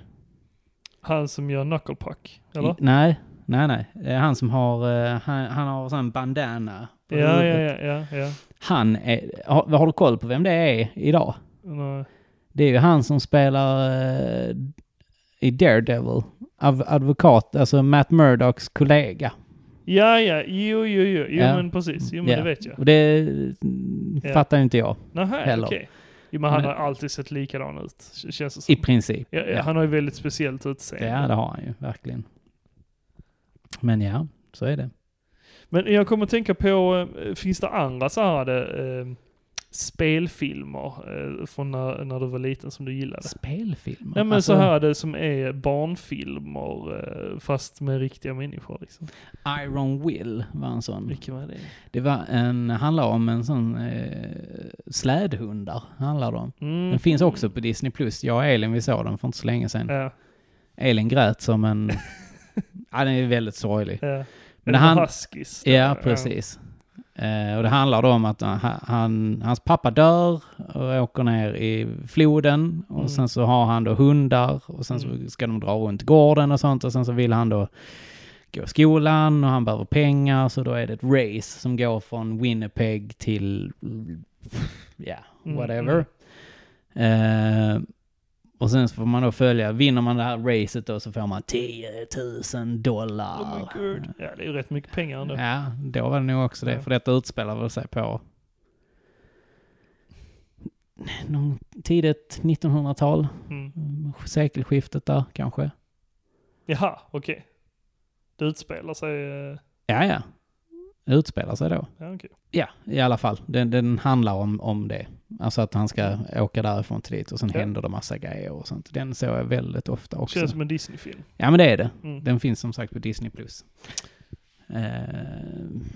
[SPEAKER 2] Han som gör knucklepuck, eller?
[SPEAKER 1] I, nej, nej, nej. Det är han som har... eh, Han, han har sån bandana. på
[SPEAKER 2] Ja, ja,
[SPEAKER 1] huvudet.
[SPEAKER 2] ja, ja, ja.
[SPEAKER 1] Han är... Har, har du koll på vem det är idag?
[SPEAKER 2] Nej.
[SPEAKER 1] Det är ju han som spelar eh, i Daredevil. Av, advokat, alltså Matt Murdocks kollega.
[SPEAKER 2] Ja, ja, jo, jo, jo, jo
[SPEAKER 1] Ja.
[SPEAKER 2] men precis, jo men
[SPEAKER 1] Ja.
[SPEAKER 2] det vet jag.
[SPEAKER 1] Och det mm,
[SPEAKER 2] Ja.
[SPEAKER 1] fattar ju inte jag
[SPEAKER 2] Nähä,
[SPEAKER 1] Heller.
[SPEAKER 2] okej. Jo men han
[SPEAKER 1] Men-
[SPEAKER 2] har alltid sett likadan ut, k- känns det
[SPEAKER 1] i
[SPEAKER 2] som.
[SPEAKER 1] princip.
[SPEAKER 2] Ja, ja. Han har ju väldigt speciellt utseende.
[SPEAKER 1] ja, det har han ju verkligen. Men ja, så är det.
[SPEAKER 2] Men jag kommer att tänka på, eh, finns det andra så här eh, spelfilmer eh, från när, när du var liten som du gillade?
[SPEAKER 1] Spelfilmer?
[SPEAKER 2] Nej men
[SPEAKER 1] Alltså,
[SPEAKER 2] så här det som är barnfilmer eh, fast med riktiga människor liksom.
[SPEAKER 1] Mm. Iron Will var en sån.
[SPEAKER 2] Vilken var det?
[SPEAKER 1] Det var en, handlar om en sån eh, slädhundar, handlar det om.
[SPEAKER 2] Mm.
[SPEAKER 1] Den finns också på Disney+. Plus. Jag och Elin, vi såg den för inte så länge sedan.
[SPEAKER 2] Ja,
[SPEAKER 1] Elin grät som en... ja, den är väldigt sorglig.
[SPEAKER 2] ja.
[SPEAKER 1] Men
[SPEAKER 2] Eller
[SPEAKER 1] han-
[SPEAKER 2] Huskies.
[SPEAKER 1] Ja, precis. Eh, och det handlar då om att han- han, hans pappa dör och åker ner i floden och
[SPEAKER 2] Mm.
[SPEAKER 1] sen så har han då hundar och sen så
[SPEAKER 2] Mm.
[SPEAKER 1] ska de dra runt gården och sånt och sen så vill han då gå i skolan och han behöver pengar så då är det ett race som går från Winnipeg till, ja,
[SPEAKER 2] Mm,
[SPEAKER 1] whatever. Eh, och sen så får man då följa, vinner man det här racet då så får man 10 000 dollar.
[SPEAKER 2] Oh my god. Ja, det är ju rätt mycket pengar ändå.
[SPEAKER 1] Ja, då var det nog också det.
[SPEAKER 2] Ja.
[SPEAKER 1] För detta utspelar väl sig på någon tidigt 1900-tal.
[SPEAKER 2] Mm.
[SPEAKER 1] mm, Sekelskiftet där kanske.
[SPEAKER 2] Jaha, okej. Det utspelar sig... eh,
[SPEAKER 1] Ja, ja. Det Utspelar sig då.
[SPEAKER 2] Ja, okej.
[SPEAKER 1] Ja, i alla fall. Den, den handlar om, om det. Alltså att han ska åka därifrån till dit och sen
[SPEAKER 2] Ja.
[SPEAKER 1] händer det massa grejer och sånt. Den såg jag väldigt ofta också.
[SPEAKER 2] Känns som en Disney-film.
[SPEAKER 1] Ja, men det är det.
[SPEAKER 2] Mm.
[SPEAKER 1] Den finns som sagt på Disney+. Plus. Eh,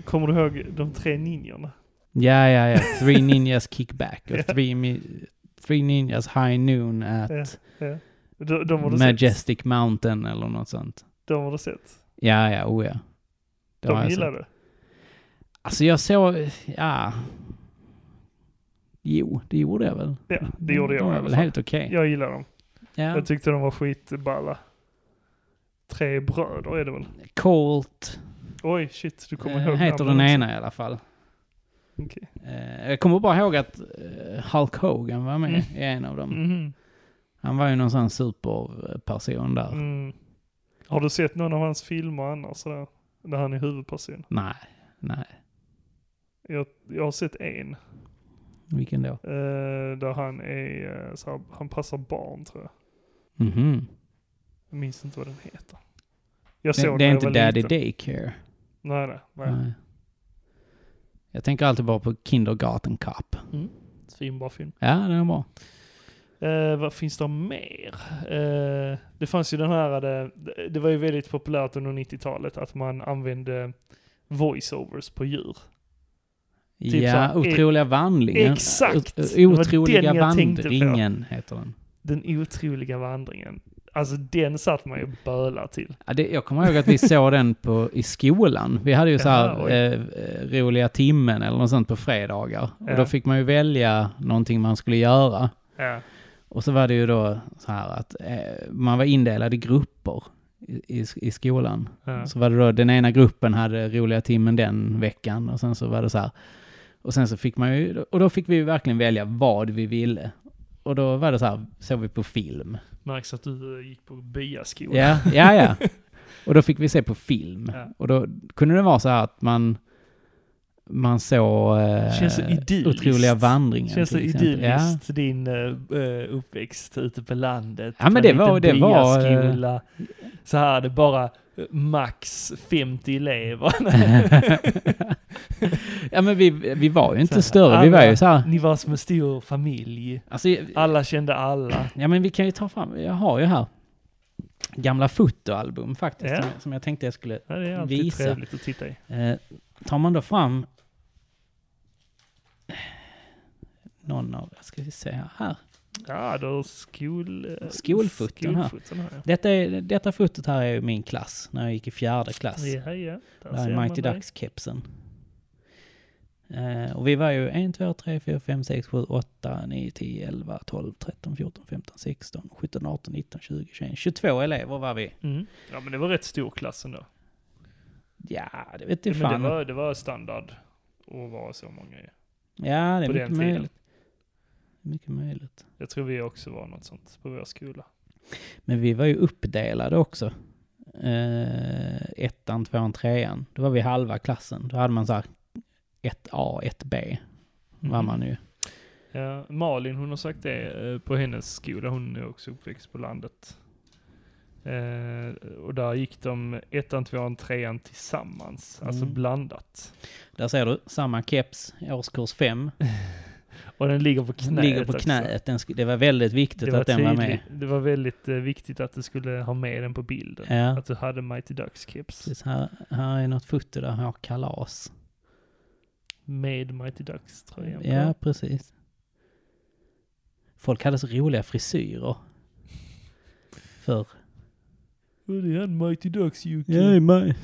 [SPEAKER 2] Kommer du ihåg de tre ninjorna?
[SPEAKER 1] Ja, ja, ja. Three Ninjas Kickback
[SPEAKER 2] Ja.
[SPEAKER 1] och three, mi- three Ninjas High Noon at
[SPEAKER 2] Ja, ja. De, de har du sett.
[SPEAKER 1] Majestic Mountain eller något sånt.
[SPEAKER 2] De har du sett.
[SPEAKER 1] Ja, ja, oh ja. Det har
[SPEAKER 2] De
[SPEAKER 1] jag
[SPEAKER 2] gillar
[SPEAKER 1] sett.
[SPEAKER 2] du.
[SPEAKER 1] Alltså jag såg, ja. Jo, det gjorde jag väl.
[SPEAKER 2] Ja, det gjorde jag
[SPEAKER 1] Det
[SPEAKER 2] i
[SPEAKER 1] var
[SPEAKER 2] alla
[SPEAKER 1] väl
[SPEAKER 2] fall.
[SPEAKER 1] helt okej.
[SPEAKER 2] Jag gillar dem.
[SPEAKER 1] Ja.
[SPEAKER 2] Jag tyckte de var skitballa. Tre bröder är det väl?
[SPEAKER 1] Colt
[SPEAKER 2] Oj, shit, du kommer
[SPEAKER 1] eh,
[SPEAKER 2] ihåg
[SPEAKER 1] heter
[SPEAKER 2] namnen
[SPEAKER 1] den
[SPEAKER 2] också.
[SPEAKER 1] ena i alla fall.
[SPEAKER 2] Okej.
[SPEAKER 1] Eh, jag kommer bara ihåg att eh, Hulk Hogan var med
[SPEAKER 2] Mm.
[SPEAKER 1] i en av dem.
[SPEAKER 2] Mhm.
[SPEAKER 1] Han var ju någon sån superperson där.
[SPEAKER 2] Mm. Har du sett någon av hans filmer annars? Sådär, där han är huvudperson?
[SPEAKER 1] Nej, nej.
[SPEAKER 2] Jag, jag har sett en.
[SPEAKER 1] Vilken då?
[SPEAKER 2] eh, där han är, eh, såhär, han passar barn tror jag.
[SPEAKER 1] Mhm.
[SPEAKER 2] Jag minns inte vad den heter. Jag
[SPEAKER 1] Det,
[SPEAKER 2] såg
[SPEAKER 1] det
[SPEAKER 2] den
[SPEAKER 1] är
[SPEAKER 2] när
[SPEAKER 1] inte
[SPEAKER 2] jag var
[SPEAKER 1] Daddy
[SPEAKER 2] liten.
[SPEAKER 1] Daycare.
[SPEAKER 2] Nej, nej. nej.
[SPEAKER 1] Nej. Jag tänker alltid bara på Kindergarten Cup.
[SPEAKER 2] Svinbra Mm. film.
[SPEAKER 1] Ja, den är bra.
[SPEAKER 2] Eh, vad finns det mer? Eh, det fanns ju den här, det, det var ju väldigt populärt under 90-talet att man använde voiceovers på djur. Typ så
[SPEAKER 1] ja,
[SPEAKER 2] här,
[SPEAKER 1] Otroliga vandringen.
[SPEAKER 2] Exakt!
[SPEAKER 1] O-
[SPEAKER 2] Det var
[SPEAKER 1] Otroliga
[SPEAKER 2] den jag tänkte på.
[SPEAKER 1] vandringen heter den.
[SPEAKER 2] Den otroliga vandringen. Alltså den satt man ju och bölade till.
[SPEAKER 1] Ja, det, jag kommer ihåg att vi såg den på, i skolan. Vi hade ju så
[SPEAKER 2] Jaha,
[SPEAKER 1] här
[SPEAKER 2] oj.
[SPEAKER 1] eh, eh, roliga timmen eller något sånt på fredagar.
[SPEAKER 2] Ja.
[SPEAKER 1] Och då fick man ju välja någonting man skulle göra.
[SPEAKER 2] Ja.
[SPEAKER 1] Och så var det ju då så här att eh, man var indelad i grupper i, i, i skolan.
[SPEAKER 2] Ja.
[SPEAKER 1] Så var det då, den ena gruppen hade roliga timmen den veckan och sen så var det så här. Och sen så fick man ju, och då fick vi ju verkligen välja vad vi ville. Och då var det så här, såg vi på film.
[SPEAKER 2] Märks att du eh, gick på byaskola.
[SPEAKER 1] Ja, ja, ja. Och då fick vi se på film.
[SPEAKER 2] Ja.
[SPEAKER 1] Och då kunde det vara så här att man, man såg eh,
[SPEAKER 2] Känns så idylliskt.
[SPEAKER 1] otroliga vandringen.
[SPEAKER 2] Känns det
[SPEAKER 1] till exempel. Ja.
[SPEAKER 2] idylliskt, din eh, eh, uppväxt ute på landet?
[SPEAKER 1] Ja, men
[SPEAKER 2] på en
[SPEAKER 1] det var-
[SPEAKER 2] liten
[SPEAKER 1] det var, eh,
[SPEAKER 2] byaskola. Så här, det är bara eh, max 50 elever.
[SPEAKER 1] ja, men vi, vi var ju inte
[SPEAKER 2] Så här,
[SPEAKER 1] större, vi var
[SPEAKER 2] alla-
[SPEAKER 1] ju så här.
[SPEAKER 2] Ni var som en stor familj.
[SPEAKER 1] Alltså,
[SPEAKER 2] Alla kände alla.
[SPEAKER 1] Ja, men vi kan ju ta fram, jag har ju här gamla fotoalbum faktiskt,
[SPEAKER 2] Ja.
[SPEAKER 1] som, som jag tänkte jag skulle...
[SPEAKER 2] Ja, Det är alltid
[SPEAKER 1] Visa.
[SPEAKER 2] trevligt att titta i.
[SPEAKER 1] Eh, tar man då fram någon av, ska vi se här, här.
[SPEAKER 2] Ja, då har skol... eh,
[SPEAKER 1] Skolfoton här.
[SPEAKER 2] skolfoton här.
[SPEAKER 1] Detta, är, detta fotot här är ju min klass, när jag gick i fjärde klass.
[SPEAKER 2] Ja, ja. ja. Där
[SPEAKER 1] Det här
[SPEAKER 2] ser
[SPEAKER 1] är
[SPEAKER 2] man
[SPEAKER 1] Mighty
[SPEAKER 2] dig.
[SPEAKER 1] Ducks-kepsen. Eh, och vi var ju 1, 2, 3, 4, 5, 6, 7, 8, 9, 10, 11, 12, 13, 14, 15, 16, 17, 18, 19, 20, 21, 22 elever var vi.
[SPEAKER 2] Mm. Ja, men det var rätt stor klass ändå.
[SPEAKER 1] Ja, det vet du
[SPEAKER 2] Ja, men
[SPEAKER 1] fan.
[SPEAKER 2] det, var, det var standard att vara så många ju.
[SPEAKER 1] Ja, det är
[SPEAKER 2] på
[SPEAKER 1] mycket
[SPEAKER 2] den tiden.
[SPEAKER 1] möjligt. Mycket möjligt.
[SPEAKER 2] Jag tror vi också var något sånt på vår skola.
[SPEAKER 1] Men vi var ju uppdelade också. Eh, ettan, tvåan, trean. Då var vi halva klassen. Då hade man så här 1A, 1B
[SPEAKER 2] Mm.
[SPEAKER 1] var man ju.
[SPEAKER 2] Ja, Malin hon har sagt det eh, på hennes skola, hon är också uppväxt på landet. Eh, och där gick de ettan, tvåan, trean tillsammans, alltså
[SPEAKER 1] Mm.
[SPEAKER 2] blandat.
[SPEAKER 1] Där ser du, samma keps, årskurs 5.
[SPEAKER 2] Och den ligger på knät.
[SPEAKER 1] Ligger på
[SPEAKER 2] också.
[SPEAKER 1] knät. Den, sk- det var väldigt viktigt
[SPEAKER 2] Det var,
[SPEAKER 1] att den var med.
[SPEAKER 2] tydligt- det var väldigt eh, viktigt att du skulle ha med den på bilden.
[SPEAKER 1] Ja,
[SPEAKER 2] Att du hade Mighty Ducks keps
[SPEAKER 1] precis. Här, här är något foto där jag har kalas.
[SPEAKER 2] med Mighty Ducks tröjan på.
[SPEAKER 1] Ja, precis. Folk hade så roliga frisyrer. För
[SPEAKER 2] Och det är en Mighty Ducks Jocke.
[SPEAKER 3] Nej, maj.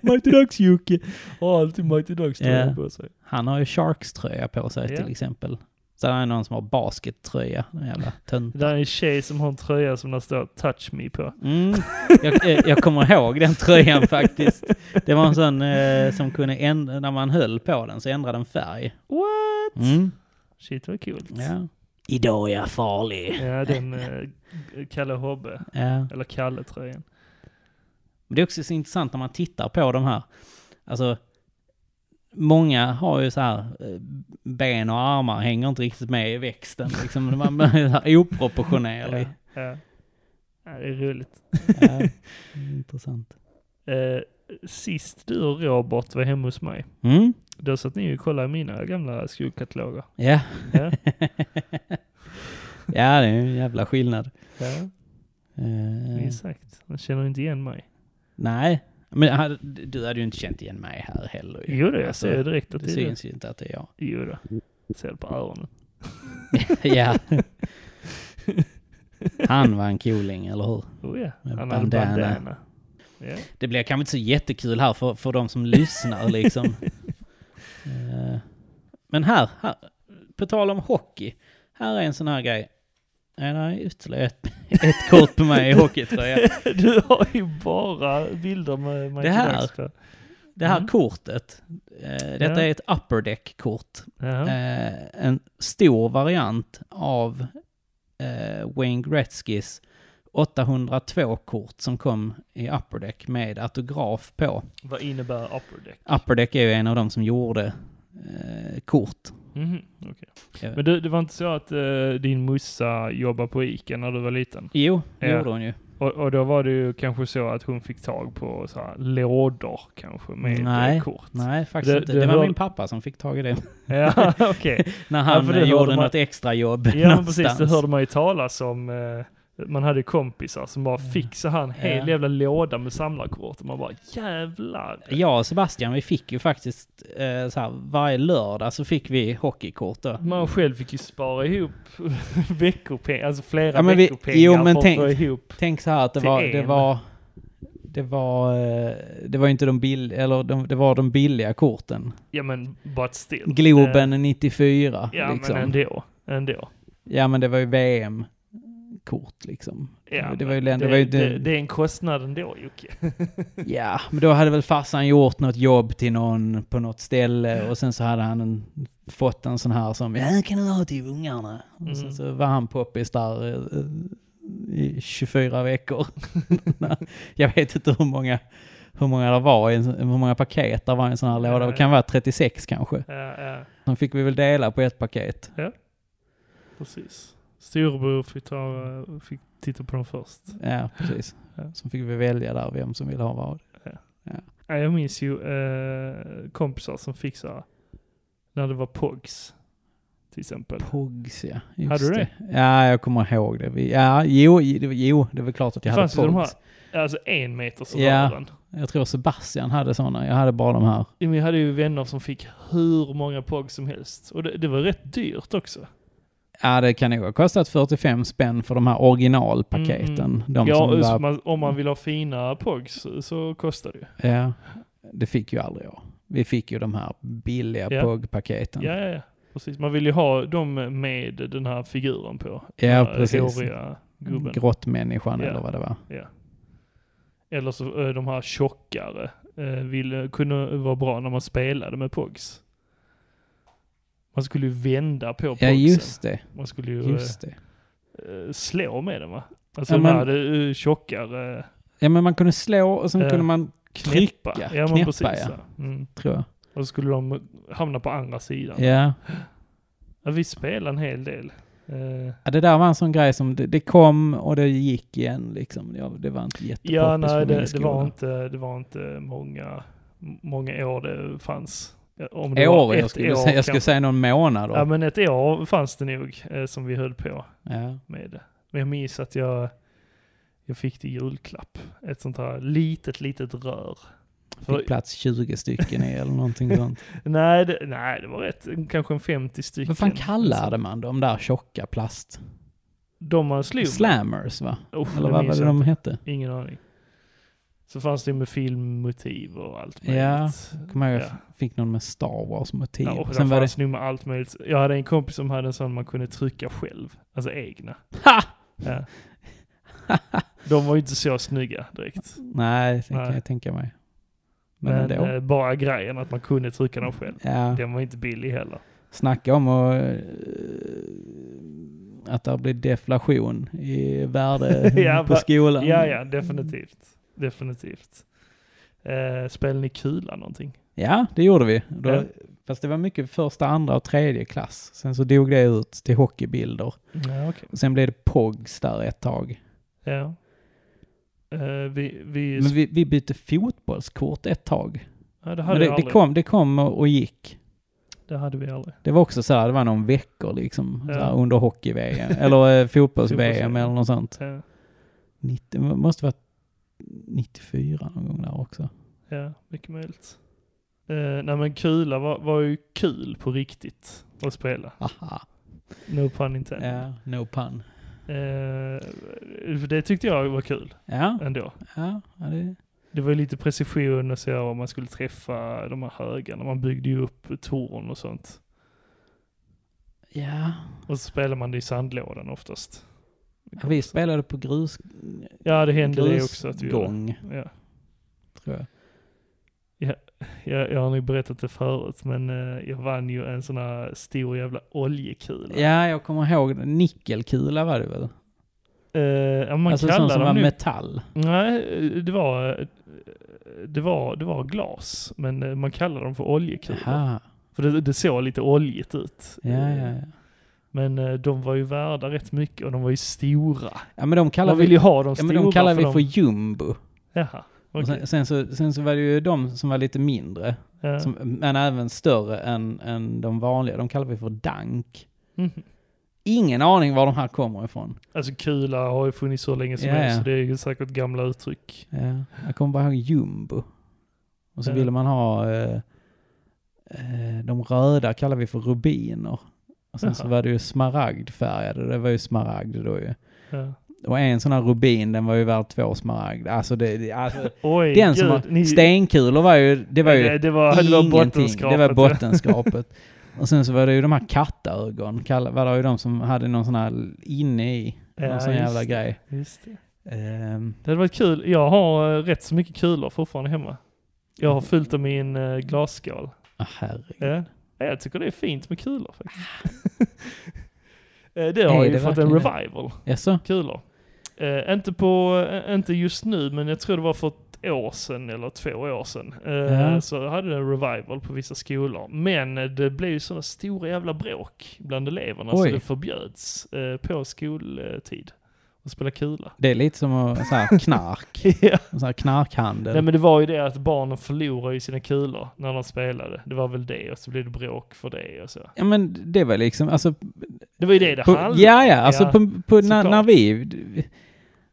[SPEAKER 3] Mighty Ducks Jocke.
[SPEAKER 2] Har alltid Mighty Ducks tröjan
[SPEAKER 1] Ja.
[SPEAKER 2] på sig.
[SPEAKER 1] Han har ju Sharks-tröja på sig
[SPEAKER 2] Ja.
[SPEAKER 1] till exempel. Sen är det någon som har baskettröja, den jävla tönt.
[SPEAKER 2] Det där är en tjej som har en tröja som det står touch me på.
[SPEAKER 1] Mm. Jag, eh, jag kommer ihåg den tröjan faktiskt. Det var en sån eh, som kunde ändra, när man höll på den så ändrade den färg.
[SPEAKER 2] What?
[SPEAKER 1] Mm.
[SPEAKER 2] Shit vad coolt.
[SPEAKER 1] Ja. Idag är jag farlig.
[SPEAKER 2] Ja, den eh, Kalle Hobbe,
[SPEAKER 1] Ja.
[SPEAKER 2] eller Kalle-tröjan.
[SPEAKER 1] Men det är också så intressant när man tittar på de här. Alltså, många har ju så här, eh, ben och armar hänger inte riktigt med i växten. Liksom, man blir så här
[SPEAKER 2] Ja,
[SPEAKER 1] oproportionerlig.
[SPEAKER 2] ja. ja, det är roligt.
[SPEAKER 1] Ja. Intressant.
[SPEAKER 2] Eh, sist du och Robert var hemma hos mig,
[SPEAKER 1] Mm.
[SPEAKER 2] då satt ni och kollade i mina gamla skolkataloger.
[SPEAKER 1] Ja.
[SPEAKER 2] Ja.
[SPEAKER 1] ja, det är ju en jävla skillnad.
[SPEAKER 2] Ja,
[SPEAKER 1] Eh,
[SPEAKER 2] exakt. Han känner inte igen mig.
[SPEAKER 1] nej, men hade- du hade ju inte känt igen mig här heller. ju.
[SPEAKER 2] Jo då, jag
[SPEAKER 1] Alltså,
[SPEAKER 2] ser direkt att
[SPEAKER 1] Det
[SPEAKER 2] det är du.
[SPEAKER 1] syns ju inte att det är jag.
[SPEAKER 2] Jo då. Ser det på öronen.
[SPEAKER 1] ja. Han var en cooling, eller hur?
[SPEAKER 2] Oh ja,
[SPEAKER 1] Med
[SPEAKER 2] han hade
[SPEAKER 1] bandana.
[SPEAKER 2] bandana. Ja.
[SPEAKER 1] Det blir kanske inte så jättekul här för, för de som lyssnar liksom. Eh, Men här, här, på tal om hockey. Här är en sån här grej. Nej, det är ytterligare ett, ett kort på mig i hockeytröja.
[SPEAKER 2] Du har ju bara bilder med Michael
[SPEAKER 1] Det här.
[SPEAKER 2] Jackson.
[SPEAKER 1] Det här
[SPEAKER 2] Mm.
[SPEAKER 1] kortet, eh, detta
[SPEAKER 2] Ja.
[SPEAKER 1] är ett upper deck-kort.
[SPEAKER 2] Jaha.
[SPEAKER 1] Eh, en stor variant av eh, Wayne Gretzkys 802-kort som kom i upper deck med autograf på.
[SPEAKER 2] Vad innebär upper deck?
[SPEAKER 1] Upper deck är ju en av de som gjorde eh, kort.
[SPEAKER 2] Mhm, okej.
[SPEAKER 1] Ja.
[SPEAKER 2] Men du, det var inte så att eh, din mussa jobbade på Ica när du var liten?
[SPEAKER 1] Jo, det
[SPEAKER 2] Ja.
[SPEAKER 1] gjorde hon ju.
[SPEAKER 2] Och, och då var det ju kanske så att hon fick tag på så här lådor kanske med
[SPEAKER 1] Nej,
[SPEAKER 2] eh, kort?
[SPEAKER 1] Nej, faktiskt
[SPEAKER 2] Det-
[SPEAKER 1] inte.
[SPEAKER 2] det
[SPEAKER 1] Det, var
[SPEAKER 2] hör-
[SPEAKER 1] min pappa som fick tag i det.
[SPEAKER 2] Ja, okej.
[SPEAKER 1] När han
[SPEAKER 2] för det
[SPEAKER 1] eh,
[SPEAKER 2] hörde
[SPEAKER 1] gjorde
[SPEAKER 2] man-
[SPEAKER 1] något extrajobb
[SPEAKER 2] Ja, men
[SPEAKER 1] någonstans.
[SPEAKER 2] precis. Det hörde man ju talas om. Eh, man hade kompisar som bara fick så här en hel
[SPEAKER 1] Ja.
[SPEAKER 2] jävla låda med samlarkort. Och man bara jävlar.
[SPEAKER 1] Jag och Sebastian, vi fick ju faktiskt eh, så här, varje lördag så fick vi hockeykort då.
[SPEAKER 2] Man själv fick ju spara ihop veckopengar, alltså flera
[SPEAKER 1] Ja, men vi-
[SPEAKER 2] veckopengar
[SPEAKER 1] jo, men
[SPEAKER 2] för
[SPEAKER 1] tänk-
[SPEAKER 2] att få ihop.
[SPEAKER 1] Tänk så här att det
[SPEAKER 2] Till
[SPEAKER 1] var,
[SPEAKER 2] en.
[SPEAKER 1] det var, det var, eh, det var inte de billiga, eller de, det var de billiga korten.
[SPEAKER 2] Ja men, but still.
[SPEAKER 1] Globen 94
[SPEAKER 2] Eh, ja
[SPEAKER 1] liksom.
[SPEAKER 2] men ändå. Ändå.
[SPEAKER 1] Ja men det var ju VM-kort liksom.
[SPEAKER 2] Ja,
[SPEAKER 1] det var ju
[SPEAKER 2] men
[SPEAKER 1] länder, det, var ju
[SPEAKER 2] det, det är en kostnad ändå Jocke.
[SPEAKER 1] Ja, men då hade väl farsan gjort något jobb till någon på något ställe och sen så hade han en, fått en sån här som ja, kan du ha till ungarna?
[SPEAKER 2] Mm.
[SPEAKER 1] Och sen så var han poppis där eh, i 24 veckor. jag vet inte hur många, hur många det var, i en sån- hur många paket det var i en sån här låda. Det kan vara 36 kanske.
[SPEAKER 2] Ja, ja,
[SPEAKER 1] Sen fick vi väl dela på ett paket.
[SPEAKER 2] precis. Storebror fick, ta, fick titta på dem först.
[SPEAKER 1] Ja, precis.
[SPEAKER 2] Ja.
[SPEAKER 1] Sen fick vi välja där vem som ville ha vad.
[SPEAKER 2] Ja, jag minns ju eh, kompisar som fick så här, när det var POGs till exempel.
[SPEAKER 1] Pogs ja, just
[SPEAKER 2] Hade du det?
[SPEAKER 1] Ja, jag kommer ihåg det. Vi, ja, jo, det var- jo, det var klart att jag
[SPEAKER 2] Det
[SPEAKER 1] hade
[SPEAKER 2] fanns ju de
[SPEAKER 1] Pogs.
[SPEAKER 2] här, alltså en meters
[SPEAKER 1] Ja.
[SPEAKER 2] rören.
[SPEAKER 1] Jag tror Sebastian hade sådana. Jag hade bara de här.
[SPEAKER 2] Ja, men Jag hade ju vänner som fick hur många POGs som helst. Och det, det var rätt dyrt också.
[SPEAKER 1] Ja, det kan nog ha kostat 45 spänn för de här originalpaketen. De
[SPEAKER 2] Mm. ja,
[SPEAKER 1] som
[SPEAKER 2] så
[SPEAKER 1] var,
[SPEAKER 2] man, om man vill ha fina POGs så kostar det ju.
[SPEAKER 1] ja, det fick ju aldrig jag. Vi fick ju de här billiga
[SPEAKER 2] Ja.
[SPEAKER 1] POG-paketen.
[SPEAKER 2] Ja, ja, ja. Precis. Man vill ju ha dem med den här figuren på.
[SPEAKER 1] Ja,
[SPEAKER 2] Den här
[SPEAKER 1] precis.
[SPEAKER 2] håriga gubben.
[SPEAKER 1] Grottmänniskan
[SPEAKER 2] Ja.
[SPEAKER 1] eller vad det var.
[SPEAKER 2] Eller så eh, de här tjockare eh, ville, kunde vara bra när man spelade med POGs. Man skulle ju vända på
[SPEAKER 1] Ja,
[SPEAKER 2] POGsen.
[SPEAKER 1] just det.
[SPEAKER 2] Man skulle ju
[SPEAKER 1] Just det.
[SPEAKER 2] eh, eh, slå med den va? Alltså
[SPEAKER 1] Ja,
[SPEAKER 2] de här
[SPEAKER 1] men-
[SPEAKER 2] eh, tjockare,
[SPEAKER 1] Ja, men man kunde slå och sen
[SPEAKER 2] Eh,
[SPEAKER 1] kunde man
[SPEAKER 2] knäppa.
[SPEAKER 1] trycka.
[SPEAKER 2] ja, men
[SPEAKER 1] knäppa,
[SPEAKER 2] precis.
[SPEAKER 1] ja.
[SPEAKER 2] ja. Mm.
[SPEAKER 1] Tror jag.
[SPEAKER 2] Och så skulle de hamna på andra sidan.
[SPEAKER 1] Ja.
[SPEAKER 2] Ja, vi spelade en hel del. Eh,
[SPEAKER 1] ja, det där var en sån grej som det, det kom och det gick igen liksom. Ja, det var inte jättepoppis
[SPEAKER 2] ja, nej,
[SPEAKER 1] på min
[SPEAKER 2] det, det,
[SPEAKER 1] skola.
[SPEAKER 2] var inte, det var inte många, många år det fanns. Om det var
[SPEAKER 1] År,
[SPEAKER 2] ett
[SPEAKER 1] jag skulle, säga, jag skulle
[SPEAKER 2] kanske.
[SPEAKER 1] säga någon månad då.
[SPEAKER 2] Ja men ett år fanns det nog eh, som vi höll på
[SPEAKER 1] ja.
[SPEAKER 2] med det. Men jag minns att jag, jag fick det i julklapp. Ett sånt här litet, litet rör. För-
[SPEAKER 1] Fick plats 20 stycken i eller någonting sånt.
[SPEAKER 2] nej, det, nej, det var rätt. Kanske en 50 stycken. Alltså,
[SPEAKER 1] Vad fan kallade man de där tjocka plast...
[SPEAKER 2] De man slog.
[SPEAKER 1] Slammers va?
[SPEAKER 2] Oh,
[SPEAKER 1] Eller
[SPEAKER 2] det
[SPEAKER 1] vad var
[SPEAKER 2] minns
[SPEAKER 1] det
[SPEAKER 2] jag
[SPEAKER 1] de
[SPEAKER 2] inte.
[SPEAKER 1] hette?
[SPEAKER 2] Ingen aning. Så fanns det ju med filmmotiv och allt
[SPEAKER 1] Ja,
[SPEAKER 2] möjligt.
[SPEAKER 1] Kommer jag ihåg, jag
[SPEAKER 2] Ja.
[SPEAKER 1] fick någon med Star Wars-motiv.
[SPEAKER 2] Ja, och
[SPEAKER 1] Sen
[SPEAKER 2] där
[SPEAKER 1] var det...
[SPEAKER 2] fanns det... nog med allt möjligt. Jag hade en kompis som hade en sån man kunde trycka själv. Alltså egna.
[SPEAKER 1] Ha!
[SPEAKER 2] Ja. De var ju inte så snygga direkt.
[SPEAKER 1] Nej, det kan
[SPEAKER 2] Nej.
[SPEAKER 1] jag tänka mig. Men,
[SPEAKER 2] Men,
[SPEAKER 1] ändå.
[SPEAKER 2] eh, bara grejen att man kunde trycka dem själv.
[SPEAKER 1] ja.
[SPEAKER 2] Den var inte billig heller.
[SPEAKER 1] Snacka om och, eh, att det blir deflation i värde
[SPEAKER 2] Ja,
[SPEAKER 1] på
[SPEAKER 2] va-
[SPEAKER 1] skolan.
[SPEAKER 2] Ja, ja, definitivt. Definitivt. Eh, spelade ni kula någonting?
[SPEAKER 1] Ja, det gjorde vi. Då,
[SPEAKER 2] Ja.
[SPEAKER 1] Fast det var mycket första, andra och tredje klass. Sen så dog det ut till hockeybilder.
[SPEAKER 2] Ja, okej.
[SPEAKER 1] Och sen blev det POGs där ett tag.
[SPEAKER 2] Ja. Eh, vi, vi,
[SPEAKER 1] Men vi, vi bytte fotbollskort ett tag.
[SPEAKER 2] ja, det,
[SPEAKER 1] Men
[SPEAKER 2] hade vi
[SPEAKER 1] det, det,
[SPEAKER 2] aldrig.
[SPEAKER 1] kom, det kom och, och gick.
[SPEAKER 2] det hade vi aldrig.
[SPEAKER 1] Det var också så här, det var någon veckor liksom.
[SPEAKER 2] Ja.
[SPEAKER 1] Så här, under hockey-VM. eller eh, fotbolls-VM
[SPEAKER 2] Fotbolls-VM.
[SPEAKER 1] eller något sånt.
[SPEAKER 2] Ja,
[SPEAKER 1] 90, måste vara 94 någon gång där också.
[SPEAKER 2] ja mycket möjligt. Eh, nej men kula var, var ju kul på riktigt att spela.
[SPEAKER 1] Aha.
[SPEAKER 2] No pun intended.
[SPEAKER 1] Ja, no pun.
[SPEAKER 2] Eh, det tyckte jag var kul
[SPEAKER 1] Ja,
[SPEAKER 2] ändå.
[SPEAKER 1] ja, ja det,
[SPEAKER 2] Det var ju lite precision och så, och man skulle träffa de här högarna. Man byggde ju upp torn och sånt.
[SPEAKER 1] ja.
[SPEAKER 2] Och så spelar man det i sandlådan oftast.
[SPEAKER 1] Vi spelade på grus,
[SPEAKER 2] Ja, det hände det också att vi gjorde.
[SPEAKER 1] grusgång,
[SPEAKER 2] Ja.
[SPEAKER 1] tror jag.
[SPEAKER 2] Jag, jag har nog berättat det förut, men eh, jag vann ju en sån här stor jävla oljekula.
[SPEAKER 1] Ja, jag kommer ihåg det. Nickelkula var det väl?
[SPEAKER 2] Eh, ja, man
[SPEAKER 1] alltså
[SPEAKER 2] kallar
[SPEAKER 1] sån som
[SPEAKER 2] dem
[SPEAKER 1] var
[SPEAKER 2] nu-
[SPEAKER 1] metall.
[SPEAKER 2] Nej, eh, det var, eh, det var, det var glas, men eh, man kallar dem för oljekulor.
[SPEAKER 1] Jaha.
[SPEAKER 2] För det, det såg lite oljigt ut.
[SPEAKER 1] Ja, ja,
[SPEAKER 2] Eh,
[SPEAKER 1] ja.
[SPEAKER 2] Men eh, de var ju värda rätt mycket och de var ju stora.
[SPEAKER 1] Ja, men de kallar
[SPEAKER 2] Man vill
[SPEAKER 1] vi,
[SPEAKER 2] ju ha de
[SPEAKER 1] ja,
[SPEAKER 2] stora
[SPEAKER 1] men de kallar vi
[SPEAKER 2] de-
[SPEAKER 1] för Alltså, jumbo.
[SPEAKER 2] Jaha,
[SPEAKER 1] Och
[SPEAKER 2] okej.
[SPEAKER 1] Sen, sen, så, sen så var det ju de som var lite mindre,
[SPEAKER 2] Ja.
[SPEAKER 1] som, men även större än, än de vanliga. De kallar vi för dank.
[SPEAKER 2] Mhm.
[SPEAKER 1] Ingen aning var de här kommer ifrån.
[SPEAKER 2] Alltså kula har ju funnits så länge som
[SPEAKER 1] Ja,
[SPEAKER 2] helst,
[SPEAKER 1] ja.
[SPEAKER 2] så det är ju säkert gamla uttryck.
[SPEAKER 1] Ja, jag kommer bara ihåg jumbo. Och så
[SPEAKER 2] Ja.
[SPEAKER 1] ville man ha eh, eh, de röda kallar vi för rubiner. Och sen så
[SPEAKER 2] Jaha.
[SPEAKER 1] var det ju smaragdfärgade, det var ju smaragd då ju.
[SPEAKER 2] Ja.
[SPEAKER 1] Och en sån här rubin, den var ju värd två smaragd. Alltså, det, det, alltså
[SPEAKER 2] Oj,
[SPEAKER 1] den
[SPEAKER 2] gud,
[SPEAKER 1] som var,
[SPEAKER 2] ni-
[SPEAKER 1] stenkulor var ju, det var ju
[SPEAKER 2] det, det var, det var
[SPEAKER 1] ingenting.
[SPEAKER 2] bottenskrapet.
[SPEAKER 1] Det var bottenskrapet. och sen så var det ju de här kattögon, kall- var det ju de som hade någon sån här inne i,
[SPEAKER 2] Ja,
[SPEAKER 1] någon sån
[SPEAKER 2] just
[SPEAKER 1] jävla
[SPEAKER 2] det.
[SPEAKER 1] grej.
[SPEAKER 2] Just det.
[SPEAKER 1] Ehm,
[SPEAKER 2] det hade varit kul. Jag har eh, rätt så mycket kulor fortfarande hemma. Jag har fyllt dem i en eh, glasskål.
[SPEAKER 1] ah, herregud.
[SPEAKER 2] Ja. Ja, Jag tycker det är fint med kulor faktiskt. Eh, det har
[SPEAKER 1] Är
[SPEAKER 2] ju
[SPEAKER 1] det
[SPEAKER 2] fått en
[SPEAKER 1] verkligen det?
[SPEAKER 2] revival,
[SPEAKER 1] Jaså?
[SPEAKER 2] kulor. Eh, inte, på, eh, inte just nu, men jag tror det var för ett år sedan eller två år sedan. Eh,
[SPEAKER 1] Ja.
[SPEAKER 2] Så hade det en revival på vissa skolor. Men eh, det blev ju sådana stora jävla bråk bland eleverna
[SPEAKER 1] Oj.
[SPEAKER 2] så det förbjöds eh, på skoltid att spela kula.
[SPEAKER 1] Det är lite som att, så här, knark,
[SPEAKER 2] ja.
[SPEAKER 1] så här knarkhandel.
[SPEAKER 2] Nej men det var ju det att barnen förlorade ju sina kulor när de spelade. Det var väl det och så blev det bråk för det och så.
[SPEAKER 1] Ja men det var liksom, alltså...
[SPEAKER 2] Det var ju det det
[SPEAKER 1] På,
[SPEAKER 2] handlade
[SPEAKER 1] ja,
[SPEAKER 2] om.
[SPEAKER 1] ja, alltså på, på, när,
[SPEAKER 2] såklart.
[SPEAKER 1] när vi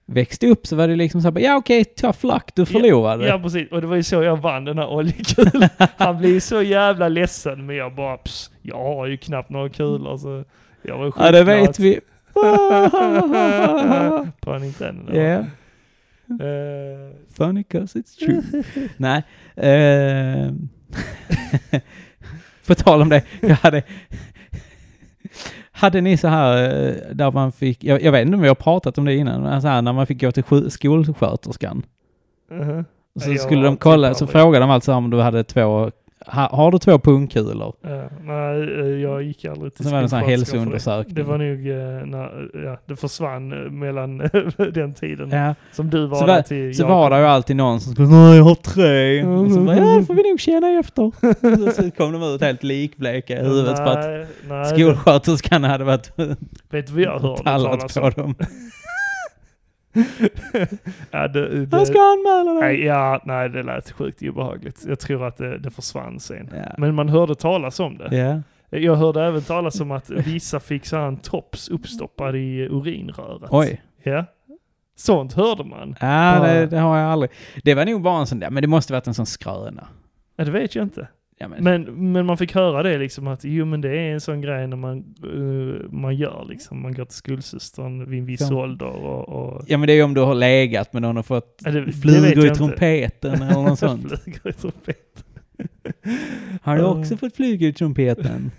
[SPEAKER 1] växte upp så var det liksom så här, bara, ja okej, tough luck, du förlorade.
[SPEAKER 2] Ja precis, och det var ju så jag vann den här oljekulan. Han blev ju så jävla ledsen men jag bara "Pss, jag har ju knappt några kulor så jag var ju
[SPEAKER 1] Ja, det vet vi.
[SPEAKER 2] på en Nintendo.
[SPEAKER 1] yeah,
[SPEAKER 2] Eh,
[SPEAKER 1] funny 'cause it's true. Nej. ehm. På tal om det, jag hade... Hade ni så här eh, där man fick, jag, jag vet inte om vi har pratat om det innan, men så här när man fick gå till sju- skolsköterskan.
[SPEAKER 2] mhm.
[SPEAKER 1] Och så
[SPEAKER 2] Jag
[SPEAKER 1] skulle
[SPEAKER 2] har
[SPEAKER 1] de kolla,
[SPEAKER 2] typ
[SPEAKER 1] så
[SPEAKER 2] aldrig-
[SPEAKER 1] frågade de alltså om du hade två, ha, har du två pungkulor?
[SPEAKER 2] Ja, nej, eh, jag gick aldrig till
[SPEAKER 1] Sen var det en sån här
[SPEAKER 2] skolsköterskan för
[SPEAKER 1] hälsoundersökning.
[SPEAKER 2] Det var nog, eh, när, ja, det försvann eh, mellan den tiden
[SPEAKER 1] Ja.
[SPEAKER 2] som du var
[SPEAKER 1] Så
[SPEAKER 2] där
[SPEAKER 1] var-
[SPEAKER 2] till
[SPEAKER 1] Så
[SPEAKER 2] Jakob.
[SPEAKER 1] var det ju alltid någon som skulle,
[SPEAKER 3] Nej, jag har tre.
[SPEAKER 1] och så bara, ja, det får vi nog känna efter. Och så kom de ut helt likbleka i huvudet för att
[SPEAKER 2] Nej, nej,
[SPEAKER 1] skolsköterskan hade varit
[SPEAKER 2] Vet du vad jag hörde
[SPEAKER 1] tallat
[SPEAKER 2] talas
[SPEAKER 1] på
[SPEAKER 2] om?
[SPEAKER 1] dem.
[SPEAKER 2] ja, det,
[SPEAKER 1] Han ska
[SPEAKER 2] det,
[SPEAKER 1] anmäla dig!
[SPEAKER 2] nej, ja, nej, det lät sjukt obehagligt. Jag tror att det, det försvann sen.
[SPEAKER 1] Ja.
[SPEAKER 2] Men man hörde talas om det.
[SPEAKER 1] Ja.
[SPEAKER 2] Jag hörde även talas om att vissa fick så här en tops uppstoppad i urinröret.
[SPEAKER 1] Oj.
[SPEAKER 2] Ja. Sånt hörde man.
[SPEAKER 1] Ja,
[SPEAKER 2] Bara-
[SPEAKER 1] det, det har jag aldrig. Det var nog bara en sån där, men det måste varit en sån skröna.
[SPEAKER 2] Ja, det vet jag inte.
[SPEAKER 1] Ja, men,
[SPEAKER 2] Men, men man fick höra det liksom att jo men det är en sån grej när man, eh, man gör liksom, man går till skolsystern vid en viss
[SPEAKER 1] Ja.
[SPEAKER 2] ålder och... och
[SPEAKER 1] ja, men det är ju om du har legat med någon och fått
[SPEAKER 2] Ja, det- det vet
[SPEAKER 1] flugor
[SPEAKER 2] jag
[SPEAKER 1] i
[SPEAKER 2] inte.
[SPEAKER 1] trumpeten eller något sånt.
[SPEAKER 2] Flugor i trumpet.
[SPEAKER 1] Har du
[SPEAKER 2] Ja.
[SPEAKER 1] också fått flugor i trumpeten?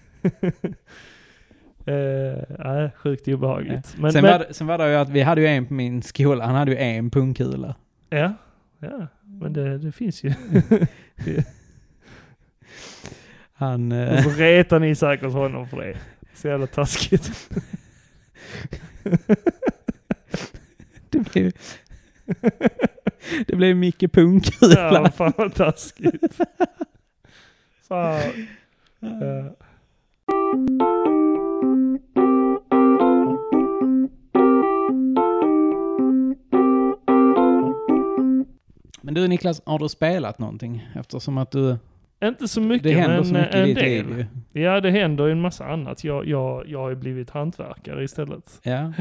[SPEAKER 2] Eh, nej, sjukt obehagligt. Men,
[SPEAKER 1] sen,
[SPEAKER 2] men,
[SPEAKER 1] var, det- sen var det ju att vi hade ju en på min skola, han hade ju en pungkula.
[SPEAKER 2] ja, ja, men det, det finns ju.
[SPEAKER 1] Han...
[SPEAKER 2] Och
[SPEAKER 1] Eh,
[SPEAKER 2] så retar ni säkert honom för det. Så jävla taskigt.
[SPEAKER 1] det blev... det blev Micke Pungkula.
[SPEAKER 2] Ja, fan vad taskigt. Fan. Eh,
[SPEAKER 1] Men du Niklas, har du spelat någonting? Eftersom att du...
[SPEAKER 2] inte så mycket,
[SPEAKER 1] Det händer
[SPEAKER 2] men eh,
[SPEAKER 1] så mycket i
[SPEAKER 2] en
[SPEAKER 1] ditt
[SPEAKER 2] del.
[SPEAKER 1] liv ju.
[SPEAKER 2] Ja, det händer ju en massa annat. Jag, jag, jag har ju blivit hantverkare istället.
[SPEAKER 1] Ja.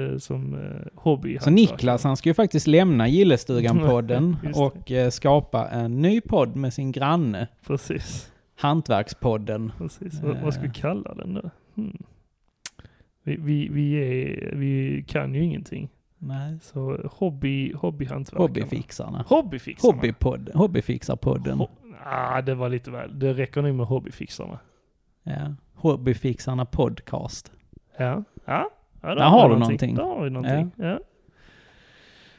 [SPEAKER 2] Eh, som eh, hobby.
[SPEAKER 1] Så Niklas han ska ju faktiskt lämna Gillestugan-podden
[SPEAKER 2] Just det.
[SPEAKER 1] och eh, skapa en ny podd med sin granne.
[SPEAKER 2] Precis.
[SPEAKER 1] Hantverkspodden.
[SPEAKER 2] Precis, vad, vad ska vi
[SPEAKER 1] Eh.
[SPEAKER 2] kalla den då? Hmm. Vi, vi, vi, är, vi kan ju ingenting.
[SPEAKER 1] Nej.
[SPEAKER 2] Så hobby, hobbyhantverkarna.
[SPEAKER 1] Hobbyfixarna.
[SPEAKER 2] Hobbyfixarna.
[SPEAKER 1] Hobbypodden. Hobbyfixarpodden.
[SPEAKER 2] Ho- ah, det var lite väl. Det räcker nog med hobbyfixarna.
[SPEAKER 1] ja. Hobbyfixarna podcast.
[SPEAKER 2] Ja. Ja, ja
[SPEAKER 1] Där har du någonting.
[SPEAKER 2] Där har vi någonting. Ja.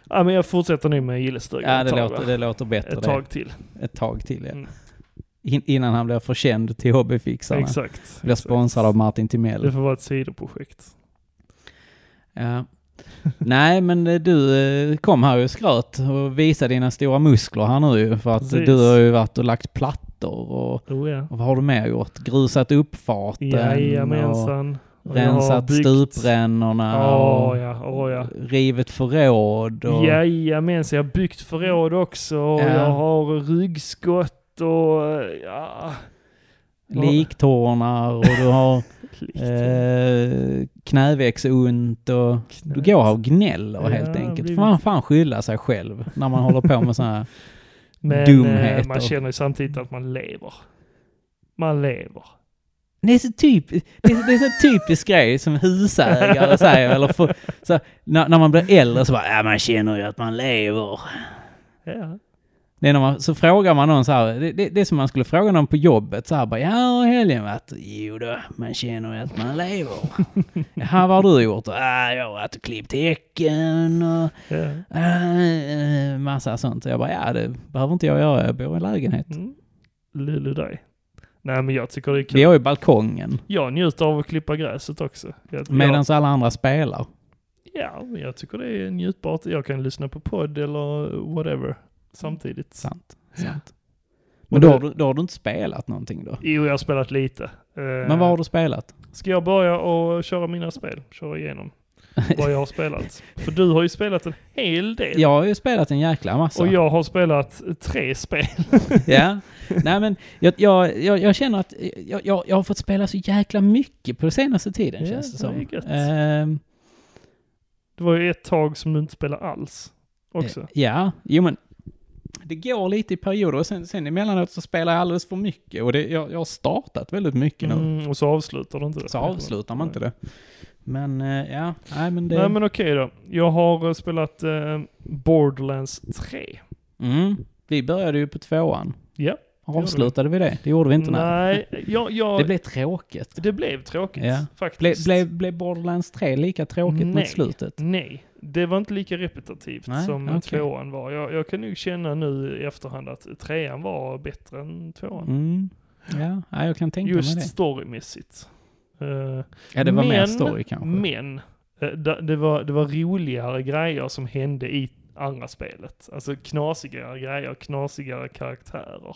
[SPEAKER 2] Ja. men jag fortsätter nu med gillestugan
[SPEAKER 1] Ja,
[SPEAKER 2] ett
[SPEAKER 1] det
[SPEAKER 2] tag,
[SPEAKER 1] låter,
[SPEAKER 2] va?
[SPEAKER 1] det låter bättre
[SPEAKER 2] Ett
[SPEAKER 1] det.
[SPEAKER 2] tag till.
[SPEAKER 1] Ett tag till ja.
[SPEAKER 2] Mm.
[SPEAKER 1] In, innan han blir förkänd till hobbyfixarna.
[SPEAKER 2] Exakt.
[SPEAKER 1] Blir
[SPEAKER 2] exakt.
[SPEAKER 1] sponsrad av Martin
[SPEAKER 2] Det
[SPEAKER 1] Timell.
[SPEAKER 2] får vara ett sidoprojekt.
[SPEAKER 1] Ja. Nej, men eh, du eh, kom här och skröt och visade dina stora muskler här nu ju, för att eh,
[SPEAKER 2] Precis.
[SPEAKER 1] du har ju varit och lagt plattor och,
[SPEAKER 2] Oh, ja.
[SPEAKER 1] och vad har du mer gjort? Grusat uppfarten och
[SPEAKER 2] Jajamensan. Och jag har
[SPEAKER 1] rensat
[SPEAKER 2] byggt-
[SPEAKER 1] stuprännorna
[SPEAKER 2] Åh
[SPEAKER 1] och
[SPEAKER 2] ja, åh ja.
[SPEAKER 1] rivit förråd och
[SPEAKER 2] Jajamensan, jag har byggt förråd också och
[SPEAKER 1] Ja.
[SPEAKER 2] jag har ryggskott och ja,
[SPEAKER 1] liktornar och du har
[SPEAKER 2] lite
[SPEAKER 1] eh, knävecksont och du går här och gnäller
[SPEAKER 2] Ja,
[SPEAKER 1] helt
[SPEAKER 2] det har
[SPEAKER 1] enkelt. Får
[SPEAKER 2] blivit-
[SPEAKER 1] man fan skylla sig själv när man håller på med sådana här
[SPEAKER 2] Men
[SPEAKER 1] dumheter.
[SPEAKER 2] eh, man känner ju samtidigt att man lever. Man lever.
[SPEAKER 1] Det är så typ, det är, det är så typisk grej som husägare säger. Eller för, så, när, när man blir äldre så bara, ja man känner ju att man lever.
[SPEAKER 2] Ja,
[SPEAKER 1] Det är när man, så frågar man någon så här, det, det, det är som man skulle fråga någon på jobbet så här bara, ja hur har helgen varit? Jo då, man känner ju att man lever. Jaha, vad har du gjort? Ja, jag har varit och klippt häcken och
[SPEAKER 2] ja.
[SPEAKER 1] äh, massa sånt. Jag bara, ja det behöver inte jag göra, jag bor i en lägenhet.
[SPEAKER 2] Mm. Lulu dig. Nej men jag tycker det är kul.
[SPEAKER 1] Vi har ju balkongen,
[SPEAKER 2] Jag njuter av att klippa gräset också. Jag,
[SPEAKER 1] medan alla andra spelar.
[SPEAKER 2] jag, ja, men jag tycker det är njutbart. Jag kan lyssna på podd eller whatever samtidigt.
[SPEAKER 1] Sant.
[SPEAKER 2] Ja.
[SPEAKER 1] sant.
[SPEAKER 2] Och
[SPEAKER 1] Men då
[SPEAKER 2] det-
[SPEAKER 1] har, du, då har du inte spelat någonting då?
[SPEAKER 2] Jo, jag har spelat lite. Eh,
[SPEAKER 1] Men vad har du spelat?
[SPEAKER 2] Ska jag börja och köra mina spel? Köra igenom vad jag har spelat? För du har ju spelat en hel del.
[SPEAKER 1] Jag har ju spelat en jäkla massa.
[SPEAKER 2] Och jag har spelat tre spel.
[SPEAKER 1] Ja. Nej men jag, jag, jag, jag känner att jag, jag, jag har fått spela så jäkla mycket på senaste tiden
[SPEAKER 2] Ja,
[SPEAKER 1] känns det
[SPEAKER 2] det
[SPEAKER 1] som.
[SPEAKER 2] är gött.
[SPEAKER 1] Ehm,
[SPEAKER 2] Det var ju ett tag som du inte spelade alls. Också.
[SPEAKER 1] eh, Ja, jo men det går lite i perioder och sen, sen emellanåt så spelar jag alldeles för mycket och det, jag, jag har startat väldigt mycket nu.
[SPEAKER 2] Mm, och så avslutar du inte det.
[SPEAKER 1] Så avslutar man inte det. Men eh, ja, nej men det...
[SPEAKER 2] Nej men okej då. Jag har eh, spelat eh, Borderlands 3.
[SPEAKER 1] Mm, vi började ju på tvåan.
[SPEAKER 2] Ja. gjorde vi.
[SPEAKER 1] Avslutade vi det? Det gjorde vi inte nu.
[SPEAKER 2] Nej, jag, jag,
[SPEAKER 1] Det
[SPEAKER 2] det,
[SPEAKER 1] blev tråkigt.
[SPEAKER 2] blev... tråkigt
[SPEAKER 1] Ja. Blev
[SPEAKER 2] faktiskt.
[SPEAKER 1] ble, ble Borderlands 3 lika tråkigt
[SPEAKER 2] Nej.
[SPEAKER 1] mot slutet?
[SPEAKER 2] Nej, det var inte lika repetitivt
[SPEAKER 1] Nej,
[SPEAKER 2] som
[SPEAKER 1] okej.
[SPEAKER 2] tvåan var. Jag, jag kan nog känna nu i efterhand att trean var bättre än tvåan.
[SPEAKER 1] Mm. Ja, ja, jag kan tänka
[SPEAKER 2] Just
[SPEAKER 1] mig det.
[SPEAKER 2] storymässigt. Eh,
[SPEAKER 1] Ja, det var mer
[SPEAKER 2] men-
[SPEAKER 1] story kanske.
[SPEAKER 2] men eh, da- det, var, det var roligare grejer som hände i andra spelet. Alltså knasigare grejer, knasigare karaktärer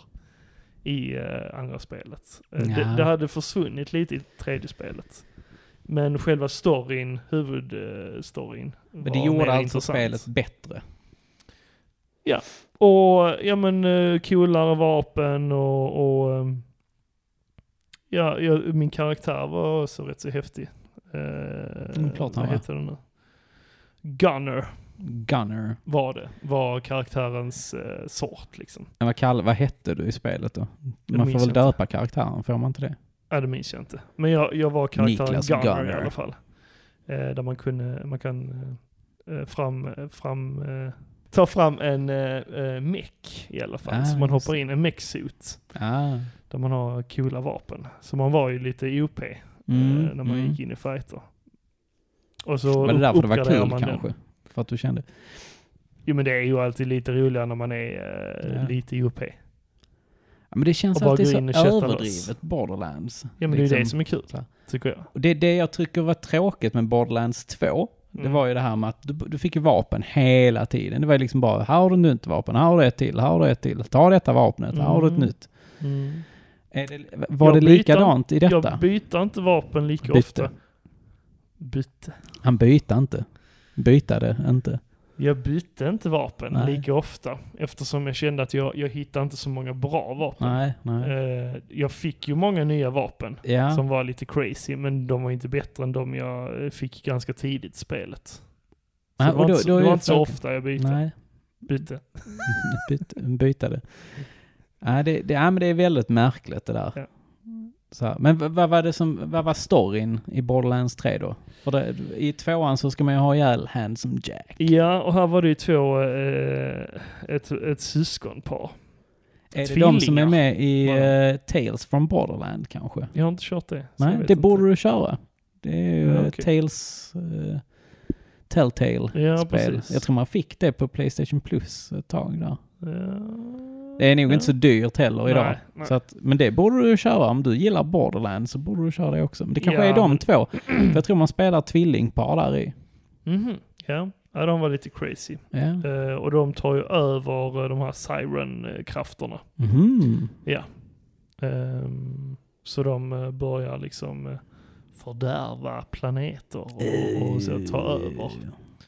[SPEAKER 2] i eh, andra spelet. Eh,
[SPEAKER 1] Ja.
[SPEAKER 2] det, det hade försvunnit lite i tredje spelet. Men själva storyn, huvudstoryn,
[SPEAKER 1] Men det gjorde alltså spelet bättre.
[SPEAKER 2] Och ja men eh, coolare vapen och, och ehm, ja, ja, min karaktär var också rätt så häftig. Eh,
[SPEAKER 1] Mm, klart han var.
[SPEAKER 2] vad heter den nu? Gunner.
[SPEAKER 1] Gunner.
[SPEAKER 2] Var det. Var karaktärens eh, sort liksom.
[SPEAKER 1] Ja, Vad, kall, vad hette du i spelet då? Man
[SPEAKER 2] minns
[SPEAKER 1] får väl
[SPEAKER 2] jag inte.
[SPEAKER 1] döpa karaktären, får man inte det?
[SPEAKER 2] Ja, det minns jag inte. Men jag, jag var karaktären
[SPEAKER 1] Niklas
[SPEAKER 2] Gunner, i
[SPEAKER 1] Gunner.
[SPEAKER 2] alla fall. Eh, där man kunde, man kan eh, fram, fram, eh, ta fram en eh, eh, mech i alla fall.
[SPEAKER 1] Ah,
[SPEAKER 2] så man
[SPEAKER 1] just
[SPEAKER 2] hoppar in, en mech-suit.
[SPEAKER 1] Ah.
[SPEAKER 2] Där man har coola vapen. Så man var ju lite OP eh,
[SPEAKER 1] Mm,
[SPEAKER 2] när man
[SPEAKER 1] mm.
[SPEAKER 2] gick in i fighter. Och så
[SPEAKER 1] Var det därför det var
[SPEAKER 2] uppgraderar
[SPEAKER 1] kul
[SPEAKER 2] man den.
[SPEAKER 1] kanske? För att du kände?
[SPEAKER 2] Jo men det är ju alltid lite roligare när man är eh,
[SPEAKER 1] Ja.
[SPEAKER 2] lite OP.
[SPEAKER 1] Ja, men det känns
[SPEAKER 2] Och bara
[SPEAKER 1] alltid
[SPEAKER 2] gå
[SPEAKER 1] så
[SPEAKER 2] in och kötta loss.
[SPEAKER 1] överdrivet borderlands.
[SPEAKER 2] Ja men det är ju
[SPEAKER 1] Liksom.
[SPEAKER 2] det som är kul,
[SPEAKER 1] Så här.
[SPEAKER 2] tycker jag.
[SPEAKER 1] Och det är det jag tycker var tråkigt med Borderlands 2. Det
[SPEAKER 2] Mm.
[SPEAKER 1] var ju det här med att du, du fick ju vapen hela tiden. Det var ju liksom bara, här har du nu ett vapen, här har du ett till, här har du ett till. Ta detta vapnet, här har du ett
[SPEAKER 2] Mm.
[SPEAKER 1] nytt.
[SPEAKER 2] Mm.
[SPEAKER 1] Är det, var
[SPEAKER 2] Jag
[SPEAKER 1] det
[SPEAKER 2] byter-
[SPEAKER 1] likadant i detta?
[SPEAKER 2] Jag byter inte vapen lika
[SPEAKER 1] Bytte.
[SPEAKER 2] ofta. Bytte.
[SPEAKER 1] Han bytte inte. Bytade inte.
[SPEAKER 2] Jag bytte inte vapen
[SPEAKER 1] Nej.
[SPEAKER 2] lika ofta eftersom jag kände att jag, jag hittade inte så många bra vapen.
[SPEAKER 1] Nej, nej.
[SPEAKER 2] Eh, jag fick ju många nya vapen
[SPEAKER 1] Ja,
[SPEAKER 2] Eh, som var lite crazy men de var inte bättre än de jag eh, fick ganska tidigt i spelet. Så
[SPEAKER 1] Nej,
[SPEAKER 2] det var,
[SPEAKER 1] och då-
[SPEAKER 2] inte, så-
[SPEAKER 1] då är
[SPEAKER 2] det var
[SPEAKER 1] ju
[SPEAKER 2] inte så
[SPEAKER 1] frågan-
[SPEAKER 2] ofta jag bytte.
[SPEAKER 1] nej.
[SPEAKER 2] bytte.
[SPEAKER 1] Byt, bytade. Nej, det, det, ja, men det är väldigt märkligt det där.
[SPEAKER 2] Ja.
[SPEAKER 1] Så här. Men v- vad var det som, vad var storyn i Borderlands 3 då? För det, i tvåan så ska man ju ha ihjäl Handsome Jack.
[SPEAKER 2] Ja, och här var det ju två, eh, ett, ett syskonpar.
[SPEAKER 1] Är det
[SPEAKER 2] Tvillingar.
[SPEAKER 1] de som är med i
[SPEAKER 2] Var
[SPEAKER 1] eh, Tales from Borderland kanske?
[SPEAKER 2] Jag har inte kört det. så
[SPEAKER 1] Nej,
[SPEAKER 2] jag vet
[SPEAKER 1] det
[SPEAKER 2] inte.
[SPEAKER 1] borde du köra. Det är ju
[SPEAKER 2] Ja,
[SPEAKER 1] eh,
[SPEAKER 2] okej.
[SPEAKER 1] Tales... eh, Telltale-spel.
[SPEAKER 2] Ja, precis.
[SPEAKER 1] jag tror man fick det på Playstation Plus ett tag där.
[SPEAKER 2] Ja.
[SPEAKER 1] Det är nog
[SPEAKER 2] Ja.
[SPEAKER 1] inte så dyrt heller idag.
[SPEAKER 2] Nej, nej.
[SPEAKER 1] Så att, men det borde du köra. Om du gillar Borderlands så borde du köra det också. Men det kanske
[SPEAKER 2] Ja,
[SPEAKER 1] är de
[SPEAKER 2] men-
[SPEAKER 1] två. För jag tror man spelar tvillingpar där i.
[SPEAKER 2] Mhm, ja. ja, de var lite crazy.
[SPEAKER 1] Ja.
[SPEAKER 2] Eh, och de tar ju över eh, de här siren-krafterna.
[SPEAKER 1] Mhm.
[SPEAKER 2] Ehm, så de eh, börjar liksom eh, fördärva planeter och, och så ta över.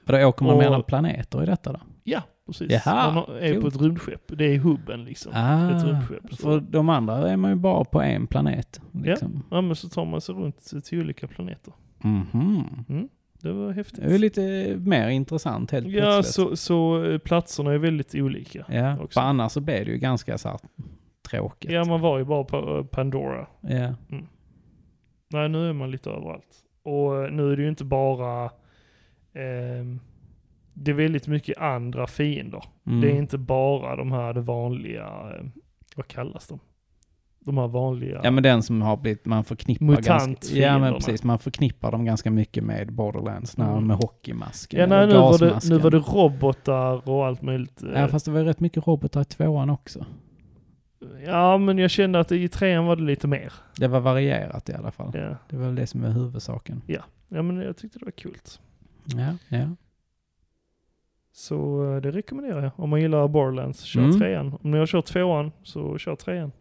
[SPEAKER 1] Och då åker man
[SPEAKER 2] Och-
[SPEAKER 1] mellan planeter i detta då?
[SPEAKER 2] Ja, precis.
[SPEAKER 1] Jaha,
[SPEAKER 2] man har- är på
[SPEAKER 1] coolt.
[SPEAKER 2] ett rymdskepp. Det är hubben liksom. Ett
[SPEAKER 1] Ah,
[SPEAKER 2] rymdskepp.
[SPEAKER 1] för
[SPEAKER 2] Så,
[SPEAKER 1] de andra är man ju bara på en planet. Liksom.
[SPEAKER 2] ja, men så tar man sig runt till olika planeter.
[SPEAKER 1] Mhm.
[SPEAKER 2] Det var
[SPEAKER 1] Det är ju
[SPEAKER 2] häftigt.
[SPEAKER 1] lite mer intressant helt
[SPEAKER 2] Ja,
[SPEAKER 1] plötsligt.
[SPEAKER 2] så, så eh, platserna är väldigt olika.
[SPEAKER 1] ja,
[SPEAKER 2] också.
[SPEAKER 1] för annars så blir det ju ganska så här tråkigt.
[SPEAKER 2] Ja, man var ju bara på eh, Pandora.
[SPEAKER 1] Ja.
[SPEAKER 2] Nej, nu är man lite överallt. Och eh, nu är det ju inte bara... ehm, det är väldigt mycket andra fiender.
[SPEAKER 1] Mm.
[SPEAKER 2] Det är inte bara de här det vanliga... eh, vad kallas de? De här vanliga...
[SPEAKER 1] Ja men den som har blivit, man förknippar ganska,
[SPEAKER 2] Mutantfienderna.
[SPEAKER 1] Ja men precis, man förknippar dem ganska mycket med Borderlands, när
[SPEAKER 2] Mm.
[SPEAKER 1] med hockeymasken
[SPEAKER 2] Ja, nej,
[SPEAKER 1] eller
[SPEAKER 2] nu, var det,
[SPEAKER 1] gasmasken.
[SPEAKER 2] nu var det robotar och allt möjligt. eh.
[SPEAKER 1] Ja fast det var ju rätt mycket robotar i tvåan också.
[SPEAKER 2] ja, men jag kände att i trean var det lite mer.
[SPEAKER 1] Det var varierat i alla fall.
[SPEAKER 2] Ja,
[SPEAKER 1] Det var väl det som var huvudsaken.
[SPEAKER 2] ja men jag tyckte det var kul.
[SPEAKER 1] Ja, ja.
[SPEAKER 2] Så eh, det rekommenderar jag. Om man gillar Borderlands, kör
[SPEAKER 1] Mm.
[SPEAKER 2] trean. Om ni har kört tvåan, så kör trean.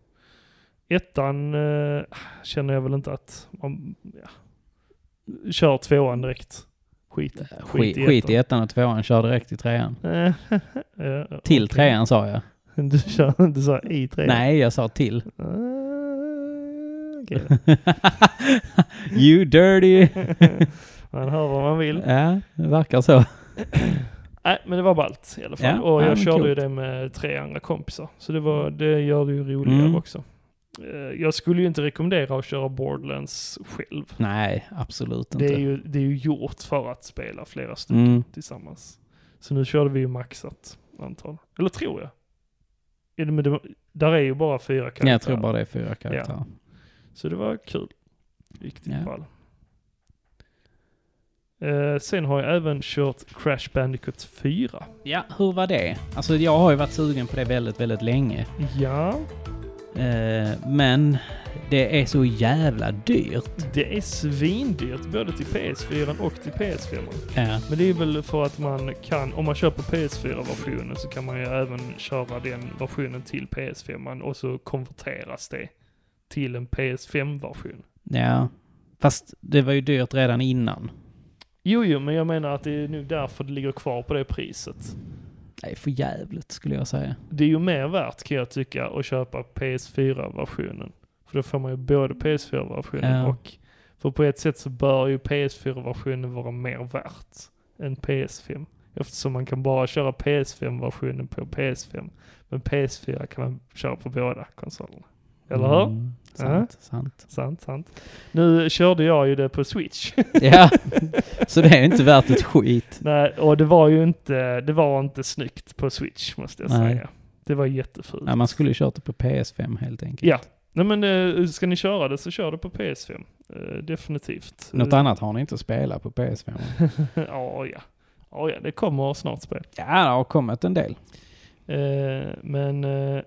[SPEAKER 2] Ettan eh, känner jag väl inte att man... Ja. Kör tvåan direkt. Skit,
[SPEAKER 1] Skit, skit i ettan och tvåan, kör direkt till trean.
[SPEAKER 2] Eh, eh,
[SPEAKER 1] Till
[SPEAKER 2] okej.
[SPEAKER 1] trean sa jag.
[SPEAKER 2] Du, kör, du sa i trean?
[SPEAKER 1] Nej, jag sa till.
[SPEAKER 2] Eh, Okej.
[SPEAKER 1] you dirty!
[SPEAKER 2] man hör vad man vill.
[SPEAKER 1] ja, det verkar så.
[SPEAKER 2] Nej, men det var ballt i alla fall.
[SPEAKER 1] Ja,
[SPEAKER 2] och
[SPEAKER 1] ja,
[SPEAKER 2] jag
[SPEAKER 1] men
[SPEAKER 2] körde ju
[SPEAKER 1] coolt.
[SPEAKER 2] det med tre andra kompisar. Så det, var, det gör det ju roligare
[SPEAKER 1] Mm.
[SPEAKER 2] också. Eh, Jag skulle ju inte rekommendera att köra Borderlands själv.
[SPEAKER 1] Nej, absolut inte.
[SPEAKER 2] Det är, ju, det är ju gjort för att spela flera stycken
[SPEAKER 1] mm.
[SPEAKER 2] tillsammans. Så nu körde vi ju maxat antal. Eller tror jag. Ja, Men det, var- där är ju bara fyra karaktärer.
[SPEAKER 1] Nej, Jag tror bara det är fyra karaktärer.
[SPEAKER 2] Så det var kul. Riktigt
[SPEAKER 1] Ja.
[SPEAKER 2] ball. Eh, sen har jag även kört Crash Bandicoot 4.
[SPEAKER 1] Ja, hur var det? Alltså jag har ju varit sugen på det väldigt, väldigt länge.
[SPEAKER 2] Ja,
[SPEAKER 1] Eh, men det är så jävla dyrt.
[SPEAKER 2] Det är svindyrt både till PS4 och till PS5.
[SPEAKER 1] Ja.
[SPEAKER 2] Men det är väl för att man kan, om man köper PS4-versionen så kan man ju även köra den versionen till PS5 och så konverteras det till en PS5-version.
[SPEAKER 1] ja. Fast det var ju dyrt redan innan.
[SPEAKER 2] Jo, jo, men jag menar att det är nog därför det ligger kvar på det priset.
[SPEAKER 1] Det är för jävligt skulle jag säga.
[SPEAKER 2] Det är ju mer värt kan jag tycka att köpa PS4-versionen. För då får man ju både PS4-versionen
[SPEAKER 1] Mm. Ja.
[SPEAKER 2] och... För på ett sätt så bör ju PS4-versionen vara mer värt än PS5. Eftersom man kan bara köra PS5-versionen på PS5. Men PS4 kan man köra på båda konsolerna. Eller hur?
[SPEAKER 1] Mm, sant, sant.
[SPEAKER 2] Sant, sant. Nu körde jag ju det på Switch.
[SPEAKER 1] Ja, så det är inte värt ett skit.
[SPEAKER 2] Nej, och det var ju inte, det var inte snyggt på Switch måste jag
[SPEAKER 1] Nej.
[SPEAKER 2] säga. Det var jättefult.
[SPEAKER 1] Nej, man skulle ju kört det på PS5 helt enkelt.
[SPEAKER 2] Ja. Nej men eh, ska ni köra det så kör det på PS5. Eh, definitivt. Eh,
[SPEAKER 1] Något annat har ni inte att spela på PS5?
[SPEAKER 2] ja, ja. Ja, ja, det kommer snart spel.
[SPEAKER 1] Ja, det har kommit en del.
[SPEAKER 2] Eh, men eh,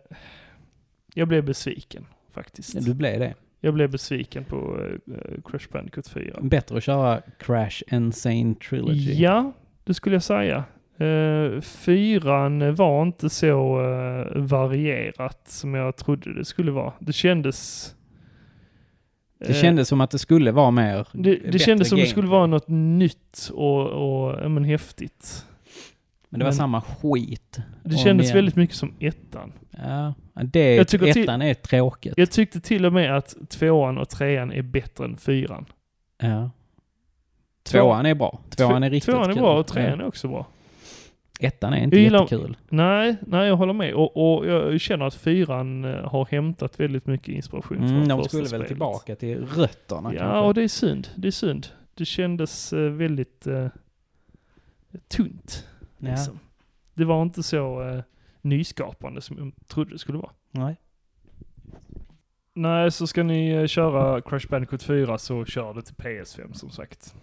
[SPEAKER 2] jag blev besviken faktiskt.
[SPEAKER 1] Du blev det.
[SPEAKER 2] Jag blev besviken på eh, Crash Bandicoot 4.
[SPEAKER 1] Bättre att köra Crash Insane Trilogy.
[SPEAKER 2] Ja, det skulle jag säga. Eh, fyran var inte så eh, varierat som jag trodde det skulle vara. Det kändes...
[SPEAKER 1] Det kändes som att det skulle vara mer...
[SPEAKER 2] eh, det,
[SPEAKER 1] bättre
[SPEAKER 2] det kändes som det
[SPEAKER 1] gameplay.
[SPEAKER 2] skulle vara något nytt och, och ja, men, häftigt.
[SPEAKER 1] Men det var
[SPEAKER 2] men-
[SPEAKER 1] samma skit.
[SPEAKER 2] Det
[SPEAKER 1] Om
[SPEAKER 2] kändes
[SPEAKER 1] igen.
[SPEAKER 2] väldigt mycket som ettan.
[SPEAKER 1] Ja, det...
[SPEAKER 2] Jag tycker till-
[SPEAKER 1] ettan är tråkigt.
[SPEAKER 2] Jag tyckte till och med att tvåan och trean är bättre än fyran.
[SPEAKER 1] Ja. Tvåan är bra. Tvåan är riktigt
[SPEAKER 2] Tvåan är
[SPEAKER 1] kul.
[SPEAKER 2] bra och trean är också bra.
[SPEAKER 1] Ja. Ettan är inte
[SPEAKER 2] Jag gillar-
[SPEAKER 1] jättekul.
[SPEAKER 2] Nej, nej jag håller med. Och, och jag känner att fyran eh, har hämtat väldigt mycket inspiration
[SPEAKER 1] Mm,
[SPEAKER 2] från
[SPEAKER 1] de
[SPEAKER 2] första
[SPEAKER 1] skulle väl
[SPEAKER 2] spelet.
[SPEAKER 1] tillbaka till rötterna
[SPEAKER 2] Ja,
[SPEAKER 1] kanske.
[SPEAKER 2] och det är synd. Det är synd. Det kändes eh, väldigt eh, tunt.
[SPEAKER 1] Ja.
[SPEAKER 2] Liksom. Det var inte så eh, nyskapande som jag trodde det skulle vara.
[SPEAKER 1] Nej.
[SPEAKER 2] Nej, så ska ni eh, köra Crash Bandicoot 4 så kör det till PS5 som sagt.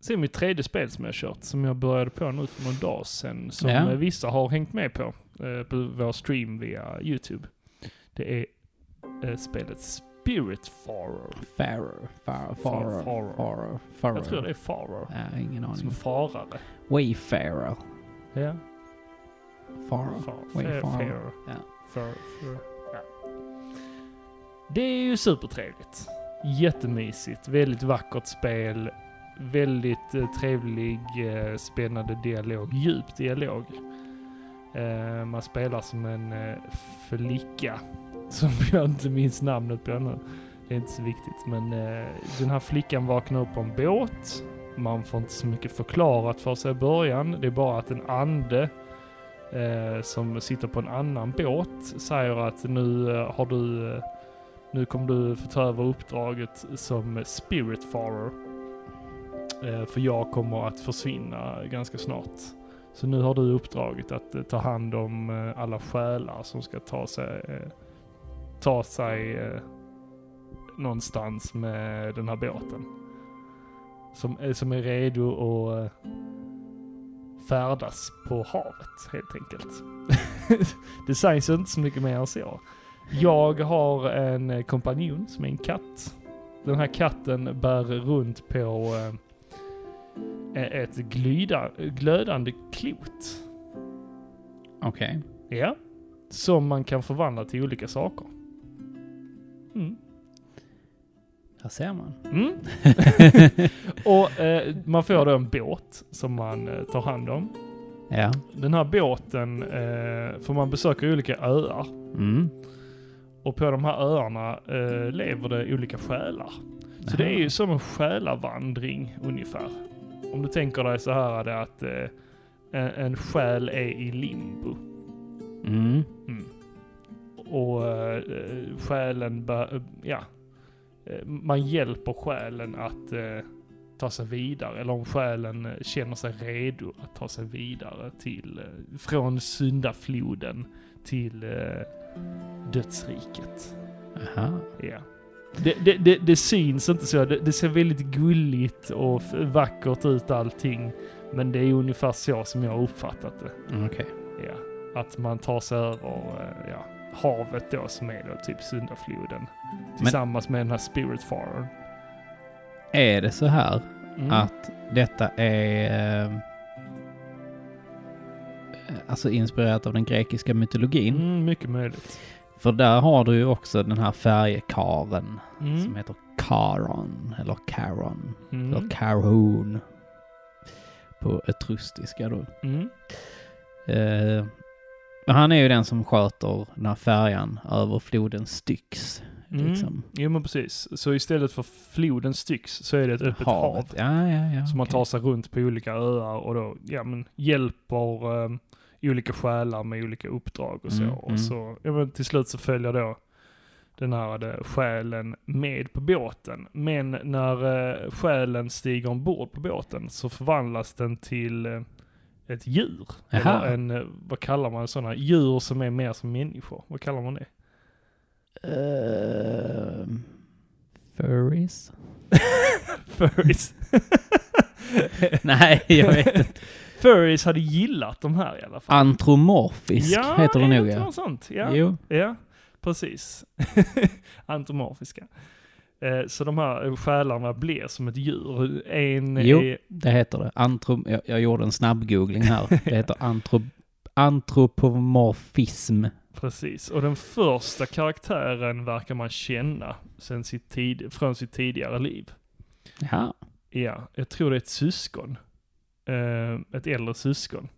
[SPEAKER 2] Sen mitt tredje spel som jag kört, som jag började på nu för någon dag sedan, som
[SPEAKER 1] Ja.
[SPEAKER 2] eh, vissa har hängt med på, eh, på vår stream via YouTube. Det är eh, spelet Spirit Farer.
[SPEAKER 1] Farrow. Farrow. Farrow.
[SPEAKER 2] Farrow.
[SPEAKER 1] Farrow. Farrow.
[SPEAKER 2] Jag tror det är Farer.
[SPEAKER 1] Ja, ingen
[SPEAKER 2] Som
[SPEAKER 1] aning.
[SPEAKER 2] farare.
[SPEAKER 1] Wayfarer.
[SPEAKER 2] Ja.
[SPEAKER 1] Farrow.
[SPEAKER 2] Fair,
[SPEAKER 1] Wayfarer.
[SPEAKER 2] fair.
[SPEAKER 1] Ja.
[SPEAKER 2] Fair, fair. Ja. Det är ju supertrevligt. Jättemysigt. Väldigt vackert spel. Väldigt eh, trevlig, eh, spännande dialog. Djup dialog. Eh, man spelar som en eh, flicka. Som jag inte minns namnet på nu. Det är inte så viktigt. Men eh, den här flickan vaknar upp på en båt. Man får inte så mycket förklarat för sig i början. Det är bara att en ande eh, som sitter på en annan båt säger att nu eh, har du eh, nu kommer du få ta över uppdraget som Spiritfarer. Eh, för jag kommer att försvinna ganska snart. Så nu har du uppdraget att eh, ta hand om eh, alla själar som ska ta sig, eh, ta sig eh, någonstans med den här båten. Som, eh, som är redo att eh, färdas på havet helt enkelt. det sägs inte så mycket mer än så. Jag har en eh, kompanjon som är en katt. Den här katten bär runt på eh, e- ett glyda, glödande klot.
[SPEAKER 1] Okej.
[SPEAKER 2] Ja. Som man kan förvandla till olika saker. Mm.
[SPEAKER 1] Här ser man.
[SPEAKER 2] Mm. Och eh, man får då en båt som man eh, tar hand om.
[SPEAKER 1] Ja.
[SPEAKER 2] Den här båten, eh, för man besöker olika öar.
[SPEAKER 1] Mm.
[SPEAKER 2] Och på de här öarna eh, lever det olika själar. Så det är ju som en själavandring ungefär. Om du tänker dig så här är det att eh, en, en själ är i limbo.
[SPEAKER 1] Mm.
[SPEAKER 2] Och eh, eh, själen, bör- eh, ja. Eh, Man hjälper själen att eh, ta sig vidare. Eller om själen eh, känner sig redo att ta sig vidare till, eh, från syndafloden till eh, dödsriket.
[SPEAKER 1] Aha.
[SPEAKER 2] Ja. Det, det, det, det syns inte så. Det, det ser väldigt gulligt och f- vackert ut allting. Men det är ungefär så som jag har uppfattat det.
[SPEAKER 1] Mm, Okej.
[SPEAKER 2] Ja. Att man tar sig över eh, ja, havet då som är då typ syndafloden. Tillsammans med den här spiritfararen.
[SPEAKER 1] Är det så här
[SPEAKER 2] Mm.
[SPEAKER 1] att detta är... eh, Alltså inspirerat av den grekiska mytologin.
[SPEAKER 2] Mm, mycket möjligt.
[SPEAKER 1] För där har du ju också den här färjekaren som
[SPEAKER 2] Mm.
[SPEAKER 1] heter Karon eller Karon eller
[SPEAKER 2] Mm.
[SPEAKER 1] Karhun på etrustiska då.
[SPEAKER 2] Mm.
[SPEAKER 1] Eh, han är ju den som sköter den här färjan över floden Styx
[SPEAKER 2] Mm.
[SPEAKER 1] Liksom.
[SPEAKER 2] Jo men precis. Så istället för floden Styx så är det ett öppet hav.
[SPEAKER 1] Havet. Ja, ja, ja.
[SPEAKER 2] Så man
[SPEAKER 1] okej.
[SPEAKER 2] tar sig runt på olika öar och då ja, men, hjälper eh, olika själar med olika uppdrag och så.
[SPEAKER 1] Mm, mm.
[SPEAKER 2] Och så ja, men, till slut så följer då den här eh, själen med på båten. Men när eh, själen stiger ombord på båten så förvandlas den till eh, ett djur.
[SPEAKER 1] Aha.
[SPEAKER 2] Eller en, eh, vad kallar man sådana? Djur som är mer som människor. Vad kallar man det?
[SPEAKER 1] Ehm, furries?
[SPEAKER 2] Furries.
[SPEAKER 1] Nej, jag vet inte.
[SPEAKER 2] Furries hade gillat de här i alla fall.
[SPEAKER 1] Antromorfisk heter det
[SPEAKER 2] är
[SPEAKER 1] nog
[SPEAKER 2] inte
[SPEAKER 1] ja.
[SPEAKER 2] något sånt. Ja.
[SPEAKER 1] Jo.
[SPEAKER 2] Ja, precis. Antomorfiska. Eh, Så de här eh, själarna blir som ett djur. En
[SPEAKER 1] Jo.
[SPEAKER 2] är...
[SPEAKER 1] Det heter det. Antrom jag, jag gjorde en snabb googling här. Det heter antro antropomorfism.
[SPEAKER 2] Precis. Och den första karaktären verkar man känna sen sitt tid, från sitt tidigare liv.
[SPEAKER 1] Ja.
[SPEAKER 2] Ja, jag tror det är ett syskon. Eh, Ett äldre syskon.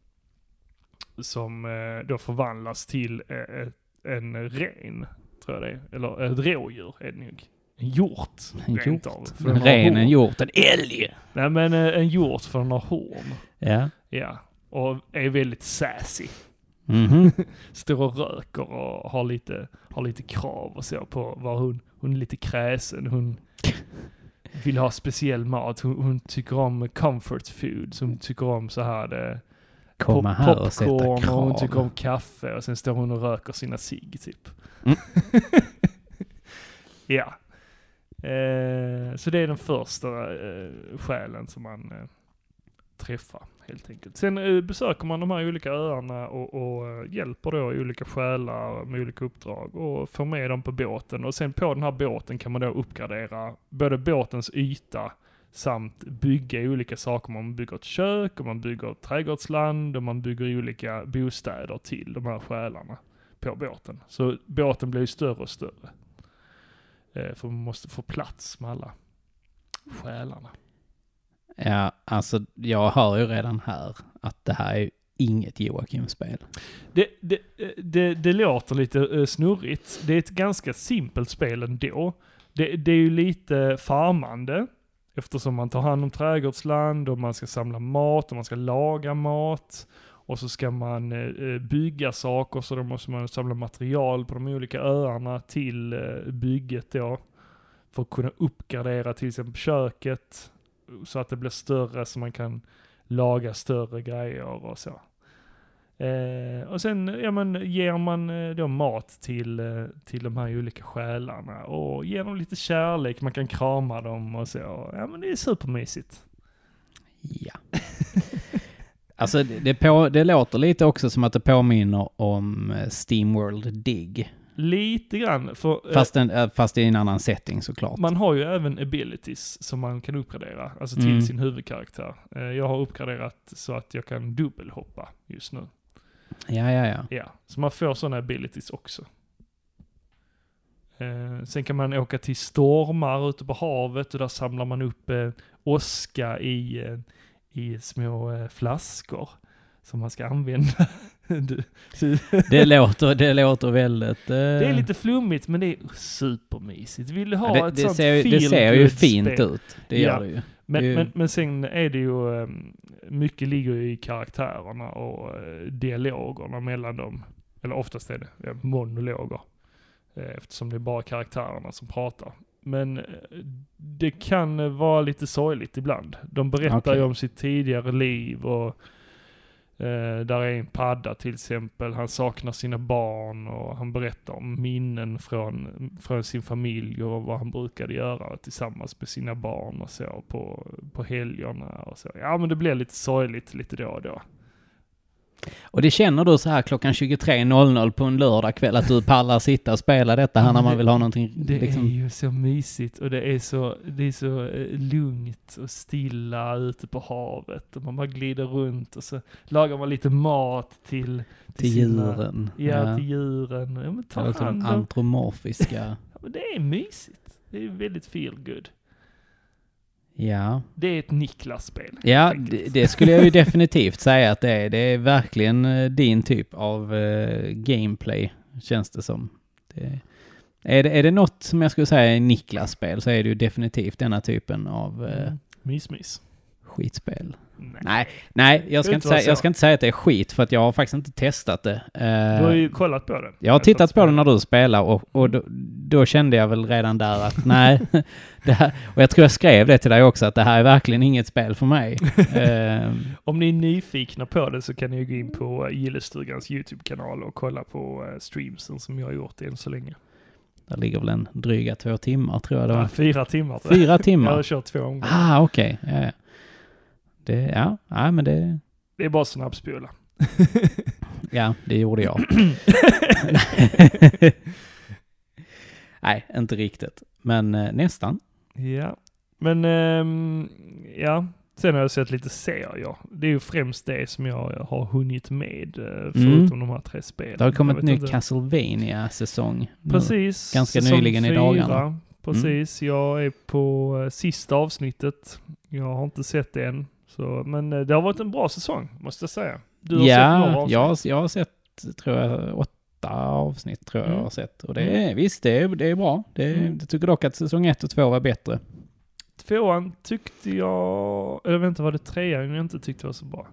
[SPEAKER 2] Som eh, då förvandlas till eh, ett- en ren, tror jag det är. Eller ett rådjur är det nog. En hjort.
[SPEAKER 1] En
[SPEAKER 2] rent
[SPEAKER 1] hjort.
[SPEAKER 2] av. För
[SPEAKER 1] En
[SPEAKER 2] den har
[SPEAKER 1] ren, en
[SPEAKER 2] horn.
[SPEAKER 1] hjort, en älg.
[SPEAKER 2] Nej men eh, en hjort för den har horn.
[SPEAKER 1] Ja.
[SPEAKER 2] Ja. Och är väldigt sassy.
[SPEAKER 1] Mhm.
[SPEAKER 2] Står och röker och har lite, har lite krav och så på vad hon, hon är lite kräsen. Hon vill ha speciell mat. Hon, hon tycker om comfort food. Så hon tycker om så här eh, det,
[SPEAKER 1] Komma här och sätta
[SPEAKER 2] popcorn och hon
[SPEAKER 1] krav.
[SPEAKER 2] tycker om kaffe. Och sen står hon och röker sina cigg typ.
[SPEAKER 1] Mm.
[SPEAKER 2] ja. Eh, så det är den första eh, själen som man eh, träffar helt enkelt. Sen eh, besöker man de här olika öarna och, och eh, hjälper då olika själar med olika uppdrag och får med dem på båten. Och sen på den här båten kan man då uppgradera både båtens yta samt bygga olika saker. Man bygger ett kök och man bygger ett trädgårdsland och man bygger olika bostäder till de här själarna på båten. Så båten blir ju större och större. Eh, För man måste få plats med alla själarna.
[SPEAKER 1] Ja, alltså jag hör ju redan här att det här är ju inget Joakim-spel.
[SPEAKER 2] Det, det, eh, det, det låter lite eh, snurrigt. Det är ett ganska simpelt spel ändå. Det, det är ju lite farmande. Eftersom man tar hand om trädgårdsland och man ska samla mat och man ska laga mat. Och så ska man eh, eh, bygga saker så då måste man samla material på de olika öarna till eh, bygget då. För att kunna uppgradera till exempel köket. Så att det blir större så man kan laga större grejer och så. Eh, och sen ja, men, ger man eh, då mat till, eh, till de här olika själarna och ger dem lite kärlek, man kan krama dem och så. Ja men det är supermysigt.
[SPEAKER 1] Ja. Alltså det, det, på, det låter lite också som att det påminner om eh, Steamworld Dig.
[SPEAKER 2] Lite grann, för eh,
[SPEAKER 1] Fast, en, eh, fast i en annan setting såklart.
[SPEAKER 2] man har ju även abilities som man kan uppgradera, alltså till
[SPEAKER 1] Mm.
[SPEAKER 2] sin huvudkaraktär. Eh, jag har uppgraderat så att jag kan dubbelhoppa just nu.
[SPEAKER 1] Ja, ja, ja.
[SPEAKER 2] Ja, så man får sådana abilities också. Eh, sen kan man åka till stormar ute på havet och där samlar man upp eh, åska i, eh, i små eh, flaskor som man ska använda. du, du,
[SPEAKER 1] Det låter, det låter väldigt... eh,
[SPEAKER 2] det är lite flummigt men det är supermysigt. Vill du ha
[SPEAKER 1] ja, det,
[SPEAKER 2] ett
[SPEAKER 1] det,
[SPEAKER 2] sånt
[SPEAKER 1] ser, ju- det ser ju
[SPEAKER 2] feel-good-spel?
[SPEAKER 1] fint ut. Det gör
[SPEAKER 2] Ja.
[SPEAKER 1] det ju.
[SPEAKER 2] Men,
[SPEAKER 1] Det är ju-
[SPEAKER 2] men, men sen är det ju, eh, mycket ligger ju i karaktärerna och eh, dialogerna mellan dem. Eller oftast är det ja, monologer. eh, Eftersom det är bara karaktärerna som pratar. Men eh, det kan eh, vara lite sorgligt ibland. De berättar
[SPEAKER 1] Okej.
[SPEAKER 2] ju om sitt tidigare liv och eh, där är en padda till exempel. Han saknar sina barn och han berättar om minnen från, från sin familj och vad han brukade göra tillsammans med sina barn och så på, på helgerna och så. Ja men det blir lite sorgligt lite då och då.
[SPEAKER 1] Och det känner du så här klockan 23.00 på en lördagkväll att du pallar sitta och spela detta här när man vill ha någonting
[SPEAKER 2] Det
[SPEAKER 1] liksom...
[SPEAKER 2] är ju så mysigt och det är så, det är så eh, lugnt och stilla ute på havet och man bara glider runt och så lagar man lite mat till,
[SPEAKER 1] till
[SPEAKER 2] sina-
[SPEAKER 1] djuren.
[SPEAKER 2] Ja, till djuren. Ja, men
[SPEAKER 1] Det
[SPEAKER 2] ta
[SPEAKER 1] låter de
[SPEAKER 2] hand om.
[SPEAKER 1] antromorfiska.
[SPEAKER 2] Ja, men det är mysigt. Det är väldigt feel good.
[SPEAKER 1] ja.
[SPEAKER 2] Det är ett Niklas-spel.
[SPEAKER 1] Ja,
[SPEAKER 2] helt
[SPEAKER 1] det,
[SPEAKER 2] enkelt.
[SPEAKER 1] det skulle jag ju definitivt säga att det är. Det är verkligen eh, din typ av eh, gameplay, känns det som. Det, Är det, är det något som jag skulle säga är Niklas-spel så är det ju definitivt denna typen av eh,
[SPEAKER 2] Mm. Mys-mys.
[SPEAKER 1] skitspel.
[SPEAKER 2] Nej.
[SPEAKER 1] Nej, nej jag,
[SPEAKER 2] Det
[SPEAKER 1] ska
[SPEAKER 2] är
[SPEAKER 1] inte
[SPEAKER 2] inte
[SPEAKER 1] säga, jag
[SPEAKER 2] så.
[SPEAKER 1] ska inte säga att det är skit för att jag har faktiskt inte testat det.
[SPEAKER 2] Du
[SPEAKER 1] Eh,
[SPEAKER 2] har ju kollat på det.
[SPEAKER 1] jag har tittat på det
[SPEAKER 2] den.
[SPEAKER 1] när du spelar och, och då, då kände jag väl redan där att nej, det här, och jag tror jag skrev det till dig också, att det här är verkligen inget spel för mig. Eh,
[SPEAKER 2] Om ni är nyfikna på det så kan ni ju gå in på eh, Gillestugans YouTube-kanal och kolla på eh, streamsen som jag har gjort än så länge.
[SPEAKER 1] där ligger väl en dryga två timmar tror jag det var.
[SPEAKER 2] Fyra timmar. tror jag.
[SPEAKER 1] Fyra
[SPEAKER 2] Jag har
[SPEAKER 1] timmar?
[SPEAKER 2] kört två omgångar.
[SPEAKER 1] Ah, okej. Ja, ja. Det, ja, ja, men det,
[SPEAKER 2] Det är bara snabbspola.
[SPEAKER 1] ja, det gjorde jag. Nej, inte riktigt. Men eh, nästan.
[SPEAKER 2] Ja, men ehm, ja. Sen har jag sett lite serier. Det är ju främst det som jag har hunnit med, eh, förutom de här tre spelen.
[SPEAKER 1] Mm. Det har kommit
[SPEAKER 2] Jag
[SPEAKER 1] en
[SPEAKER 2] vet
[SPEAKER 1] ny
[SPEAKER 2] inte.
[SPEAKER 1] castlevania säsong
[SPEAKER 2] Precis.
[SPEAKER 1] ganska
[SPEAKER 2] säsong
[SPEAKER 1] nyligen i
[SPEAKER 2] fyra.
[SPEAKER 1] dagarna. Mm.
[SPEAKER 2] Precis, jag är på eh, sista avsnittet. Jag har inte sett det än. Så, men eh, det har varit en bra säsong, måste jag säga. Du har sett några
[SPEAKER 1] Ja,
[SPEAKER 2] avsnitt.
[SPEAKER 1] jag, har- jag har sett, tror jag, åtta avsnitt tror jag
[SPEAKER 2] Mm.
[SPEAKER 1] jag har sett. Och det är, visst, det är, det är bra. Det är,
[SPEAKER 2] Mm.
[SPEAKER 1] Jag tycker dock att säsong ett och två var bättre.
[SPEAKER 2] Tvåan tyckte jag... Eller vänta, var det trean jag inte tyckte var så bra?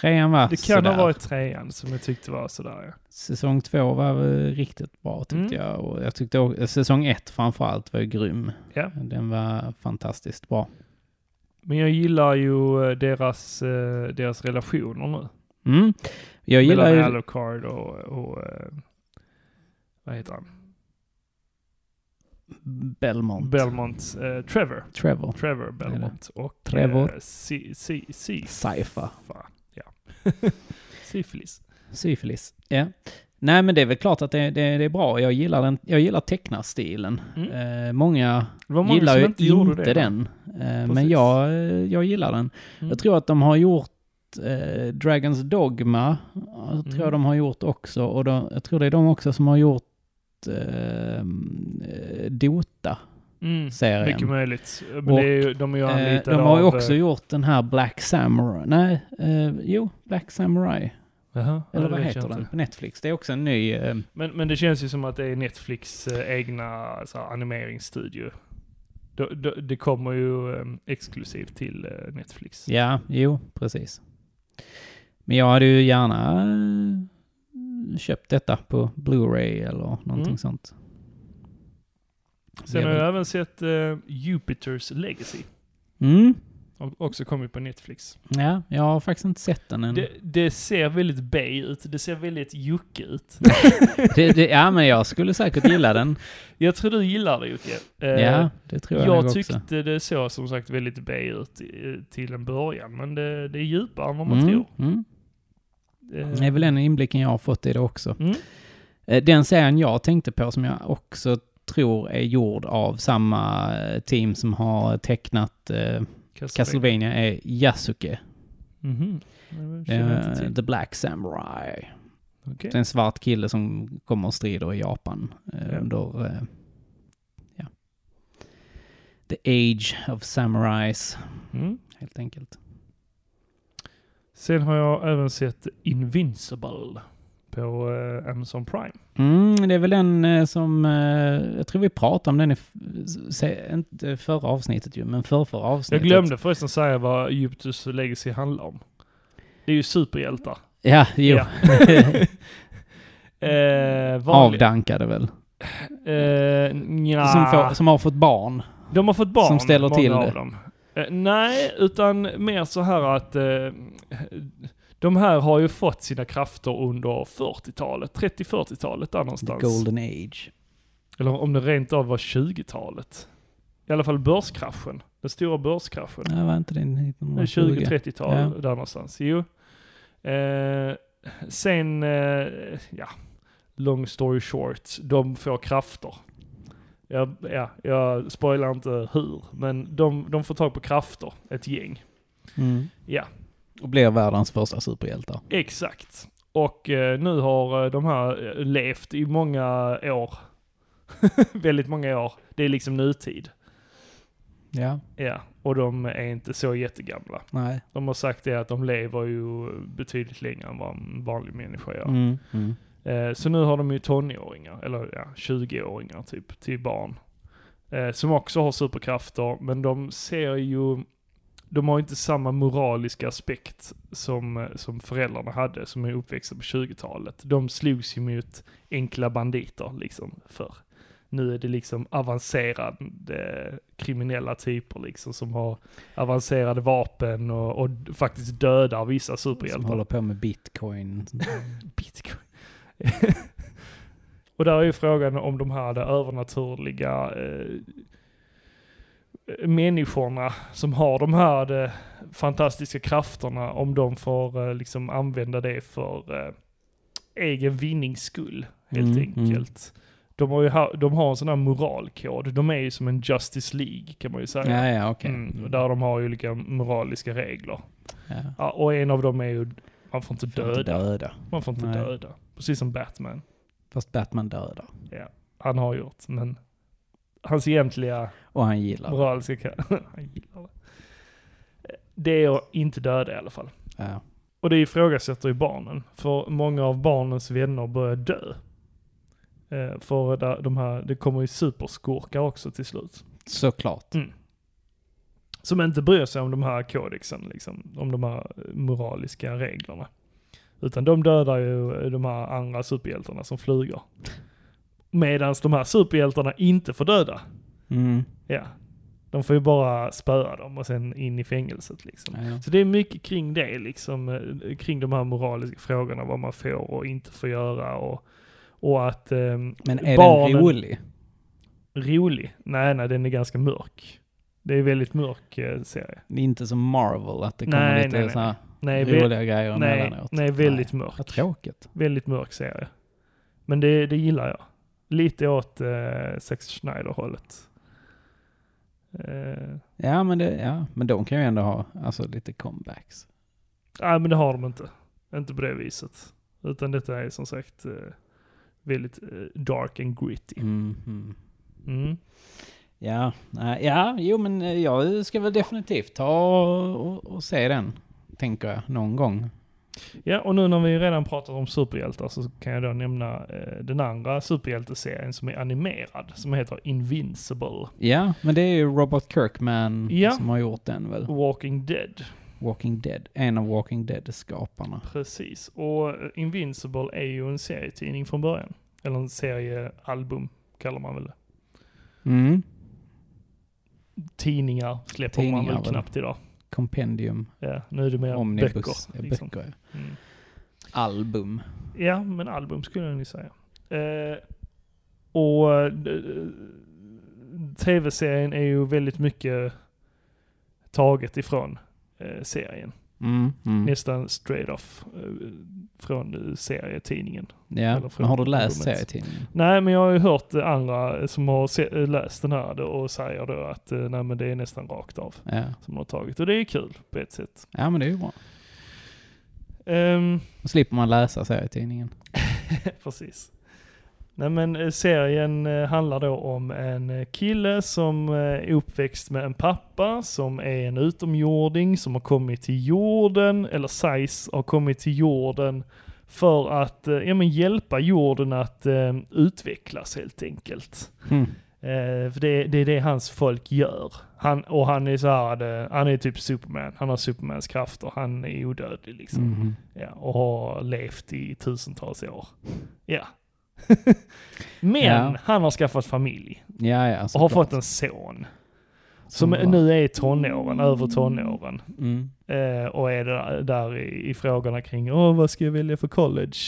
[SPEAKER 1] Trean var
[SPEAKER 2] Det kan
[SPEAKER 1] sådär.
[SPEAKER 2] ha varit trean som jag tyckte var sådär. ja.
[SPEAKER 1] Säsong två var väl riktigt bra tyckte
[SPEAKER 2] Mm.
[SPEAKER 1] jag. Och jag tyckte också, säsong ett framförallt var ju grym.
[SPEAKER 2] Ja.
[SPEAKER 1] Den var fantastiskt bra.
[SPEAKER 2] Men jag gillar ju eh, deras, eh, deras relationer nu.
[SPEAKER 1] Mm. Jag gillar
[SPEAKER 2] Mellan
[SPEAKER 1] ju...
[SPEAKER 2] Alucard och, och eh, vad heter han?
[SPEAKER 1] Belmont.
[SPEAKER 2] Belmont. eh, Trevor.
[SPEAKER 1] Trevor.
[SPEAKER 2] Trevor Belmont. Och
[SPEAKER 1] Trevor.
[SPEAKER 2] eh, Si- Si- Si-
[SPEAKER 1] Sypha.
[SPEAKER 2] Ja. Syfilis.
[SPEAKER 1] Syfilis. Ja. Nej men det är väl klart att det, det, det är bra. Jag gillar, den, jag gillar tecknarstilen.
[SPEAKER 2] Mm.
[SPEAKER 1] Eh, många
[SPEAKER 2] Det var många
[SPEAKER 1] gillar
[SPEAKER 2] som
[SPEAKER 1] ju
[SPEAKER 2] inte gjorde det.
[SPEAKER 1] den. Eh, men
[SPEAKER 2] Precis.
[SPEAKER 1] jag, eh, jag gillar den.
[SPEAKER 2] Mm.
[SPEAKER 1] Jag tror att de har gjort eh, Dragons Dogma. Jag tror
[SPEAKER 2] Mm.
[SPEAKER 1] de har gjort också. Och de, jag tror det är de också som har gjort eh, Dota-serien.
[SPEAKER 2] Mm. Mycket möjligt. Men
[SPEAKER 1] Och,
[SPEAKER 2] det är ju, de är ju
[SPEAKER 1] Eh,
[SPEAKER 2] anlitade
[SPEAKER 1] de har ju
[SPEAKER 2] av,
[SPEAKER 1] också
[SPEAKER 2] eh,
[SPEAKER 1] gjort den här Black Samurai. Nej, eh, jo, Black Samurai.
[SPEAKER 2] jaha, ja,
[SPEAKER 1] Eller
[SPEAKER 2] det
[SPEAKER 1] vad
[SPEAKER 2] vet jag
[SPEAKER 1] heter
[SPEAKER 2] inte.
[SPEAKER 1] den? På Netflix. Det är också en ny... Eh,
[SPEAKER 2] Men, men det känns ju som att det är Netflix eh, egna så här, animeringsstudio. Det, det, det kommer ju eh, exklusivt till eh, Netflix.
[SPEAKER 1] ja, jo, precis. Men jag hade ju gärna eh, köpt detta på Blu-ray eller någonting
[SPEAKER 2] Mm.
[SPEAKER 1] sånt.
[SPEAKER 2] Sen
[SPEAKER 1] Det är
[SPEAKER 2] har
[SPEAKER 1] väl-
[SPEAKER 2] jag även sett eh, Jupiters Legacy.
[SPEAKER 1] Mm.
[SPEAKER 2] Har Också kommit på Netflix.
[SPEAKER 1] Ja, jag har faktiskt inte sett den än.
[SPEAKER 2] Det, det ser väldigt bay ut. Det ser väldigt jucke ut.
[SPEAKER 1] Det, det, ja, men jag skulle säkert gilla den.
[SPEAKER 2] Jag tror du gillar det Jocke. Eh,
[SPEAKER 1] Ja, det tror jag,
[SPEAKER 2] jag
[SPEAKER 1] nog
[SPEAKER 2] tyckte
[SPEAKER 1] också.
[SPEAKER 2] det såg som sagt väldigt bay ut eh, till en början. Men det, det är djupare än vad man
[SPEAKER 1] Mm,
[SPEAKER 2] tror.
[SPEAKER 1] mm.
[SPEAKER 2] Eh,
[SPEAKER 1] Det är väl den inblicken jag har fått i det också.
[SPEAKER 2] Mm.
[SPEAKER 1] Eh, Den serien jag tänkte på som jag också tror är gjord av samma eh, team som har tecknat eh, Castlevania är Yasuke.
[SPEAKER 2] Mhm. Det
[SPEAKER 1] Det
[SPEAKER 2] känner jag inte
[SPEAKER 1] är,
[SPEAKER 2] till.
[SPEAKER 1] Eh, The Black Samurai.
[SPEAKER 2] Okej.
[SPEAKER 1] Det är en svart kille som kommer och strider i Japan eh,
[SPEAKER 2] Ja.
[SPEAKER 1] under eh, ja. The Age of Samurais,
[SPEAKER 2] Mm.
[SPEAKER 1] helt enkelt.
[SPEAKER 2] Sen har jag även sett Invincible på eh, Amazon Prime.
[SPEAKER 1] Mm, det är väl den eh, som, eh, jag tror vi pratade om den i, f- se, inte förra avsnittet ju, men förrförra
[SPEAKER 2] Jag
[SPEAKER 1] avsnittet.
[SPEAKER 2] glömde förresten säga vad Egyptus Legacy handlar om. Det är ju superhjältar.
[SPEAKER 1] Ja, jo.
[SPEAKER 2] Ja. eh, vanlig-
[SPEAKER 1] Avdankade väl.
[SPEAKER 2] Eh, nja.
[SPEAKER 1] Som, får, som har fått barn.
[SPEAKER 2] De har fått barn,
[SPEAKER 1] som ställer
[SPEAKER 2] många
[SPEAKER 1] till
[SPEAKER 2] av
[SPEAKER 1] det.
[SPEAKER 2] dem. Eh, nej, utan mer så här att eh, de här har ju fått sina krafter under 40-talet, 30-40-talet där
[SPEAKER 1] The
[SPEAKER 2] någonstans.
[SPEAKER 1] Golden Age.
[SPEAKER 2] Eller om det rent av var 20-talet. I alla fall börskraschen, den stora börskraschen.
[SPEAKER 1] Nej, var inte det
[SPEAKER 2] Det är
[SPEAKER 1] 1920?
[SPEAKER 2] 20-30-tal
[SPEAKER 1] Ja.
[SPEAKER 2] där någonstans. Jo. Eh, sen, eh, ja, long story short, de får krafter. Jag, ja, jag spoilar inte hur, men de, de får tag på krafter, ett gäng.
[SPEAKER 1] Mm.
[SPEAKER 2] Ja,
[SPEAKER 1] Och blir världens första superhjältar.
[SPEAKER 2] exakt. Och eh, nu har eh, de här eh, levt i många år. Väldigt många år. Det är liksom nutid.
[SPEAKER 1] Ja,
[SPEAKER 2] Ja, och de är inte så jättegamla.
[SPEAKER 1] nej.
[SPEAKER 2] De har sagt det att de lever ju betydligt längre än vad en vanlig människa gör.
[SPEAKER 1] Mm. Mm.
[SPEAKER 2] Eh, så nu har de ju tonåringar, eller ja, 20-åringar typ, till barn. Eh, som också har superkrafter, men de ser ju, de har inte samma moraliska aspekt som, eh, som föräldrarna hade, som är uppväxta på 20-talet. De slogs ju mot enkla banditer liksom förr. Nu är det liksom avancerade kriminella typer liksom som har avancerade vapen och, och faktiskt dödar vissa
[SPEAKER 1] Som
[SPEAKER 2] superhjältar.
[SPEAKER 1] håller på med
[SPEAKER 2] Mm.
[SPEAKER 1] bitcoin. Mm,
[SPEAKER 2] Bitcoin. och där är ju frågan om de här det övernaturliga eh, människorna som har de här de fantastiska krafterna, om de får eh, liksom använda det för eh, egen vinnings skull, helt
[SPEAKER 1] Mm, mm.
[SPEAKER 2] enkelt. De har ju ha, de har en sån här moralkod, de är ju som en Justice League kan man ju säga.
[SPEAKER 1] Ja, ja, okej.
[SPEAKER 2] Mm, och där de har ju olika moraliska regler.
[SPEAKER 1] Ja.
[SPEAKER 2] Ja, och en av dem är ju, man får inte
[SPEAKER 1] Får inte
[SPEAKER 2] döda.
[SPEAKER 1] döda.
[SPEAKER 2] Man får inte
[SPEAKER 1] Nej.
[SPEAKER 2] döda. Precis som Batman.
[SPEAKER 1] Fast Batman dödar.
[SPEAKER 2] Han har gjort, men hans egentliga
[SPEAKER 1] Och han gillar det.
[SPEAKER 2] moraliska ka- han gillar det. Det är att inte döda i alla fall.
[SPEAKER 1] Ja.
[SPEAKER 2] Och det ifrågasätter ju barnen. För många av barnens vänner börjar dö. Eh, För där- de här, det kommer ju superskurkar också till slut.
[SPEAKER 1] Såklart.
[SPEAKER 2] Som inte bryr sig om de här kodexen, liksom, om de här moraliska reglerna. Utan de dödar ju de här andra superhjältarna som flyger. Medan de här superhjältarna inte får döda.
[SPEAKER 1] Mm.
[SPEAKER 2] Ja. De får ju bara spöa dem och sen in i fängelset liksom.
[SPEAKER 1] Ja, ja.
[SPEAKER 2] Så det är mycket kring det liksom, eh, kring de här moraliska frågorna, vad man får och inte får göra och, och att... ehm,
[SPEAKER 1] Men är
[SPEAKER 2] barnen-
[SPEAKER 1] den rolig?
[SPEAKER 2] Rolig? Nej, nej, den är ganska mörk. Det är en väldigt mörk eh, serie.
[SPEAKER 1] Det är inte som Marvel, att det kommer
[SPEAKER 2] Nej,
[SPEAKER 1] lite
[SPEAKER 2] nej,
[SPEAKER 1] såhär
[SPEAKER 2] Nej, vä-
[SPEAKER 1] roliga grejer
[SPEAKER 2] Nej,
[SPEAKER 1] emellanåt.
[SPEAKER 2] nej, väldigt mörk.
[SPEAKER 1] Vad tråkigt.
[SPEAKER 2] Väldigt mörk serie. Men det, det gillar jag. Lite åt eh, Sex Schneider-hållet. Eh,
[SPEAKER 1] Ja men, det, ja, men de kan ju ändå ha alltså, lite comebacks.
[SPEAKER 2] nej, men det har de inte. Inte på det viset. Utan detta är som sagt eh, väldigt eh, dark and gritty.
[SPEAKER 1] Mm, mm.
[SPEAKER 2] Mm.
[SPEAKER 1] Ja, nej, ja, jo men eh, jag ska väl definitivt ta och, och, och se den, tänker jag, någon gång.
[SPEAKER 2] Ja, och nu när vi redan pratat om superhjältar så kan jag då nämna eh, den andra superhjälteserien som är animerad, som heter Invincible
[SPEAKER 1] Ja, men det är ju Robert Kirkman
[SPEAKER 2] Ja.
[SPEAKER 1] som har gjort den väl?
[SPEAKER 2] Walking Dead.
[SPEAKER 1] Walking Dead, en av Walking Dead-skaparna.
[SPEAKER 2] Precis, och eh, Invincible är ju en serietidning från början. Eller en seriealbum kallar man väl det.
[SPEAKER 1] Mm.
[SPEAKER 2] Tidningar släpper man
[SPEAKER 1] Tidningar
[SPEAKER 2] väl
[SPEAKER 1] väl.
[SPEAKER 2] knappt idag.
[SPEAKER 1] Compendium,
[SPEAKER 2] Ja, nu är det mer
[SPEAKER 1] Omnibus,
[SPEAKER 2] böcker.
[SPEAKER 1] ja,
[SPEAKER 2] Liksom.
[SPEAKER 1] böcker ja.
[SPEAKER 2] Mm.
[SPEAKER 1] album.
[SPEAKER 2] Ja, men album skulle jag nog säga. Eh, och eh, tv-serien är ju väldigt mycket taget ifrån eh, serien.
[SPEAKER 1] Mm, mm.
[SPEAKER 2] Nästan straight off eh, från eh, serietidningen.
[SPEAKER 1] Ja,
[SPEAKER 2] Eller från
[SPEAKER 1] men har du läst
[SPEAKER 2] albumet.
[SPEAKER 1] serietidningen?
[SPEAKER 2] Nej, men jag har ju hört eh, andra som har se- eh, läst den här då och säger då att eh, nej, men det är nästan rakt av
[SPEAKER 1] Ja.
[SPEAKER 2] som de har tagit. Och det är kul på ett sätt.
[SPEAKER 1] ja, men det är ju bra.
[SPEAKER 2] Ehm,
[SPEAKER 1] Då slipper man läsa serietidningen.
[SPEAKER 2] Precis. Nej men eh, serien eh, handlar då om en eh, kille som eh, är uppväxt med en pappa som är en utomjording som har kommit till jorden, eller sägs har kommit till jorden för att eh, ja, men hjälpa jorden att eh, utvecklas helt enkelt.
[SPEAKER 1] Mm.
[SPEAKER 2] Eh, för det, det är det hans folk gör. Han, och han är så här, eh, han är typ Superman. Han har Supermans krafter. Han är odödlig liksom.
[SPEAKER 1] Mhm.
[SPEAKER 2] Ja, och har levt i tusentals år. Ja. Men
[SPEAKER 1] Ja.
[SPEAKER 2] han har skaffat familj
[SPEAKER 1] Ja, ja.
[SPEAKER 2] och har
[SPEAKER 1] såklart.
[SPEAKER 2] fått en son. Som
[SPEAKER 1] Som
[SPEAKER 2] nu är i tonåren, över tonåren.
[SPEAKER 1] Mm.
[SPEAKER 2] Eh, och är där, där i, i frågorna kring Åh, vad ska jag välja för college.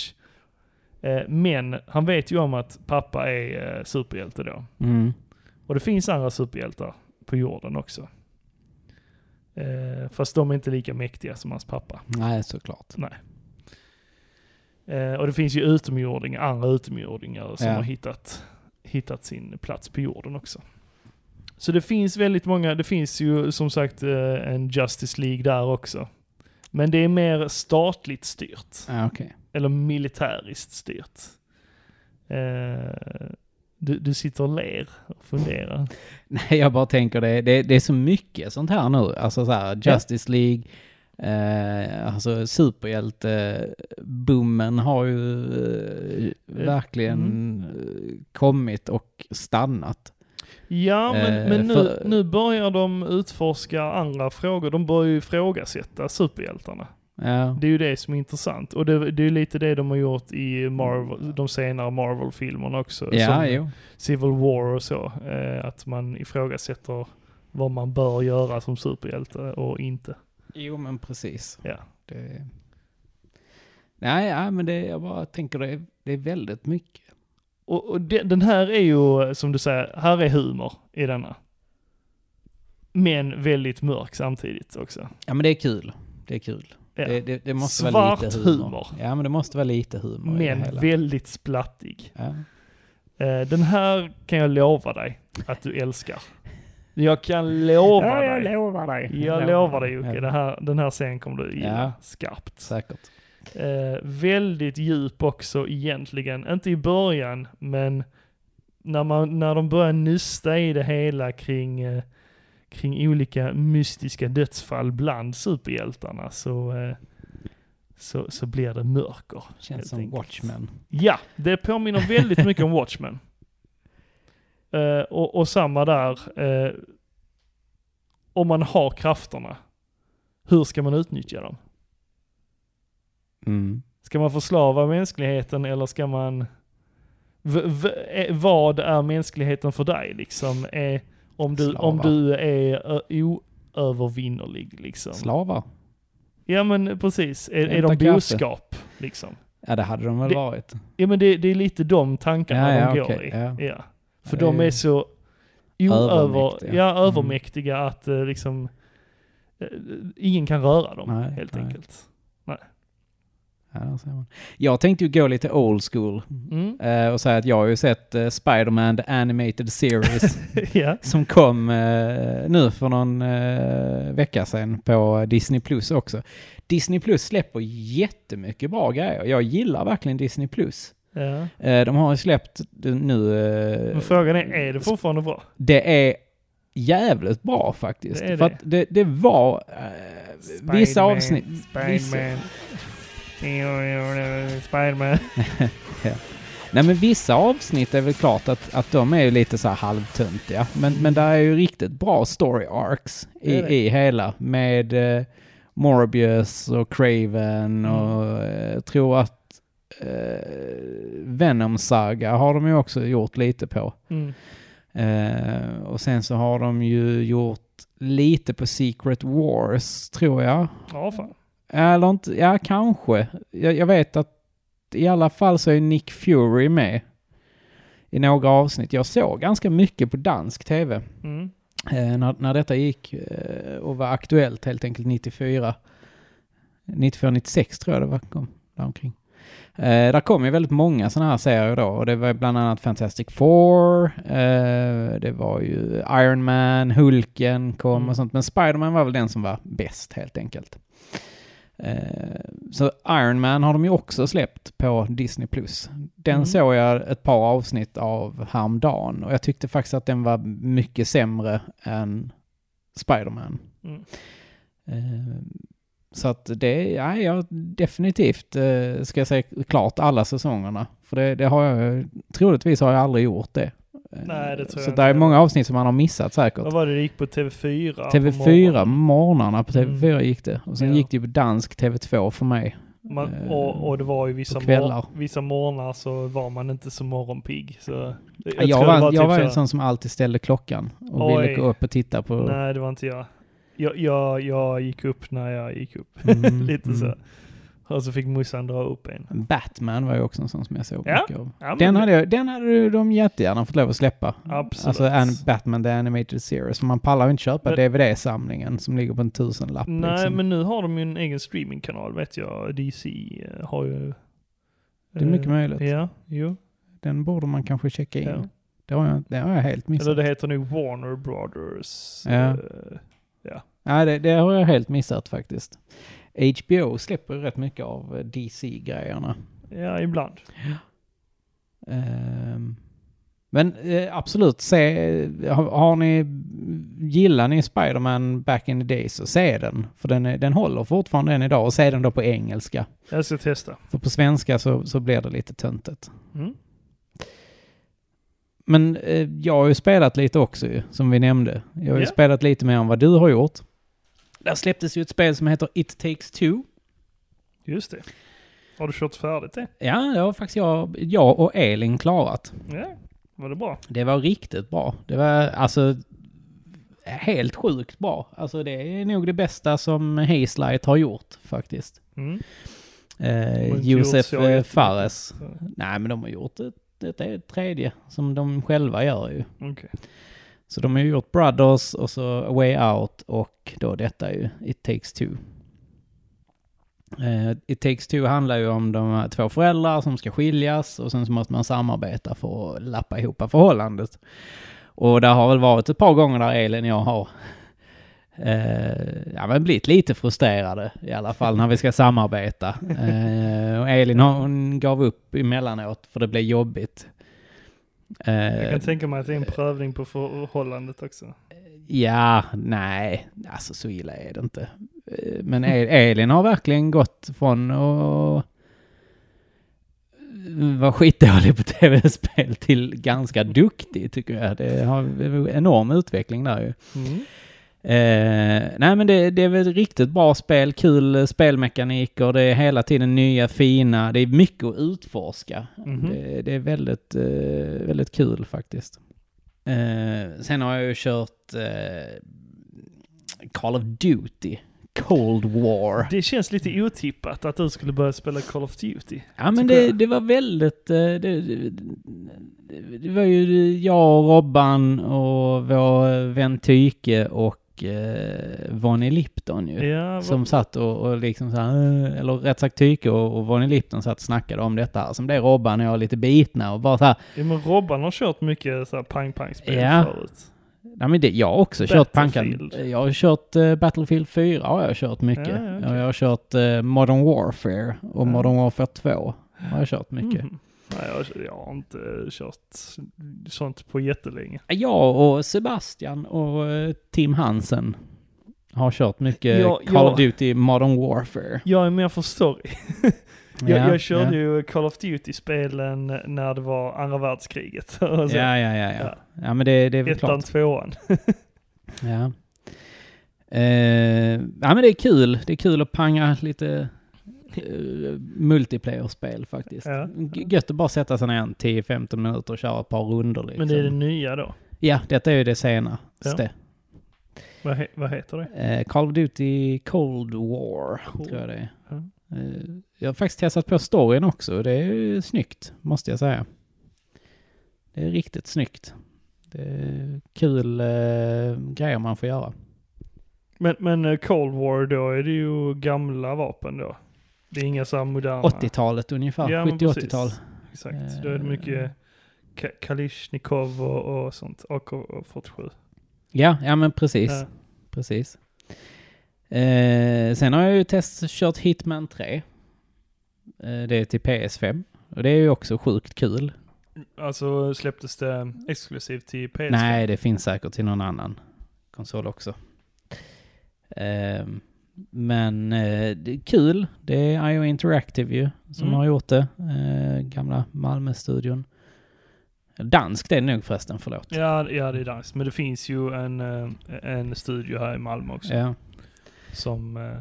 [SPEAKER 2] Eh, men han vet ju om att pappa är eh, superhjälte då.
[SPEAKER 1] Mm.
[SPEAKER 2] Och det finns andra superhjältar på jorden också. Eh, fast de är inte lika mäktiga som hans pappa.
[SPEAKER 1] Nej, såklart.
[SPEAKER 2] Eh, och det finns ju utomjordingar, andra utomjordingar som
[SPEAKER 1] Ja.
[SPEAKER 2] har hittat, hittat sin plats på jorden också. Så det finns väldigt många, det finns ju som sagt eh, en Justice League där också. Men det är mer statligt styrt.
[SPEAKER 1] Ja, okej.
[SPEAKER 2] eller militäriskt styrt. Eh, du, du sitter och ler och funderar.
[SPEAKER 1] Nej, jag bara tänker det, det, det är så mycket sånt här nu. Alltså så här, Justice League, Eh, alltså superhjälte-boomen har ju eh, verkligen
[SPEAKER 2] mm.
[SPEAKER 1] eh, kommit och stannat.
[SPEAKER 2] Ja, men,
[SPEAKER 1] Eh,
[SPEAKER 2] men nu,
[SPEAKER 1] för-
[SPEAKER 2] nu börjar de utforska andra frågor. De börjar ju ifrågasätta superhjältarna.
[SPEAKER 1] Ja.
[SPEAKER 2] Det är ju det som är intressant. Och det, det är ju lite det de har gjort i Marvel, de senare Marvel-filmerna också.
[SPEAKER 1] Ja,
[SPEAKER 2] som
[SPEAKER 1] jo.
[SPEAKER 2] Civil War och så. Eh, att man ifrågasätter vad man bör göra som superhjälte och inte.
[SPEAKER 1] jo, men precis.
[SPEAKER 2] Ja.
[SPEAKER 1] Det... Nej, ja, men det, jag bara tänker det, är- det är väldigt mycket.
[SPEAKER 2] Och, och de, den här är ju, som du säger, här är humor i denna. Men väldigt mörk samtidigt också.
[SPEAKER 1] Ja, men det är kul. Det är kul.
[SPEAKER 2] Ja.
[SPEAKER 1] Det, det, det måste
[SPEAKER 2] Svart
[SPEAKER 1] vara lite humor.
[SPEAKER 2] humor.
[SPEAKER 1] Ja, men det måste vara lite humor i det
[SPEAKER 2] Men
[SPEAKER 1] hela.
[SPEAKER 2] väldigt splattig.
[SPEAKER 1] Ja.
[SPEAKER 2] Eh, den här kan jag lova dig att du älskar. Jag kan lova dig.
[SPEAKER 1] lovar dig.
[SPEAKER 2] Jag lovar dig Jocke,
[SPEAKER 1] Ja.
[SPEAKER 2] det här, den här scenen kommer du gilla
[SPEAKER 1] Ja.
[SPEAKER 2] skarpt.
[SPEAKER 1] Säkert.
[SPEAKER 2] Eh, väldigt djup också egentligen, inte i början men när, man, när de börjar nysta i det hela kring, eh, kring olika mystiska dödsfall bland superhjältarna så, eh, så, så blir det mörker.
[SPEAKER 1] Känns
[SPEAKER 2] Helt
[SPEAKER 1] som
[SPEAKER 2] enkelt.
[SPEAKER 1] Watchmen.
[SPEAKER 2] Ja, det påminner väldigt mycket om Watchmen. Eh, och, och samma där. eh, om man har krafterna, hur ska man utnyttja dem?
[SPEAKER 1] Mm.
[SPEAKER 2] Ska man förslava mänskligheten eller ska man... V, v, eh, vad är mänskligheten för dig liksom? Eh, om, du, om
[SPEAKER 1] Slava.
[SPEAKER 2] du är ö, oövervinnerlig liksom.
[SPEAKER 1] Slavar. ja
[SPEAKER 2] Ja men precis, är, är
[SPEAKER 1] Hämta
[SPEAKER 2] de
[SPEAKER 1] kaffe.
[SPEAKER 2] boskap liksom?
[SPEAKER 1] det hade de väl
[SPEAKER 2] Det-
[SPEAKER 1] varit.
[SPEAKER 2] Ja men det, det är lite de tankarna
[SPEAKER 1] Ja, ja,
[SPEAKER 2] de går
[SPEAKER 1] okej,
[SPEAKER 2] i.
[SPEAKER 1] ja.
[SPEAKER 2] Ja. För
[SPEAKER 1] det
[SPEAKER 2] de
[SPEAKER 1] är-
[SPEAKER 2] är så oöver,
[SPEAKER 1] Övermäktiga.
[SPEAKER 2] ja,
[SPEAKER 1] Mm.
[SPEAKER 2] övermäktiga att eh, liksom eh, ingen kan röra dem
[SPEAKER 1] Nej,
[SPEAKER 2] helt
[SPEAKER 1] nej.
[SPEAKER 2] enkelt.
[SPEAKER 1] Ja, där ser man. Jag tänkte ju gå lite old school
[SPEAKER 2] Mm.
[SPEAKER 1] eh, och säga att jag har ju sett eh, Spider-Man The Animated Series
[SPEAKER 2] ja.
[SPEAKER 1] som kom eh, nu för någon eh, vecka sedan på Disney Plus också. Disney Plus släpper jättemycket bra grejer. Jag gillar verkligen Disney Plus.
[SPEAKER 2] ja.
[SPEAKER 1] Eh, de har ju släppt eh, nu... eh,
[SPEAKER 2] Men frågan är, är det fortfarande bra?
[SPEAKER 1] det är jävligt bra faktiskt.
[SPEAKER 2] Det är
[SPEAKER 1] För
[SPEAKER 2] det.
[SPEAKER 1] att det, det var eh, vissa
[SPEAKER 2] Spiderman,
[SPEAKER 1] avsnitt... Vissa,
[SPEAKER 2] Spiderman. Spiderman.
[SPEAKER 1] nej men vissa avsnitt är väl klart att, att de är ju lite så här halvtöntiga. Men, men där är ju riktigt bra story arcs
[SPEAKER 2] Det
[SPEAKER 1] i,
[SPEAKER 2] är det.
[SPEAKER 1] i hela. Med eh, Morbius och Craven
[SPEAKER 2] Mm.
[SPEAKER 1] och eh, jag tror att eh, Venom Saga har de ju också gjort lite på.
[SPEAKER 2] Mm.
[SPEAKER 1] Eh, och sen så har de ju gjort lite på Secret Wars, tror jag.
[SPEAKER 2] Ja, fan.
[SPEAKER 1] Eller inte, ja kanske. Jag, jag vet att i alla fall så är Nick Fury med i några avsnitt. Jag såg ganska mycket på dansk tv
[SPEAKER 2] Mm.
[SPEAKER 1] eh, när, när detta gick eh, och var aktuellt helt enkelt 94. 94-96 tror jag det var, kom däromkring. Eh, där kom ju väldigt många sådana här serier då och det var bland annat Fantastic Four, eh, det var ju Iron Man, Hulken kom
[SPEAKER 2] Mm.
[SPEAKER 1] och sånt. Men Spider-Man var väl den som var bäst helt enkelt. Eh, så Iron Man har de ju också släppt på Disney+. Plus. Den
[SPEAKER 2] Mm.
[SPEAKER 1] såg jag ett par avsnitt av häromdagen och jag tyckte faktiskt att den var mycket sämre än Spider-Man.
[SPEAKER 2] Mm.
[SPEAKER 1] Eh, Så att det, ja, jag definitivt eh, ska jag säga klart alla säsongerna. För det, det har jag, troligtvis har jag aldrig gjort det. Eh,
[SPEAKER 2] Nej, det tror jag
[SPEAKER 1] så
[SPEAKER 2] inte
[SPEAKER 1] där är
[SPEAKER 2] heller.
[SPEAKER 1] många avsnitt som man har missat säkert.
[SPEAKER 2] Vad var det det gick på TV4? på
[SPEAKER 1] TV4,
[SPEAKER 2] morgonen? Mm.
[SPEAKER 1] morgnarna på TV4 gick det. Och sen
[SPEAKER 2] Ja.
[SPEAKER 1] gick det ju på dansk TV2 för mig.
[SPEAKER 2] Man, och, och det var ju vissa,
[SPEAKER 1] eh, På kvällar.
[SPEAKER 2] mor- vissa morgnar så var man inte så morgonpigg. Så jag,
[SPEAKER 1] Jag,
[SPEAKER 2] tror det
[SPEAKER 1] var, jag
[SPEAKER 2] typ
[SPEAKER 1] var
[SPEAKER 2] så
[SPEAKER 1] en
[SPEAKER 2] här-
[SPEAKER 1] sån som alltid ställde klockan och ville
[SPEAKER 2] Oj.
[SPEAKER 1] gå upp och titta på...
[SPEAKER 2] Nej, det var inte jag. Jag, jag, jag gick upp när jag gick upp.
[SPEAKER 1] Mm,
[SPEAKER 2] Lite
[SPEAKER 1] mm.
[SPEAKER 2] så. Och så fick morsan dra upp en.
[SPEAKER 1] Batman var ju också en sån som jag såg
[SPEAKER 2] Ja,
[SPEAKER 1] mycket av.
[SPEAKER 2] Ja, men
[SPEAKER 1] Den
[SPEAKER 2] det-
[SPEAKER 1] hade, jag- den hade ju de jättegärna fått lov att släppa.
[SPEAKER 2] Absolut.
[SPEAKER 1] Alltså an, Batman The Animated Series. För man pallar ju inte köpa
[SPEAKER 2] Men-
[SPEAKER 1] DVD-samlingen som ligger på en tusenlapp.
[SPEAKER 2] Nej,
[SPEAKER 1] liksom.
[SPEAKER 2] men nu har de ju en egen streamingkanal vet jag. DC eh, har ju...
[SPEAKER 1] det är mycket
[SPEAKER 2] eh,
[SPEAKER 1] möjligt.
[SPEAKER 2] Ja, jo.
[SPEAKER 1] Den borde man kanske checka in.
[SPEAKER 2] Ja.
[SPEAKER 1] Det, har jag, det har jag helt missat.
[SPEAKER 2] Eller det heter nu Warner Brothers.
[SPEAKER 1] Ja.
[SPEAKER 2] eh,
[SPEAKER 1] Nej, det, det har jag helt missat faktiskt. HBO släpper ju rätt mycket av eh, DC-grejerna.
[SPEAKER 2] Ja, ibland.
[SPEAKER 1] Ehm, Men eh, absolut, se, har, har ni, gillar ni Spider-Man back in the days så se den. För den, är- den håller fortfarande än idag och se den då på engelska.
[SPEAKER 2] Jag ska testa.
[SPEAKER 1] För på svenska så, så blir det lite töntigt.
[SPEAKER 2] Mm.
[SPEAKER 1] Men eh, jag har ju spelat lite också ju, som vi nämnde. Jag har ju
[SPEAKER 2] Ja.
[SPEAKER 1] spelat lite mer än vad du har gjort. Där släpptes ju ett spel som heter It takes two.
[SPEAKER 2] Just det. Har du kört färdigt det?
[SPEAKER 1] Ja, det har faktiskt jag, jag och Elin klarat.
[SPEAKER 2] Ja, var det bra?
[SPEAKER 1] Det var riktigt bra. Det var alltså helt sjukt bra. Alltså det är nog det bästa som Hazelight har gjort faktiskt.
[SPEAKER 2] Mm.
[SPEAKER 1] Eh,
[SPEAKER 2] inte gjort
[SPEAKER 1] Josef
[SPEAKER 2] så
[SPEAKER 1] eh,
[SPEAKER 2] jättemycket.
[SPEAKER 1] Fares.
[SPEAKER 2] Så,
[SPEAKER 1] Nej men de har gjort ett, ett, ett tredje som de själva gör ju.
[SPEAKER 2] Okej.
[SPEAKER 1] Så de har ju gjort Brothers och så A Way Out och då detta ju It Takes Two. Eh, It Takes Two handlar ju om de här två föräldrar som ska skiljas och sen så måste man samarbeta för att lappa ihop förhållandet. Och det har väl varit ett par gånger där Elin och jag har eh, ja, men blivit lite frustrerade i alla fall när vi ska samarbeta. Eh, och Elin hon gav upp emellanåt för det blev jobbigt. Eh,
[SPEAKER 2] Jag kan tänka mig att det är en prövning på förhållandet också.
[SPEAKER 1] Ja, nej, alltså så illa är det inte. Eh, Men El- Elin har verkligen gått från att vara skitdålig på tv-spel till ganska duktig tycker jag. Det har en enorm utveckling där ju.
[SPEAKER 2] Mm.
[SPEAKER 1] Eh, nej men det, det är väl ett riktigt bra spel, kul eh, spelmekaniker, det är hela tiden nya fina, det är mycket att utforska.
[SPEAKER 2] Mhm.
[SPEAKER 1] Det, det är väldigt, eh, väldigt kul faktiskt. Eh, sen har jag ju kört eh, Call of Duty, Cold War. Mm.
[SPEAKER 2] Det känns lite otippat att du skulle börja spela Call of Duty.
[SPEAKER 1] Ja men
[SPEAKER 2] tycker
[SPEAKER 1] det,
[SPEAKER 2] jag.
[SPEAKER 1] det var väldigt, eh, det, det, det- det var ju jag och Robban och vår vän Tyke och eh, Vonnie Lipton ju.
[SPEAKER 2] Ja, vad-
[SPEAKER 1] Som satt och, och liksom så här, eh, eller rätt sagt Tyke och, och Vonnie Lipton satt och snackade om detta här. Som blev Robban och jag lite bitna och bara så här,
[SPEAKER 2] ja, men Robban har kört mycket så här pang-pang-spel
[SPEAKER 1] Ja.
[SPEAKER 2] förut.
[SPEAKER 1] nej men det, jag har också kört pankan.
[SPEAKER 2] Battlefield.
[SPEAKER 1] Jag har kört eh, Battlefield 4 har jag kört mycket.
[SPEAKER 2] Ja, ja, okej.
[SPEAKER 1] Och jag har kört eh, Modern Warfare och
[SPEAKER 2] Ja.
[SPEAKER 1] Modern Warfare 2 har jag kört mycket.
[SPEAKER 2] Mhm. Nej, jag, jag har inte kört sånt på jättelänge.
[SPEAKER 1] Jag och Sebastian och eh, Tim Hansen har kört mycket
[SPEAKER 2] Ja,
[SPEAKER 1] Call
[SPEAKER 2] ja.
[SPEAKER 1] of Duty Modern Warfare.
[SPEAKER 2] Jag är mer för story. Jag,
[SPEAKER 1] Ja,
[SPEAKER 2] jag körde
[SPEAKER 1] ja.
[SPEAKER 2] ju Call of Duty-spelen när det var andra världskriget. Alltså,
[SPEAKER 1] Ja, ja, ja, ja.
[SPEAKER 2] Ja.
[SPEAKER 1] Ja, men det, det är väl
[SPEAKER 2] Ettan,
[SPEAKER 1] klart.
[SPEAKER 2] tvåan.
[SPEAKER 1] Ja. Eh, ja, men det är kul. Det är kul att panga lite eh, multiplayer-spel faktiskt.
[SPEAKER 2] Ja.
[SPEAKER 1] G- Gött att bara sätta sig ner en 10-15 minuter och köra ett par runder liksom.
[SPEAKER 2] Men det är det nya då.
[SPEAKER 1] Ja, detta är ju det senaste.
[SPEAKER 2] Vad, he, vad heter det?
[SPEAKER 1] Eh, Call of Duty Cold War,
[SPEAKER 2] Cool.
[SPEAKER 1] tror jag det är.
[SPEAKER 2] Ja.
[SPEAKER 1] Eh, jag har faktiskt testat på storyn också. Det är ju snyggt, måste jag säga. Det är riktigt snyggt. Det är kul eh, grejer man får göra.
[SPEAKER 2] Men, men eh, Cold War då är det ju gamla vapen då. Det är inga så här moderna.
[SPEAKER 1] 80-talet ungefär,
[SPEAKER 2] Ja, men
[SPEAKER 1] 70-80-tal.
[SPEAKER 2] precis. Exakt. Då är det
[SPEAKER 1] Eh.
[SPEAKER 2] mycket Ka- Kalishnikov och, och sånt. AK47.
[SPEAKER 1] Ja, ja men precis.
[SPEAKER 2] Ja.
[SPEAKER 1] precis. Eh, sen har jag ju testkört Hitman 3. Eh, det är till PS5. Och det är ju också sjukt kul.
[SPEAKER 2] Alltså släpptes det exklusivt till PS5?
[SPEAKER 1] Nej, det finns säkert till någon annan konsol också. Ehm, men eh, det är kul. Det är IO Interactive ju som
[SPEAKER 2] Mm.
[SPEAKER 1] har gjort det. Eh, gamla Malmö-studion. Dansk det är nog förresten, förlåt.
[SPEAKER 2] Ja, ja, det är nice. Men det finns ju en, eh, en studio här i Malmö också.
[SPEAKER 1] Ja,
[SPEAKER 2] Som... eh,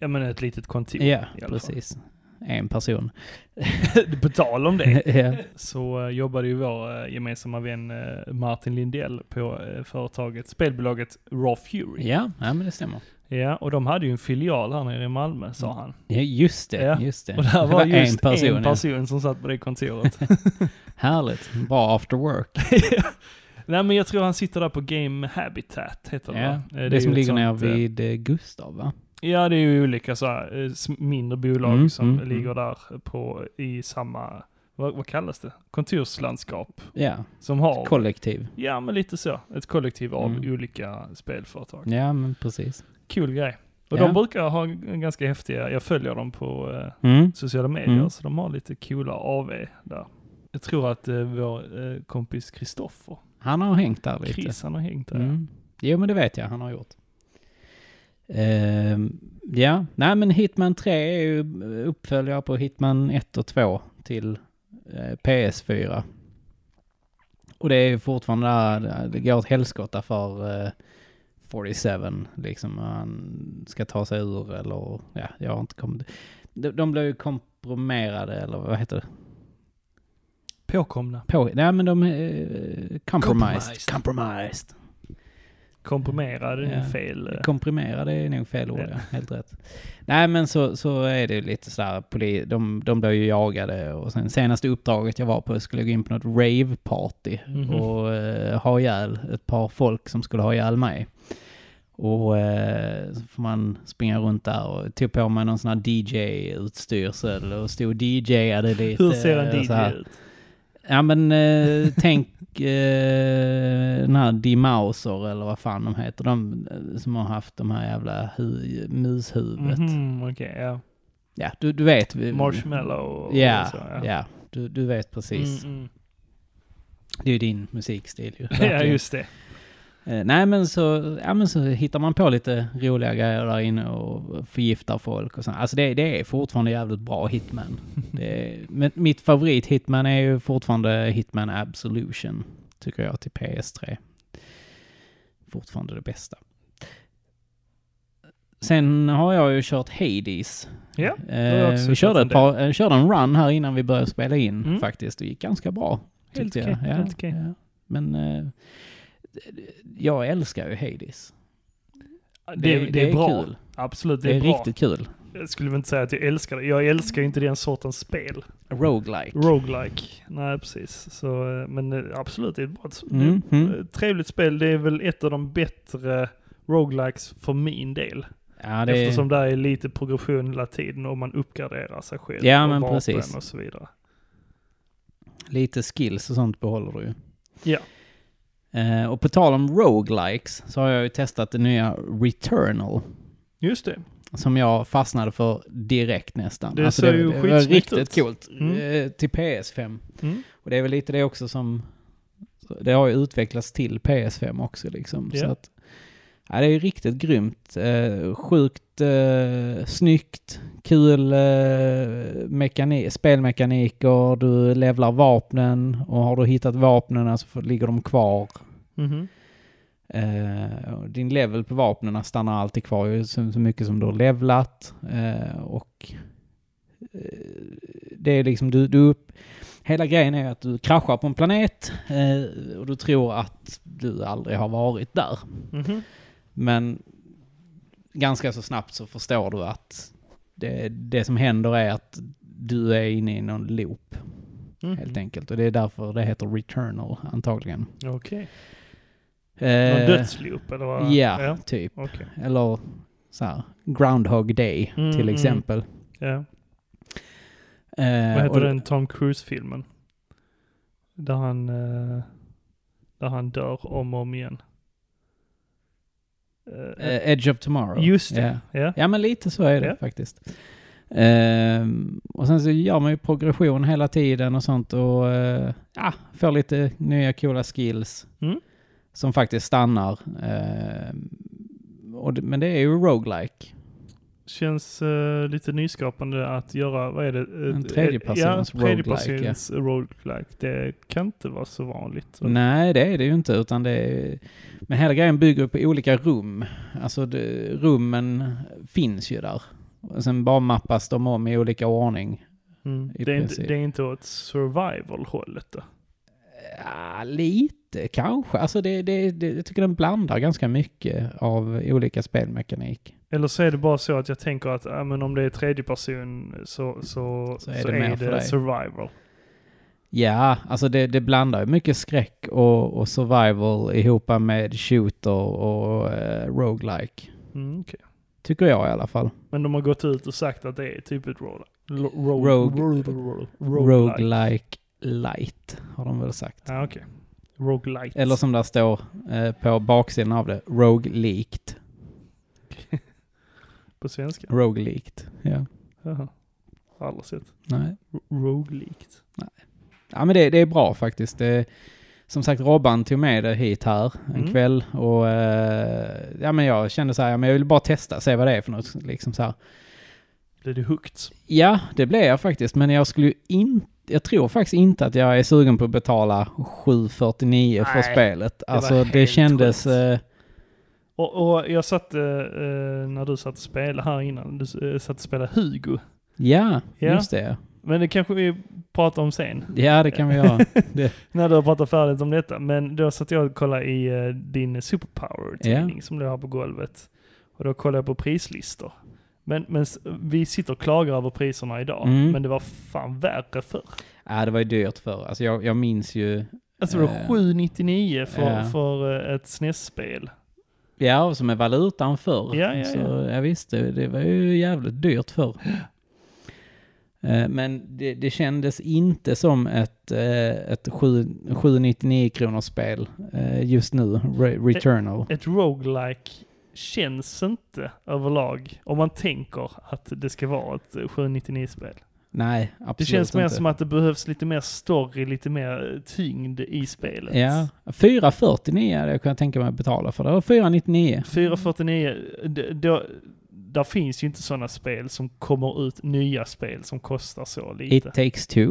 [SPEAKER 2] Ja men ett litet kontor.
[SPEAKER 1] ja
[SPEAKER 2] typ, i alla fall.
[SPEAKER 1] precis. En person.
[SPEAKER 2] På tal om det.
[SPEAKER 1] ja.
[SPEAKER 2] så eh, jobbade ju vår eh, gemensamma vän eh, Martin Lindell på eh, företaget, spelbolaget Raw Fury.
[SPEAKER 1] ja, ja, men det stämmer.
[SPEAKER 2] Ja, och de hade ju en filial här nere i Malmö, sa han.
[SPEAKER 1] Ja, just det,
[SPEAKER 2] Ja.
[SPEAKER 1] just Eh, det.
[SPEAKER 2] Och där var just en person,
[SPEAKER 1] ja.
[SPEAKER 2] som satt på det kontoret.
[SPEAKER 1] Härligt. Bra after work.
[SPEAKER 2] Nej men jag tror han sitter där på Game Habitat, heter det
[SPEAKER 1] Ja.
[SPEAKER 2] va? Eh,
[SPEAKER 1] Det,
[SPEAKER 2] är ju
[SPEAKER 1] som
[SPEAKER 2] ett
[SPEAKER 1] ligger
[SPEAKER 2] sånt,
[SPEAKER 1] nere
[SPEAKER 2] eh,
[SPEAKER 1] vid eh, Gustav, va?
[SPEAKER 2] Ja, det är ju olika så här, eh, sm- mindre bolag
[SPEAKER 1] Mm,
[SPEAKER 2] som
[SPEAKER 1] mm,
[SPEAKER 2] ligger där på, i samma, vad, vad kallas det? Kontorslandskap.
[SPEAKER 1] Ja,
[SPEAKER 2] Som har,
[SPEAKER 1] kollektiv.
[SPEAKER 2] ja men lite så, ett kollektiv av
[SPEAKER 1] Mm.
[SPEAKER 2] olika spelföretag.
[SPEAKER 1] Ja, men precis.
[SPEAKER 2] Kul grej. Och
[SPEAKER 1] Ja.
[SPEAKER 2] de brukar ha g- ganska häftiga, jag följer dem på eh,
[SPEAKER 1] Mm.
[SPEAKER 2] sociala medier,
[SPEAKER 1] Mm.
[SPEAKER 2] så de har lite coola AV där. Jag tror att eh, vår eh, kompis Kristoffer,
[SPEAKER 1] Han har hängt där lite.
[SPEAKER 2] Chris, han har hängt där.
[SPEAKER 1] Mm. Jo, men det vet jag han har gjort. Ehm, ja, nej men Hitman 3 är ju uppföljare på Hitman 1 och 2 till eh, PS4. Och det är ju fortfarande där, det går åt helskotta för eh, 47 liksom. Han ska ta sig ur eller, ja, jag har inte kommit... De, de blir ju komprimerade eller vad heter det?
[SPEAKER 2] Påkomna.
[SPEAKER 1] På, nej men de är eh, compromised.
[SPEAKER 2] Compromised.
[SPEAKER 1] Compromised.
[SPEAKER 2] Komprimerade, det är
[SPEAKER 1] Ja.
[SPEAKER 2] fel. eh,
[SPEAKER 1] Komprimerade är nog fel ord,
[SPEAKER 2] Ja.
[SPEAKER 1] ja. helt rätt. Nej, men så, så är det ju lite sådär, poli- de, de blev ju jagade och sen senaste uppdraget jag var på skulle jag gå in på något rave-party
[SPEAKER 2] Mhm.
[SPEAKER 1] och eh, ha ihjäl ett par folk som skulle ha ihjäl mig. Och eh, så får man springa runt där och tog på mig någon sån här DJ-utstyrsel och stod och DJade lite.
[SPEAKER 2] Hur ser en
[SPEAKER 1] eh, så här.
[SPEAKER 2] DJ ut?
[SPEAKER 1] Ja men eh, tänk eh, den här Dimauser eller vad fan de heter. De eh, som har haft de här jävla hu- mushuvudet.
[SPEAKER 2] Mhm, Okej, ja.
[SPEAKER 1] Ja, du, du vet. vi-
[SPEAKER 2] Marshmallow och
[SPEAKER 1] Ja,
[SPEAKER 2] så.
[SPEAKER 1] ja. du, du vet precis.
[SPEAKER 2] Mm, mm.
[SPEAKER 1] Det är ju din musikstil ju.
[SPEAKER 2] Ja,
[SPEAKER 1] verkligen.
[SPEAKER 2] just det.
[SPEAKER 1] Eh, nej men så, ja, men så hittar man på lite roliga grejer där inne och förgiftar folk och sånt. Alltså det, det är fortfarande jävligt bra Hitman.
[SPEAKER 2] Mm.
[SPEAKER 1] Det är, Eh, men mitt favorit Hitman är ju fortfarande Hitman Absolution. Tycker jag till PS3. Fortfarande det bästa. Sen har jag ju kört Hades.
[SPEAKER 2] Ja, har jag
[SPEAKER 1] eh,
[SPEAKER 2] också
[SPEAKER 1] vi körde,
[SPEAKER 2] kört
[SPEAKER 1] ett par, eh, körde en run här innan vi började spela in
[SPEAKER 2] Mm.
[SPEAKER 1] faktiskt. Det gick ganska bra.
[SPEAKER 2] Helt
[SPEAKER 1] tyckte jag.
[SPEAKER 2] okej,
[SPEAKER 1] Ja,
[SPEAKER 2] helt okej.
[SPEAKER 1] ja. Men eh, jag älskar ju Hades.
[SPEAKER 2] Det, det, är bra.
[SPEAKER 1] Kul.
[SPEAKER 2] Absolut,
[SPEAKER 1] Det,
[SPEAKER 2] det,
[SPEAKER 1] är,
[SPEAKER 2] är, bra.
[SPEAKER 1] riktigt kul.
[SPEAKER 2] Jag skulle väl inte säga att jag älskar det. Jag älskar ju inte den sortens spel.
[SPEAKER 1] Roguelike.
[SPEAKER 2] Roguelike. Nej, precis. Så, eh, men eh, absolut, det är ett bra
[SPEAKER 1] Mm, mm.
[SPEAKER 2] eh, trevligt spel. Det är väl ett av de bättre roguelikes för min del.
[SPEAKER 1] Ja, det är,
[SPEAKER 2] Eftersom där är lite progression hela tiden och man uppgraderar sig själv
[SPEAKER 1] Ja,
[SPEAKER 2] och
[SPEAKER 1] men
[SPEAKER 2] vapen
[SPEAKER 1] precis.
[SPEAKER 2] och så vidare.
[SPEAKER 1] lite skills och sånt behåller du ju.
[SPEAKER 2] Ja.
[SPEAKER 1] Eh, och på tal om roguelikes så har jag ju testat det nya Returnal.
[SPEAKER 2] Just det.
[SPEAKER 1] Som jag fastnade för direkt nästan. Alltså,
[SPEAKER 2] Det ser ju
[SPEAKER 1] det var
[SPEAKER 2] skitsnyggt
[SPEAKER 1] riktigt
[SPEAKER 2] ut.
[SPEAKER 1] coolt.
[SPEAKER 2] Mm.
[SPEAKER 1] Eh, till PS5.
[SPEAKER 2] Mm.
[SPEAKER 1] Och det är väl lite det också som... Det har ju utvecklats till PS5 också liksom.
[SPEAKER 2] Ja.
[SPEAKER 1] Så att, ja, det är ju riktigt grymt. Eh, sjukt eh, snyggt, kul eh, mekani- spelmekaniker, du levlar vapnen och har du hittat vapnen så får- ligger de kvar.
[SPEAKER 2] Mhm.
[SPEAKER 1] Eh, och din level på vapnen stannar alltid kvar ju så, så mycket som du har levlat. Eh, och eh, det är liksom du, du upp, Hela grejen är att du kraschar på en planet eh, och du tror att du aldrig har varit där.
[SPEAKER 2] Mhm.
[SPEAKER 1] Men ganska så snabbt så förstår du att det, det som händer är att du är inne i någon loop
[SPEAKER 2] Mhm.
[SPEAKER 1] helt enkelt. Och det är därför det heter Returnal antagligen.
[SPEAKER 2] Okej. Någon
[SPEAKER 1] Eh,
[SPEAKER 2] dödsloop eller
[SPEAKER 1] Ja,
[SPEAKER 2] vad?
[SPEAKER 1] typ.
[SPEAKER 2] Okej.
[SPEAKER 1] Eller så här, Groundhog Day
[SPEAKER 2] Mm,
[SPEAKER 1] till
[SPEAKER 2] mm.
[SPEAKER 1] exempel.
[SPEAKER 2] Ja.
[SPEAKER 1] Eh,
[SPEAKER 2] Vad
[SPEAKER 1] och-
[SPEAKER 2] heter den Tom Cruise-filmen? Där han, eh, där han dör om och om igen. Eh,
[SPEAKER 1] eh, Edge of Tomorrow.
[SPEAKER 2] Just
[SPEAKER 1] Ja.
[SPEAKER 2] det. Ja.
[SPEAKER 1] Ja, men lite så är det
[SPEAKER 2] Ja.
[SPEAKER 1] faktiskt. Ehm, och sen så gör man ju progression hela tiden och sånt och eh, ja, får lite nya coola skills
[SPEAKER 2] Mm.
[SPEAKER 1] som faktiskt stannar. Ehm, och det, men det är ju roguelike.
[SPEAKER 2] Känns eh, lite nyskapande att göra, vad är det? Ett-
[SPEAKER 1] En tredjepersons
[SPEAKER 2] ja,
[SPEAKER 1] roguelike,
[SPEAKER 2] tredjepersons roguelike. Det kan inte vara så vanligt.
[SPEAKER 1] Nej, det är det ju inte. Utan det är... Men hela grejen bygger på olika rum. Alltså det, rummen finns ju där. Och sen bara mappas de om i olika ordning.
[SPEAKER 2] Mm.
[SPEAKER 1] i
[SPEAKER 2] Det, är inte,
[SPEAKER 1] princip.
[SPEAKER 2] det är inte åt survival-hållet då.
[SPEAKER 1] Ja, lite kanske. Alltså det, det, det, jag tycker den blandar ganska mycket av olika spelmekanik.
[SPEAKER 2] Eller så är det bara så att jag tänker att ja, men om det är tredje person så, så,
[SPEAKER 1] Så är det mer för dig.
[SPEAKER 2] survival.
[SPEAKER 1] Ja, alltså det, det blandar ju mycket skräck och, och survival ihop med shooter och eh, roguelike.
[SPEAKER 2] Mm, okej.
[SPEAKER 1] Tycker jag i alla fall.
[SPEAKER 2] Men de har gått ut och sagt att det är typ ett roll. Lo-
[SPEAKER 1] Rogue-
[SPEAKER 2] roll- roll- roguelike.
[SPEAKER 1] Roguelike light har de väl sagt.
[SPEAKER 2] Ja, okej. Roguelite.
[SPEAKER 1] Eller som där står eh, på baksidan av det, Rogue Leaked.
[SPEAKER 2] På svenska.
[SPEAKER 1] Rogue Leaked. Ja.
[SPEAKER 2] Jaha. Aldrig sett.
[SPEAKER 1] Nej.
[SPEAKER 2] Roguelikt.
[SPEAKER 1] Ja men det, det är bra faktiskt. Det, som sagt Robban tog med det hit här en
[SPEAKER 2] Mm.
[SPEAKER 1] kväll och eh, ja men jag kände så här, ja, men jag vill bara testa, se vad det är för något liksom så här.
[SPEAKER 2] Blev du hooked?
[SPEAKER 1] Ja, det blev jag faktiskt, men jag skulle ju inte jag tror faktiskt inte att jag är sugen på att betala 749 för
[SPEAKER 2] Nej,
[SPEAKER 1] spelet.
[SPEAKER 2] var
[SPEAKER 1] Alltså det
[SPEAKER 2] helt
[SPEAKER 1] kändes...
[SPEAKER 2] sjukt.
[SPEAKER 1] eh,
[SPEAKER 2] Och, och jag satt, eh, eh, när du satt och spelade här innan, du eh, satt och spelade Hugo.
[SPEAKER 1] ja,
[SPEAKER 2] Ja.
[SPEAKER 1] just det.
[SPEAKER 2] Men det kanske vi pratar om sen,
[SPEAKER 1] Ja, det kan vi göra.
[SPEAKER 2] när du har pratat färdigt om detta. Men då satt jag och kollade i eh, din Superpower-tidning som du har på golvet. Och då kollade jag på prislistor. Men, men s- vi sitter och klagar över priserna idag,
[SPEAKER 1] Mm.
[SPEAKER 2] men det var fan värre förr.
[SPEAKER 1] ja, det var ju dyrt för. Alltså jag, jag minns ju...
[SPEAKER 2] Alltså det var
[SPEAKER 1] Eh.
[SPEAKER 2] 799 för,
[SPEAKER 1] Ja.
[SPEAKER 2] för eh, ett SNES-spel.
[SPEAKER 1] Ja, och som är valutan förr.
[SPEAKER 2] Ja, ja,
[SPEAKER 1] så,
[SPEAKER 2] ja.
[SPEAKER 1] ja visst, det, det var ju jävligt dyrt förr. Eh, Men det, det kändes inte som ett, eh, ett 7 799 kronors spel eh, just nu, Re- Returnal.
[SPEAKER 2] Ett roguelike känns inte överlag, om man tänker att det ska vara ett eh, 799-spel.
[SPEAKER 1] Nej,
[SPEAKER 2] Det
[SPEAKER 1] absolut
[SPEAKER 2] känns mer
[SPEAKER 1] inte.
[SPEAKER 2] som att det behövs lite mer story, lite mer eh, tyngd i spelet.
[SPEAKER 1] Ja, 449 hade jag kunnat tänka mig att betala för. Det var 499.
[SPEAKER 2] 449, d- då, där finns ju inte sådana spel som kommer ut, nya spel som kostar så lite.
[SPEAKER 1] It takes two.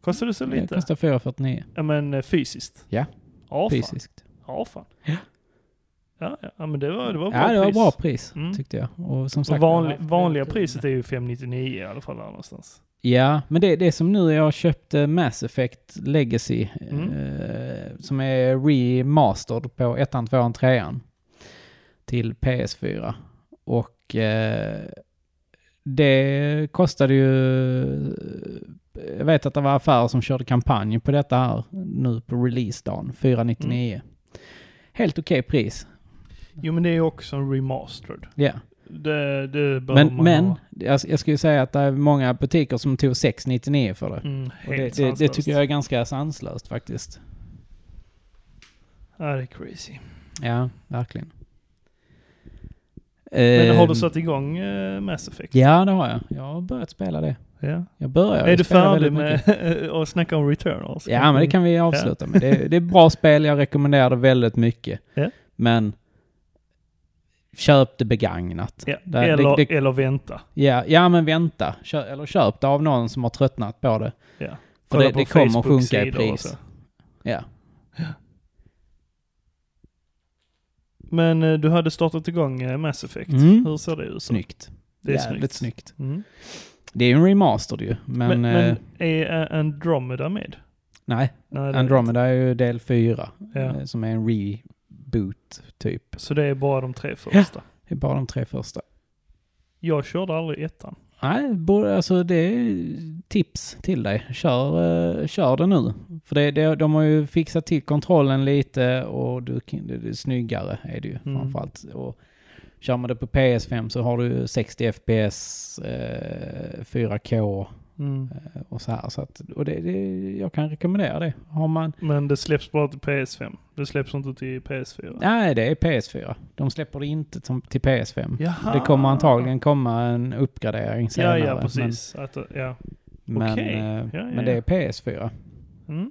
[SPEAKER 2] Kostar det så
[SPEAKER 1] Det
[SPEAKER 2] lite?
[SPEAKER 1] kostar 449
[SPEAKER 2] Ja men eh, fysiskt.
[SPEAKER 1] Ja.
[SPEAKER 2] Ja fan.
[SPEAKER 1] fysiskt.
[SPEAKER 2] Ja, fan.
[SPEAKER 1] Ja.
[SPEAKER 2] Ja, ja. ja men det var, det var
[SPEAKER 1] Ja,
[SPEAKER 2] bra
[SPEAKER 1] det var
[SPEAKER 2] pris.
[SPEAKER 1] bra pris
[SPEAKER 2] Mm.
[SPEAKER 1] tyckte jag. Och som
[SPEAKER 2] Och
[SPEAKER 1] sagt,
[SPEAKER 2] vanlig, vanliga priset är ju 599 i alla fall där någonstans.
[SPEAKER 1] Ja, men det, det är som nu jag köpte Mass Effect Legacy.
[SPEAKER 2] Mm.
[SPEAKER 1] Eh, som är remastered på ettan, tvåan, trean. Till PS4. Och eh, det kostade ju... eh, Jag vet att det var affärer som körde kampanj på detta här nu på releasedagen. 499. Helt okej pris.
[SPEAKER 2] Jo men det är ju också en remastered.
[SPEAKER 1] Ja.
[SPEAKER 2] Det, det bör
[SPEAKER 1] Men,
[SPEAKER 2] man
[SPEAKER 1] men
[SPEAKER 2] ha.
[SPEAKER 1] jag, jag skulle säga att det är många butiker som tog 699 för det.
[SPEAKER 2] Mm,
[SPEAKER 1] Och det,
[SPEAKER 2] helt
[SPEAKER 1] det, det
[SPEAKER 2] sanslöst.
[SPEAKER 1] tycker jag är ganska sanslöst faktiskt.
[SPEAKER 2] Ja, det är crazy.
[SPEAKER 1] Ehm, Ja, verkligen.
[SPEAKER 2] Men har du
[SPEAKER 1] Ehm,
[SPEAKER 2] satt igång eh, Mass Effect?
[SPEAKER 1] Ja, det har jag. Jag är har börjat spela det.
[SPEAKER 2] Ja.
[SPEAKER 1] Jag börjar
[SPEAKER 2] är du
[SPEAKER 1] spela
[SPEAKER 2] färdig
[SPEAKER 1] väldigt
[SPEAKER 2] med
[SPEAKER 1] mycket.
[SPEAKER 2] att snacka om Returnals?
[SPEAKER 1] Ja, men det kan vi avsluta med. Det, det är ett bra spel, jag rekommenderar det väldigt mycket.
[SPEAKER 2] Ja.
[SPEAKER 1] Men köp det begagnat.
[SPEAKER 2] Ja.
[SPEAKER 1] Det-
[SPEAKER 2] eller,
[SPEAKER 1] det- det-
[SPEAKER 2] eller vänta.
[SPEAKER 1] Ja, ja men vänta. Kö, eller köp det av någon som har tröttnat på det.
[SPEAKER 2] Ja.
[SPEAKER 1] För
[SPEAKER 2] Kolla
[SPEAKER 1] det,
[SPEAKER 2] på
[SPEAKER 1] det kommer att sjunka i
[SPEAKER 2] Facebook-sidor och
[SPEAKER 1] pris.
[SPEAKER 2] så.
[SPEAKER 1] Ja.
[SPEAKER 2] Men eh, du hade startat igång eh, Mass Effect.
[SPEAKER 1] Mm.
[SPEAKER 2] Hur ser det ut?
[SPEAKER 1] Snyggt.
[SPEAKER 2] Det är
[SPEAKER 1] Jävligt
[SPEAKER 2] snyggt.
[SPEAKER 1] snyggt.
[SPEAKER 2] Mm.
[SPEAKER 1] Det är ju en remastered ju, men...
[SPEAKER 2] Men, men,
[SPEAKER 1] eh,
[SPEAKER 2] är eh, Andromeda med?
[SPEAKER 1] nej,
[SPEAKER 2] Nej, det är
[SPEAKER 1] Andromeda är ju del fyra.
[SPEAKER 2] inte. Ja.
[SPEAKER 1] eh, Som är en reboot, typ.
[SPEAKER 2] Så det är bara de tre första.
[SPEAKER 1] Det är bara de tre första.
[SPEAKER 2] Jag körde aldrig ettan.
[SPEAKER 1] Nej, bo- alltså det är tips till dig. Kör, eh, kör det nu. För det, det, de har ju fixat till kontrollen lite och du, kan- det, det är snyggare är det ju
[SPEAKER 2] Mm.
[SPEAKER 1] framförallt. Och kör man det på PS5 så har du 60 FPS, eh, 4K
[SPEAKER 2] Mm.
[SPEAKER 1] eh, och så här. Så att, och det, det, jag kan rekommendera det. Har man
[SPEAKER 2] Men det släpps bara till PS5. Det släpps inte till PS4.
[SPEAKER 1] Nej, det är PS4. De släpper det inte som till PS5.
[SPEAKER 2] Jaha.
[SPEAKER 1] Det kommer antagligen komma en uppgradering
[SPEAKER 2] Ah. Ja,
[SPEAKER 1] senare.
[SPEAKER 2] ja, precis. Att, ja.
[SPEAKER 1] Men, men,
[SPEAKER 2] Okej.
[SPEAKER 1] eh,
[SPEAKER 2] Ja, ja,
[SPEAKER 1] men det är
[SPEAKER 2] ja.
[SPEAKER 1] PS4.
[SPEAKER 2] Mm.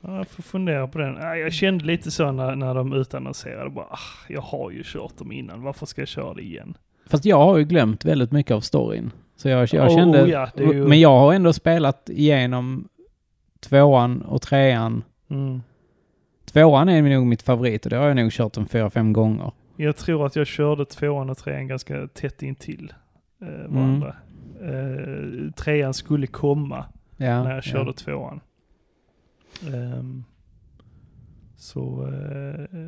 [SPEAKER 2] Ja, jag får fundera på den. Ja, Jag kände lite så när, när de utannonserade. Bara, ah, jag har ju kört dem innan, varför ska jag köra det igen?
[SPEAKER 1] Fast jag har ju glömt väldigt mycket av storyn. Så jag, jag
[SPEAKER 2] Oh,
[SPEAKER 1] kände...
[SPEAKER 2] ja, det är ju-
[SPEAKER 1] Men jag har ändå spelat igenom tvåan och trean.
[SPEAKER 2] Mm.
[SPEAKER 1] Tvåan är nog mitt favorit och det har jag nog kört en fyra, fem gånger.
[SPEAKER 2] Jag tror att jag körde tvåan och trean ganska tätt intill eh,
[SPEAKER 1] Mm.
[SPEAKER 2] varandra. Eh, trean skulle komma
[SPEAKER 1] Ja,
[SPEAKER 2] när jag körde
[SPEAKER 1] ja.
[SPEAKER 2] tvåan. Ehm, så eh,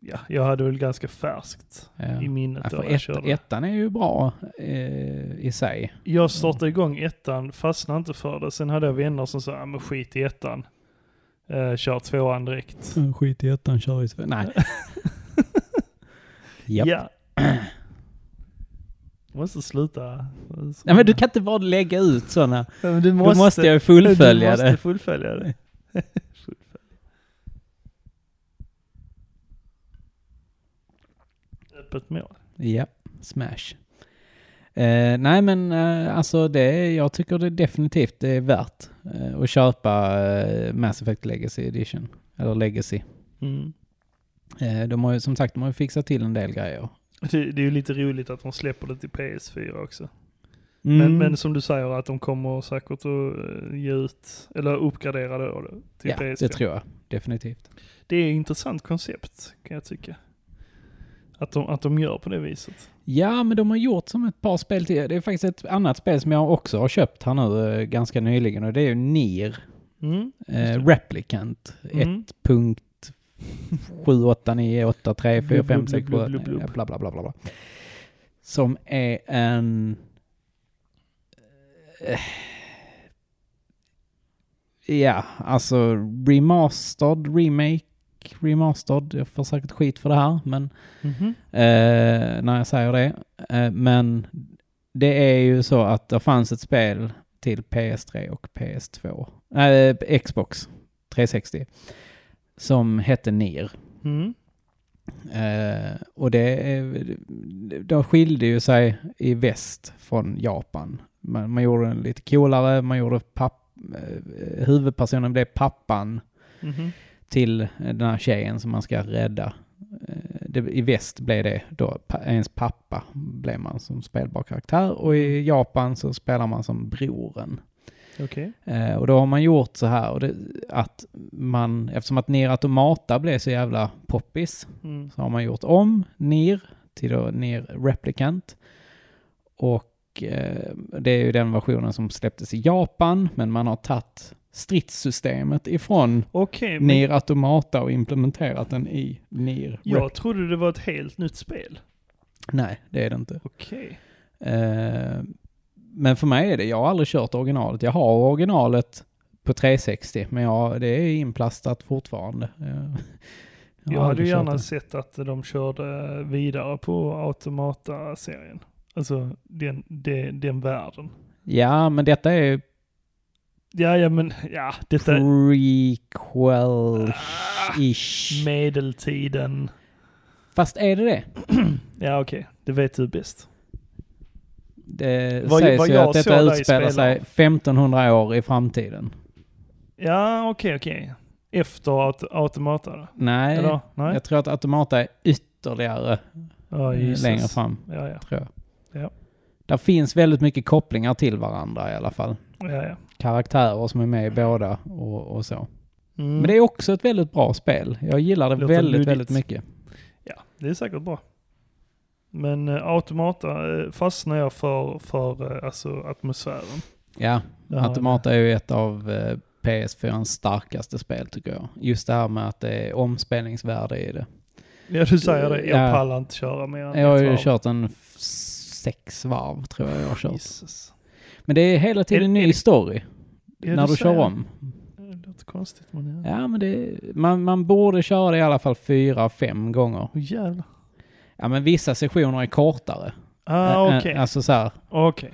[SPEAKER 2] ja, jag hade väl ganska färskt
[SPEAKER 1] Ja.
[SPEAKER 2] i minnet
[SPEAKER 1] Ja,
[SPEAKER 2] då
[SPEAKER 1] för
[SPEAKER 2] jag körde.
[SPEAKER 1] ett, ettan är ju bra eh, i sig.
[SPEAKER 2] Jag startade igång ettan, fastnade inte för det. Sen hade jag vänner som sa, "Ah, men skit i ettan. Eh, kör tvåan direkt.
[SPEAKER 1] Skit i ettan, kör i tvåan. Nej. Japp.
[SPEAKER 2] Ja. Du måste sluta.
[SPEAKER 1] Nej men du kan inte bara lägga ut sådana.
[SPEAKER 2] Ja, men du
[SPEAKER 1] Då måste jag ju fullfölja
[SPEAKER 2] Du måste
[SPEAKER 1] det.
[SPEAKER 2] fullfölja det. Fullfölja. Öppet mål.
[SPEAKER 1] Ja, smash. Eh, nej men eh, alltså det, jag tycker det definitivt det är värt eh, att köpa eh, Mass Effect Legacy Edition. Eller Legacy.
[SPEAKER 2] Mm.
[SPEAKER 1] Eh, de har ju som sagt de har ju fixat till en del grejer.
[SPEAKER 2] Det, det är ju lite roligt att de släpper det till PS4 också.
[SPEAKER 1] Mm.
[SPEAKER 2] Men, men som du säger att de kommer säkert att eh, ge ut, eller uppgradera då det till
[SPEAKER 1] ja,
[SPEAKER 2] PS4.
[SPEAKER 1] det tror jag definitivt.
[SPEAKER 2] Det är ett intressant koncept kan jag tycka. Att de, att de gör på det viset.
[SPEAKER 1] Ja, men de har gjort som ett par spel till. Det är faktiskt ett annat spel som jag också har köpt här nu eh, ganska nyligen och det är ju Nier
[SPEAKER 2] Mm. Just
[SPEAKER 1] eh,
[SPEAKER 2] det.
[SPEAKER 1] Replicant
[SPEAKER 2] Mm.
[SPEAKER 1] 1.789834567
[SPEAKER 2] Blub, blub, blub, blub, blub.
[SPEAKER 1] bla bla bla bla bla. Som är en... eh, Ja, alltså remastered, remake, remastered. Jag får säkert skit för det här, men
[SPEAKER 2] Mhm.
[SPEAKER 1] eh, när jag säger det. Eh, men det är ju så att det fanns ett spel till PS3 och PS2. Nej, eh, Xbox 360. Som hette Nier.
[SPEAKER 2] Mm.
[SPEAKER 1] Eh, och det, är- de skilde ju sig i väst från Japan. Man, man gjorde den lite coolare, man gjorde papp, eh, huvudpersonen blev pappan
[SPEAKER 2] Mhm.
[SPEAKER 1] till eh, den här tjejen som man ska rädda. Eh, Det, I väst blev det då pa- ens pappa blev man som spelbar karaktär och i Japan så spelar man som broren.
[SPEAKER 2] Okej.
[SPEAKER 1] Eh, Och då har man gjort så här och det, att man, eftersom att Nier Automata blev så jävla poppis
[SPEAKER 2] Mm.
[SPEAKER 1] så har man gjort om NIR till då NIR Replicant. Och eh, det är ju den versionen som släpptes i Japan men man har tagit stridssystemet ifrån
[SPEAKER 2] Okej, men
[SPEAKER 1] Nier Automata och implementerat den i Nier. Rep-
[SPEAKER 2] jag trodde det var ett helt nytt spel.
[SPEAKER 1] Nej, det är det inte.
[SPEAKER 2] Okej.
[SPEAKER 1] Eh, men för mig är det, jag har aldrig kört originalet. Jag har originalet på 360, men jag, det är inplastat fortfarande. Eh, har
[SPEAKER 2] Jag hade
[SPEAKER 1] aldrig
[SPEAKER 2] ju
[SPEAKER 1] kört
[SPEAKER 2] gärna
[SPEAKER 1] det.
[SPEAKER 2] sett att de körde vidare på Automata-serien. Alltså den, den, den världen.
[SPEAKER 1] Ja, men detta är ju
[SPEAKER 2] Ja, ja, men ja, detta är Ah,
[SPEAKER 1] prequel-ish.
[SPEAKER 2] medeltiden.
[SPEAKER 1] Fast är det det?
[SPEAKER 2] Ja, okej. Det vet du bäst.
[SPEAKER 1] Det
[SPEAKER 2] Vad-
[SPEAKER 1] sägs
[SPEAKER 2] vad
[SPEAKER 1] ju
[SPEAKER 2] jag
[SPEAKER 1] att
[SPEAKER 2] såg
[SPEAKER 1] detta
[SPEAKER 2] där i
[SPEAKER 1] utspelar sig
[SPEAKER 2] spelaren.
[SPEAKER 1] 1500 år i framtiden.
[SPEAKER 2] Ja, okej, okej. Efter aut Automata då?
[SPEAKER 1] Nej,
[SPEAKER 2] Eller? Nej?
[SPEAKER 1] jag tror att Automata är ytterligare
[SPEAKER 2] Ja,
[SPEAKER 1] eh,
[SPEAKER 2] Jesus.
[SPEAKER 1] längre fram.
[SPEAKER 2] Ja, ja.
[SPEAKER 1] tror jag.
[SPEAKER 2] Ja.
[SPEAKER 1] Där finns väldigt mycket kopplingar till varandra i alla fall.
[SPEAKER 2] ja, ja.
[SPEAKER 1] Karaktärer som är med i båda och, och så.
[SPEAKER 2] Mm.
[SPEAKER 1] Men det är också ett väldigt bra spel. Jag gillar det
[SPEAKER 2] Låter
[SPEAKER 1] väldigt,
[SPEAKER 2] luddigt.
[SPEAKER 1] väldigt mycket.
[SPEAKER 2] Ja, det är säkert bra. Men eh, Automata eh, fastnar jag för, för eh, alltså atmosfären.
[SPEAKER 1] Ja,
[SPEAKER 2] Det har-
[SPEAKER 1] Automata är ju ett av eh, PS4 starkaste spel tycker jag. Just det här med att det är omspelningsvärde i det.
[SPEAKER 2] Ja, du säger det. Jag
[SPEAKER 1] Ja.
[SPEAKER 2] pallar inte köra mer än
[SPEAKER 1] Jag har
[SPEAKER 2] ett
[SPEAKER 1] ju
[SPEAKER 2] varv.
[SPEAKER 1] kört en f- sex varv tror jag jag har kört.
[SPEAKER 2] Jesus.
[SPEAKER 1] Men det är hela tiden
[SPEAKER 2] Är-
[SPEAKER 1] en ny story
[SPEAKER 2] Ja,
[SPEAKER 1] när
[SPEAKER 2] du
[SPEAKER 1] du kör
[SPEAKER 2] säger
[SPEAKER 1] om.
[SPEAKER 2] Det låter konstigt men ja.
[SPEAKER 1] Ja, men det, man, man borde köra det i alla fall fyra, fem gånger.
[SPEAKER 2] Åh jävlar.
[SPEAKER 1] Ja, men vissa sessioner är kortare.
[SPEAKER 2] Ah,
[SPEAKER 1] Ä- ä-
[SPEAKER 2] okej.
[SPEAKER 1] Alltså så här,
[SPEAKER 2] Okej.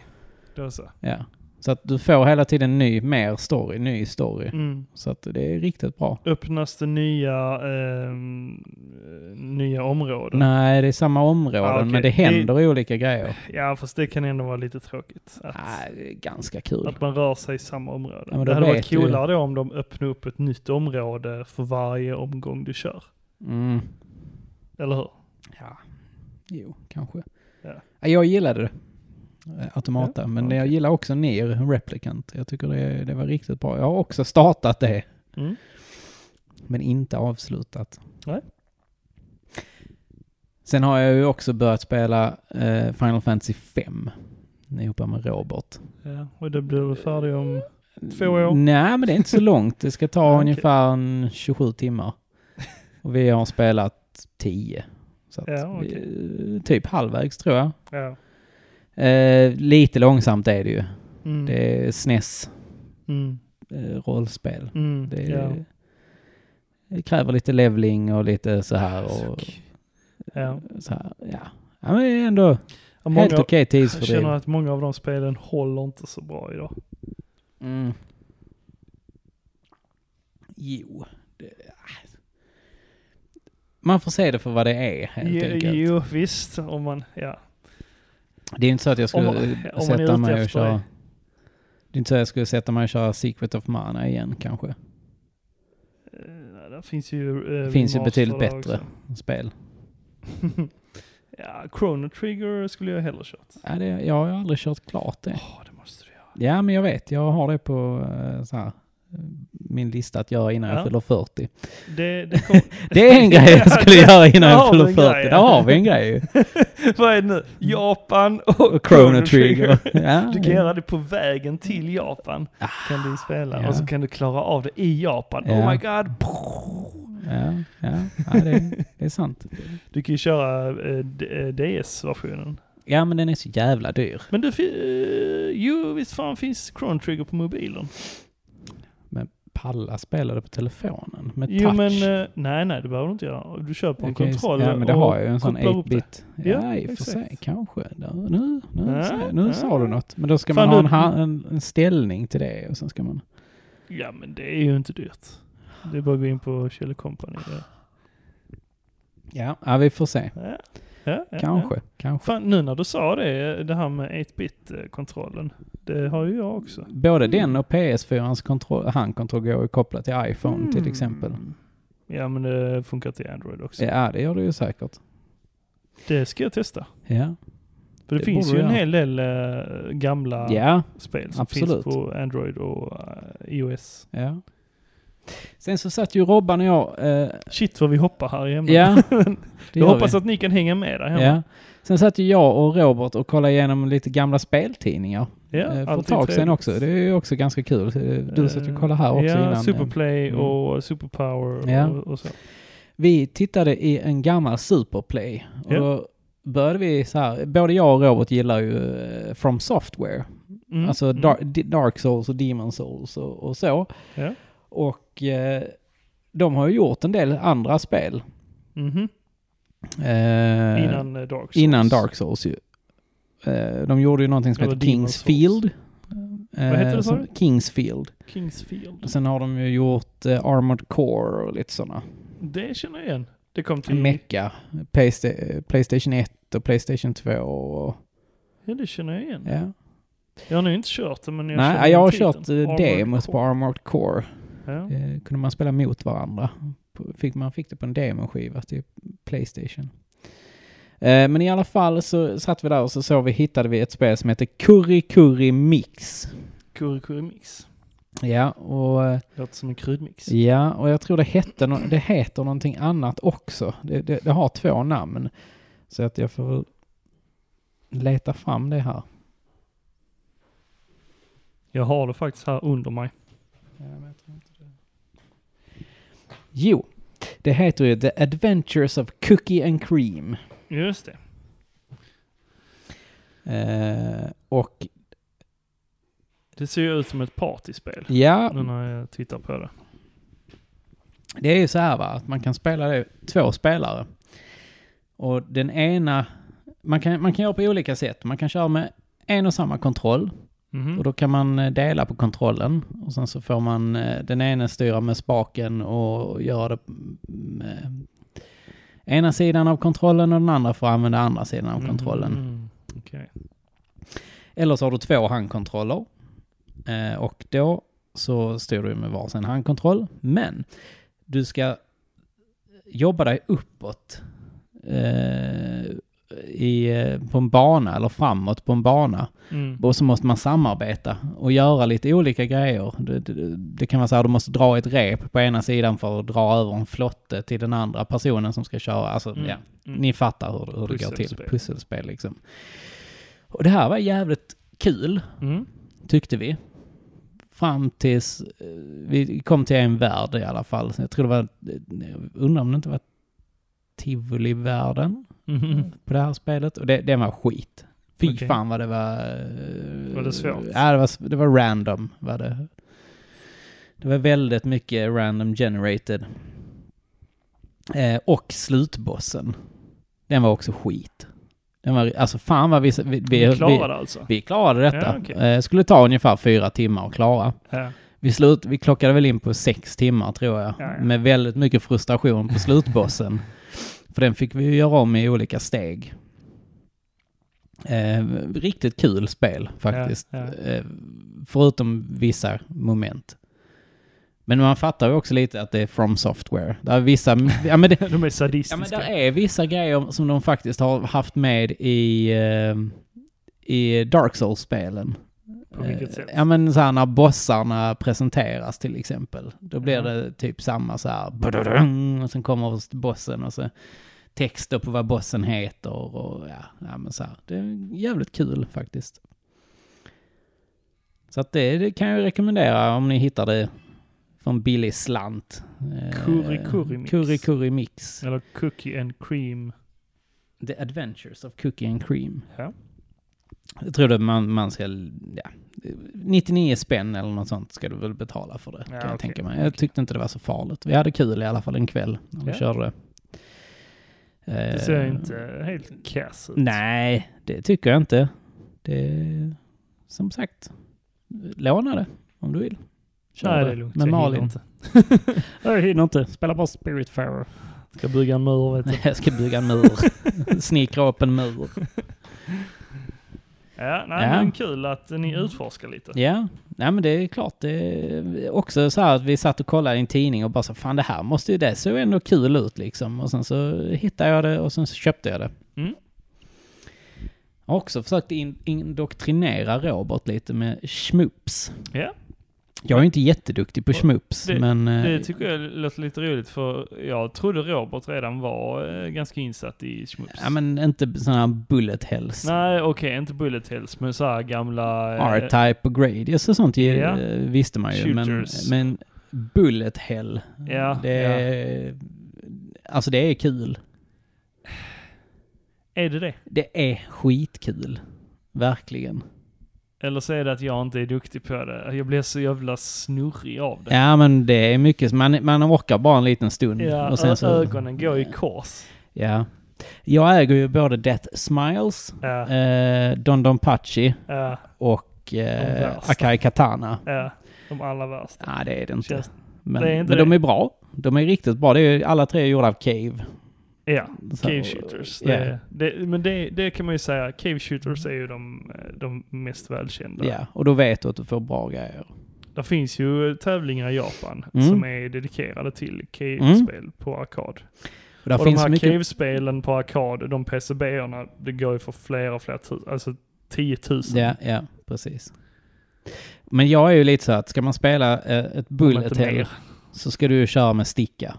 [SPEAKER 2] Då så.
[SPEAKER 1] ja. Så att du får hela tiden ny, mer story, ny story.
[SPEAKER 2] Mm.
[SPEAKER 1] Så att det är riktigt bra.
[SPEAKER 2] Öppnas det nya, ehm, eh, nya områden?
[SPEAKER 1] Nej, det är samma områden,
[SPEAKER 2] Ah, okej.
[SPEAKER 1] men det händer olika grejer.
[SPEAKER 2] Ja, fast det kan ändå vara lite tråkigt. Att,
[SPEAKER 1] Nej, det är ganska kul.
[SPEAKER 2] att man rör sig i samma område.
[SPEAKER 1] Ja, men då
[SPEAKER 2] det hade varit
[SPEAKER 1] vet du-
[SPEAKER 2] coolare då om de öppnade upp ett nytt område för varje omgång du kör.
[SPEAKER 1] Mm.
[SPEAKER 2] Eller hur?
[SPEAKER 1] Ja, jo, kanske.
[SPEAKER 2] Ja.
[SPEAKER 1] Ja. Jag gillade det. Eh, Automata,
[SPEAKER 2] Ja,
[SPEAKER 1] men
[SPEAKER 2] okej.
[SPEAKER 1] jag gillar också Nier Replicant. Jag tycker det, det var riktigt bra. Jag har också startat det,
[SPEAKER 2] Mm.
[SPEAKER 1] men inte avslutat.
[SPEAKER 2] Nej.
[SPEAKER 1] Sen har jag ju också börjat spela eh, Final Fantasy 5 ihop med Robert.
[SPEAKER 2] Ja, och det blir du färdig
[SPEAKER 1] Eh.
[SPEAKER 2] om... Två år?
[SPEAKER 1] Nej, men det är inte så långt. Det ska ta
[SPEAKER 2] Okej.
[SPEAKER 1] ungefär en 27 timmar. Och vi har spelat 10. Så att
[SPEAKER 2] Ja, okej.
[SPEAKER 1] vi, eh, typ halvvägs tror jag.
[SPEAKER 2] Ja.
[SPEAKER 1] Eh, lite långsamt är det ju.
[SPEAKER 2] Mm.
[SPEAKER 1] Det är SNES
[SPEAKER 2] Mm.
[SPEAKER 1] eh, rollspel.
[SPEAKER 2] Mm.
[SPEAKER 1] Det,
[SPEAKER 2] ja.
[SPEAKER 1] det kräver lite leveling och lite så här och
[SPEAKER 2] Suck. Ja.
[SPEAKER 1] så här. Ja, ja men det är ändå
[SPEAKER 2] Och
[SPEAKER 1] helt
[SPEAKER 2] många,
[SPEAKER 1] okej
[SPEAKER 2] jag känner
[SPEAKER 1] tidsfördriv.
[SPEAKER 2] att många av de spelen håller inte så bra idag.
[SPEAKER 1] Mm. Jo. Det, ah. man får se det för vad det är helt
[SPEAKER 2] Jo,
[SPEAKER 1] enkelt.
[SPEAKER 2] jo, visst. Om man, ja.
[SPEAKER 1] Det är inte så att jag
[SPEAKER 2] Om
[SPEAKER 1] skulle
[SPEAKER 2] man- om man är
[SPEAKER 1] sätta
[SPEAKER 2] ute
[SPEAKER 1] mig och
[SPEAKER 2] efter
[SPEAKER 1] köra...
[SPEAKER 2] det.
[SPEAKER 1] Det är inte så att jag skulle sätta mig och köra Secret of Mana igen kanske.
[SPEAKER 2] Eh, nej, där finns ju... eh,
[SPEAKER 1] Finns ju
[SPEAKER 2] remaster
[SPEAKER 1] betydligt
[SPEAKER 2] där
[SPEAKER 1] bättre.
[SPEAKER 2] också.
[SPEAKER 1] Spel.
[SPEAKER 2] ja, Chrono Trigger skulle jag hellre kört.
[SPEAKER 1] Ja, det, jag har ju aldrig kört klart det.
[SPEAKER 2] Ja, det måste du göra.
[SPEAKER 1] Ja, men jag vet. Jag har det på eh, så här, eh, min lista att göra innan
[SPEAKER 2] Ja.
[SPEAKER 1] jag fyller 40.
[SPEAKER 2] Det, det kom,
[SPEAKER 1] Det är en grej jag skulle göra innan
[SPEAKER 2] där har
[SPEAKER 1] jag
[SPEAKER 2] vi
[SPEAKER 1] fyller 40.
[SPEAKER 2] en grej, ja.
[SPEAKER 1] Där har vi en grej ju.
[SPEAKER 2] vad är det nu? Japan och,
[SPEAKER 1] Och Chrono Trigger. Ja, ah,
[SPEAKER 2] Du kan göra det på vägen till Japan. Kan du spela.
[SPEAKER 1] ja.
[SPEAKER 2] Och så kan du klara av det i Japan. Oh
[SPEAKER 1] Ja.
[SPEAKER 2] my god.
[SPEAKER 1] ja, ja, ja det, det är sant.
[SPEAKER 2] Du kan ju köra eh, D- eh, DS-versionen.
[SPEAKER 1] Ja, men den är så jävla dyr.
[SPEAKER 2] Men du, fi- eh, jo visst fan finns Chrono Trigger på mobilen?
[SPEAKER 1] Palla spelade på telefonen med touch.
[SPEAKER 2] Jo men, eh, nej nej det behöver du inte göra. Du köper en
[SPEAKER 1] Jag kan ju-
[SPEAKER 2] kontroll
[SPEAKER 1] Ja, men det
[SPEAKER 2] och
[SPEAKER 1] har ju en sån
[SPEAKER 2] kopplar upp det.
[SPEAKER 1] 8-bit. Ja,
[SPEAKER 2] Ja,
[SPEAKER 1] i och för
[SPEAKER 2] exakt.
[SPEAKER 1] sig. Kanske. Där, Nu, nu,
[SPEAKER 2] Ja,
[SPEAKER 1] sa- nu
[SPEAKER 2] ja.
[SPEAKER 1] sa du något. Men då ska
[SPEAKER 2] Fan,
[SPEAKER 1] man ha en,
[SPEAKER 2] du-
[SPEAKER 1] ha- en, en ställning till det och sen ska man...
[SPEAKER 2] Ja men det är ju inte dyrt. Det är bara att gå in på Kjell Company. Ja.
[SPEAKER 1] Ja, ja vi får se.
[SPEAKER 2] Ja, ja, ja,
[SPEAKER 1] Kanske, kanske.
[SPEAKER 2] Fan, nu när du sa det, det här med 8-bit-kontrollen. Det har ju jag också.
[SPEAKER 1] Både den och PS4-ans kontroll, handkontroll går ju kopplat till iPhone till exempel.
[SPEAKER 2] Mm. Ja, men det funkar till Android också.
[SPEAKER 1] Ja, det gör det ju säkert.
[SPEAKER 2] Det ska jag testa.
[SPEAKER 1] Ja,
[SPEAKER 2] För det,
[SPEAKER 1] Det
[SPEAKER 2] finns
[SPEAKER 1] borde
[SPEAKER 2] ju en
[SPEAKER 1] jag.
[SPEAKER 2] hel del eh, gamla
[SPEAKER 1] ja.
[SPEAKER 2] spel som
[SPEAKER 1] absolut.
[SPEAKER 2] finns på Android och eh, iOS.
[SPEAKER 1] ja. Sen så satt ju Robban och jag... Eh,
[SPEAKER 2] Shit vad vi hoppar här hemma.
[SPEAKER 1] ja, det
[SPEAKER 2] jag
[SPEAKER 1] gör
[SPEAKER 2] hoppas
[SPEAKER 1] vi.
[SPEAKER 2] att ni kan hänga med där hemma.
[SPEAKER 1] Ja. Sen satt ju jag och Robert och kollade igenom lite gamla speltidningar.
[SPEAKER 2] Ja,
[SPEAKER 1] eh, för ett
[SPEAKER 2] alltid
[SPEAKER 1] tag sedan
[SPEAKER 2] trevligt. Eh,
[SPEAKER 1] också. Det är ju också ganska kul. Du satt ju och kollade här också
[SPEAKER 2] ja,
[SPEAKER 1] innan.
[SPEAKER 2] Superplay
[SPEAKER 1] Mm.
[SPEAKER 2] och Superpower
[SPEAKER 1] Ja.
[SPEAKER 2] och, och så.
[SPEAKER 1] Vi tittade i en gammal Superplay. Och
[SPEAKER 2] Ja.
[SPEAKER 1] då började vi så här, både jag och Robert gillar ju eh, From Software.
[SPEAKER 2] Mm,
[SPEAKER 1] Alltså
[SPEAKER 2] mm.
[SPEAKER 1] Dark, Di- Dark Souls och Demon Souls och, och så.
[SPEAKER 2] Ja.
[SPEAKER 1] Och eh, de har ju gjort en del andra spel.
[SPEAKER 2] Mhm.
[SPEAKER 1] Eh,
[SPEAKER 2] Innan eh, Dark Souls.
[SPEAKER 1] innan Dark Souls ju. Eh, de gjorde ju någonting som
[SPEAKER 2] Eller
[SPEAKER 1] heter
[SPEAKER 2] Demon Souls.
[SPEAKER 1] Kingsfield. Eh,
[SPEAKER 2] Vad heter det, sa
[SPEAKER 1] som-
[SPEAKER 2] du?
[SPEAKER 1] Kingsfield.
[SPEAKER 2] Kingsfield.
[SPEAKER 1] Och sen har de ju gjort eh, Armored Core och lite sådana.
[SPEAKER 2] Det känner jag igen. Det kom till...
[SPEAKER 1] Mecha. Playsta- eh, Playstation 1 och Playstation 2 och...
[SPEAKER 2] Ja, det känner jag igen.
[SPEAKER 1] Ja.
[SPEAKER 2] Jag har nu inte kört det, men jag känner
[SPEAKER 1] Nej,
[SPEAKER 2] igen
[SPEAKER 1] jag har
[SPEAKER 2] titeln.
[SPEAKER 1] kört eh,
[SPEAKER 2] Armored
[SPEAKER 1] demos
[SPEAKER 2] Core.
[SPEAKER 1] på Armored Core.
[SPEAKER 2] Ja.
[SPEAKER 1] Eh, kunde man spela mot varandra. På- Fick, man fick det på en demoskiva till Playstation. Eh, men i alla fall så satt vi där och så såg vi, hittade vi ett spel som heter Curry Curry Mix.
[SPEAKER 2] Kurikuri mix.
[SPEAKER 1] Ja, och... eh,
[SPEAKER 2] Låter som en kryddmix.
[SPEAKER 1] Ja, och jag tror det, hette no- det heter någonting annat också. Det, det, det har två namn. Så att jag får väl leta fram det här.
[SPEAKER 2] Jag har det faktiskt här under mig.
[SPEAKER 1] Jo, det heter ju The Adventures of Cookie and Cream.
[SPEAKER 2] Just det.
[SPEAKER 1] Eh, och
[SPEAKER 2] Det ser ju ut som ett partyspel.
[SPEAKER 1] ja,
[SPEAKER 2] Nu när jag tittar på det.
[SPEAKER 1] det är ju så här va, att man kan spela det två spelare. Och den ena, man kan, man kan göra på olika sätt. Man kan köra med en och samma kontroll.
[SPEAKER 2] Mhm.
[SPEAKER 1] Och då kan man eh, dela på kontrollen och sen så får man eh, den ene styra med spaken och göra det med ena sidan av kontrollen och den andra får använda andra sidan av kontrollen.
[SPEAKER 2] Mm. Okej.
[SPEAKER 1] Eller så har du två handkontroller eh, och då så styr du med varsin handkontroll. Men du ska jobba dig uppåt eh, i, eh, på en bana eller framåt på en bana.
[SPEAKER 2] Mm.
[SPEAKER 1] Och så måste man samarbeta och göra lite olika grejer. Det, det, det kan vara så här, du måste dra ett rep på ena sidan för att dra över en flotte till den andra personen som ska köra. Alltså,
[SPEAKER 2] Mm.
[SPEAKER 1] ja,
[SPEAKER 2] Mm.
[SPEAKER 1] ni fattar hur, hur det går till.
[SPEAKER 2] Pusselspel.
[SPEAKER 1] Pusselspel liksom. Och det här var jävligt kul,
[SPEAKER 2] Mm.
[SPEAKER 1] tyckte vi. Fram tills eh, vi kom till en värld i alla fall. Så Jag tror det var, eh, jag undrar om det inte var Tivoli-världen
[SPEAKER 2] Mhm.
[SPEAKER 1] på det här spelet. Och det, den var skit. Fy
[SPEAKER 2] Okej.
[SPEAKER 1] fan vad det var... eh,
[SPEAKER 2] Var det svårt?
[SPEAKER 1] Ja, det var, s- det var random. Var det. det var väldigt mycket random generated. Eh, och slutbossen. Den var också skit. Den var, alltså fan vad vi... Vi, vi,
[SPEAKER 2] Vi
[SPEAKER 1] vi,
[SPEAKER 2] klarar det alltså.
[SPEAKER 1] vi klarade detta.
[SPEAKER 2] Ja, okej.
[SPEAKER 1] eh, skulle ta ungefär fyra timmar att klara.
[SPEAKER 2] Ja.
[SPEAKER 1] Vi, slut, vi klockade väl in på sex timmar tror jag.
[SPEAKER 2] Ja, ja.
[SPEAKER 1] Med väldigt mycket frustration på slutbossen. För den fick vi ju göra om i olika steg. Eh, riktigt kul spel faktiskt.
[SPEAKER 2] Ja,
[SPEAKER 1] Eh, förutom vissa moment. Men man fattar ju också lite att det är from software. Där är vissa, ja, men det,
[SPEAKER 2] De är
[SPEAKER 1] ja, men
[SPEAKER 2] sadistiska.
[SPEAKER 1] där är vissa grejer som de faktiskt har haft med i, eh, i Dark Souls-spelen.
[SPEAKER 2] På vilket
[SPEAKER 1] Eh,
[SPEAKER 2] sätt?
[SPEAKER 1] Ja men så här när bossarna presenteras till exempel. Då blir
[SPEAKER 2] Ja.
[SPEAKER 1] det typ samma så här. badadung, Och sen kommer bossen och så texter på vad bossen heter och ja, ja men så här. Det är jävligt kul faktiskt. Så att det, det kan jag rekommendera om ni hittar det för en billig slant. Eh,
[SPEAKER 2] Curry Curry Mix.
[SPEAKER 1] Curry Curry Mix.
[SPEAKER 2] Eller cookie and cream.
[SPEAKER 1] The Adventures of Cookie and Cream.
[SPEAKER 2] Ja.
[SPEAKER 1] Jag tror det man, man ska, ja, 99 spänn eller något sånt ska du väl betala för det.
[SPEAKER 2] Ja,
[SPEAKER 1] kan jag
[SPEAKER 2] okej.
[SPEAKER 1] tänka mig. Jag tyckte inte det var så farligt. Vi hade kul i alla fall en kväll när vi
[SPEAKER 2] Ja.
[SPEAKER 1] körde det.
[SPEAKER 2] Det ser inte helt kass ut.
[SPEAKER 1] Eh. Nej, det tycker jag inte. Det är, som sagt, låna det om du vill. Kör
[SPEAKER 2] Nej, det är lugnt.
[SPEAKER 1] Med
[SPEAKER 2] jag
[SPEAKER 1] Malin.
[SPEAKER 2] hinner inte. jag hinner inte. Spela bara Spiritfarer. Ska bygga en mur, vet du.
[SPEAKER 1] Jag ska bygga en mur. Snickra upp en mur.
[SPEAKER 2] Ja, nej,
[SPEAKER 1] Ja. Mm.
[SPEAKER 2] men kul att ni utforskar lite.
[SPEAKER 1] Ja, nej men det är klart. Det är också så här att vi satt och kollade i en tidning och bara så fan det här måste ju, det såg ändå kul ut liksom. Och sen så hittade jag det och sen så köpte jag det.
[SPEAKER 2] Mm.
[SPEAKER 1] Jag har också försökt in, indoktrinera Robert lite med schmoops.
[SPEAKER 2] Ja.
[SPEAKER 1] Jag är ju inte jätteduktig på
[SPEAKER 2] Och
[SPEAKER 1] schmoops,
[SPEAKER 2] det- typ
[SPEAKER 1] men... eh,
[SPEAKER 2] Det tycker jag låter lite roligt för jag trodde Robert redan var eh, ganska insatt i schmups.
[SPEAKER 1] Ja men inte sådana här bullet hells.
[SPEAKER 2] Nej, okej, inte Bullet Hells, men så här gamla... eh,
[SPEAKER 1] R-Type och Gradius och sånt ju, eh,
[SPEAKER 2] Ja.
[SPEAKER 1] visste man ju. Men,
[SPEAKER 2] Shooters.
[SPEAKER 1] men Bullet Hell,
[SPEAKER 2] Ja,
[SPEAKER 1] det är, Alltså det är kul.
[SPEAKER 2] Är det det?
[SPEAKER 1] Det är skitkul. Verkligen.
[SPEAKER 2] Eller så är det att jag inte är duktig på det. Jag blir så jävla snurrig av det.
[SPEAKER 1] Ja men det är mycket, man, man orkar bara en liten stund.
[SPEAKER 2] Ja,
[SPEAKER 1] och sen så,
[SPEAKER 2] ögonen går i kors.
[SPEAKER 1] ja. Jag äger ju både Death Smiles,
[SPEAKER 2] Ja,
[SPEAKER 1] eh, Don Don Pachi
[SPEAKER 2] ja,
[SPEAKER 1] och
[SPEAKER 2] De
[SPEAKER 1] eh,
[SPEAKER 2] värsta.
[SPEAKER 1] Akai Katana.
[SPEAKER 2] ja. De allra värsta.
[SPEAKER 1] Nej, det är det inte.
[SPEAKER 2] Känns-
[SPEAKER 1] Men,
[SPEAKER 2] det är inte
[SPEAKER 1] men de
[SPEAKER 2] det.
[SPEAKER 1] är bra. De är riktigt bra. Det är ju, alla tre är gjorda av Cave.
[SPEAKER 2] Ja,
[SPEAKER 1] Så-
[SPEAKER 2] Cave Shooters.
[SPEAKER 1] Ja.
[SPEAKER 2] Det, det, men det, det kan man ju säga, Cave Shooters är ju de, eh, de mest välkända.
[SPEAKER 1] Ja, och då vet du att du får bra grejer.
[SPEAKER 2] Det finns ju tävlingar i Japan
[SPEAKER 1] Mm.
[SPEAKER 2] som är dedikerade till Cave-spel på arkad.
[SPEAKER 1] Och där
[SPEAKER 2] och
[SPEAKER 1] finns
[SPEAKER 2] de här
[SPEAKER 1] mycket...
[SPEAKER 2] Cave-spelen på arkad, de PCB-erna, det går ju för flera och flera tusen, alltså 10 000.
[SPEAKER 1] Ja, ja, precis. Men jag är ju lite så att ska man spela eh, ett
[SPEAKER 2] Om
[SPEAKER 1] bullet
[SPEAKER 2] inte
[SPEAKER 1] hell
[SPEAKER 2] mer.
[SPEAKER 1] så ska du ju köra med sticka.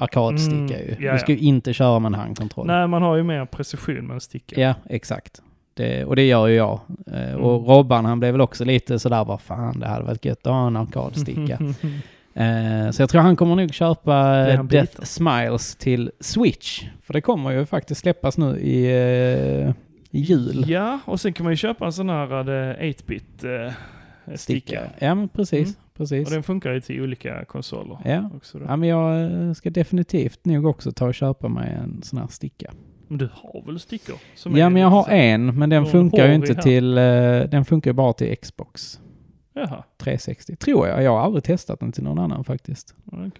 [SPEAKER 1] Arkadsticka
[SPEAKER 2] Mm,
[SPEAKER 1] ju.
[SPEAKER 2] ja,
[SPEAKER 1] du ska ju inte köra med en handkontroll.
[SPEAKER 2] Nej, man har ju mer precision med en sticka.
[SPEAKER 1] Ja, exakt. Det, och det gör ju jag. Eh,
[SPEAKER 2] Mm.
[SPEAKER 1] Och Robban han blev väl också lite sådär, vad fan det hade varit gött att ha en arkadsticka. Eh, så jag tror han kommer nog köpa
[SPEAKER 2] Blir
[SPEAKER 1] eh,
[SPEAKER 2] han
[SPEAKER 1] Death
[SPEAKER 2] biten?
[SPEAKER 1] Smiles till Switch. För det kommer ju faktiskt släppas nu i eh, i jul.
[SPEAKER 2] ja, och sen kan man ju köpa en sån här eh, 8-bit eh, sticka.
[SPEAKER 1] Ja, men precis.
[SPEAKER 2] Mm. Och
[SPEAKER 1] precis.
[SPEAKER 2] den funkar ju till olika konsoler
[SPEAKER 1] Ja.
[SPEAKER 2] också. Då.
[SPEAKER 1] ja, men jag eh, ska definitivt nog också ta och köpa mig en sån här sticka.
[SPEAKER 2] Men du har väl stickor? Som
[SPEAKER 1] Ja,
[SPEAKER 2] är
[SPEAKER 1] men jag
[SPEAKER 2] lite
[SPEAKER 1] har
[SPEAKER 2] så-
[SPEAKER 1] en, men den
[SPEAKER 2] Någon
[SPEAKER 1] funkar ju
[SPEAKER 2] hårig
[SPEAKER 1] inte
[SPEAKER 2] här.
[SPEAKER 1] till... eh, Den funkar ju bara till Xbox
[SPEAKER 2] Jaha,
[SPEAKER 1] 360, tror jag. Jag har aldrig testat den till någon annan faktiskt.
[SPEAKER 2] okej.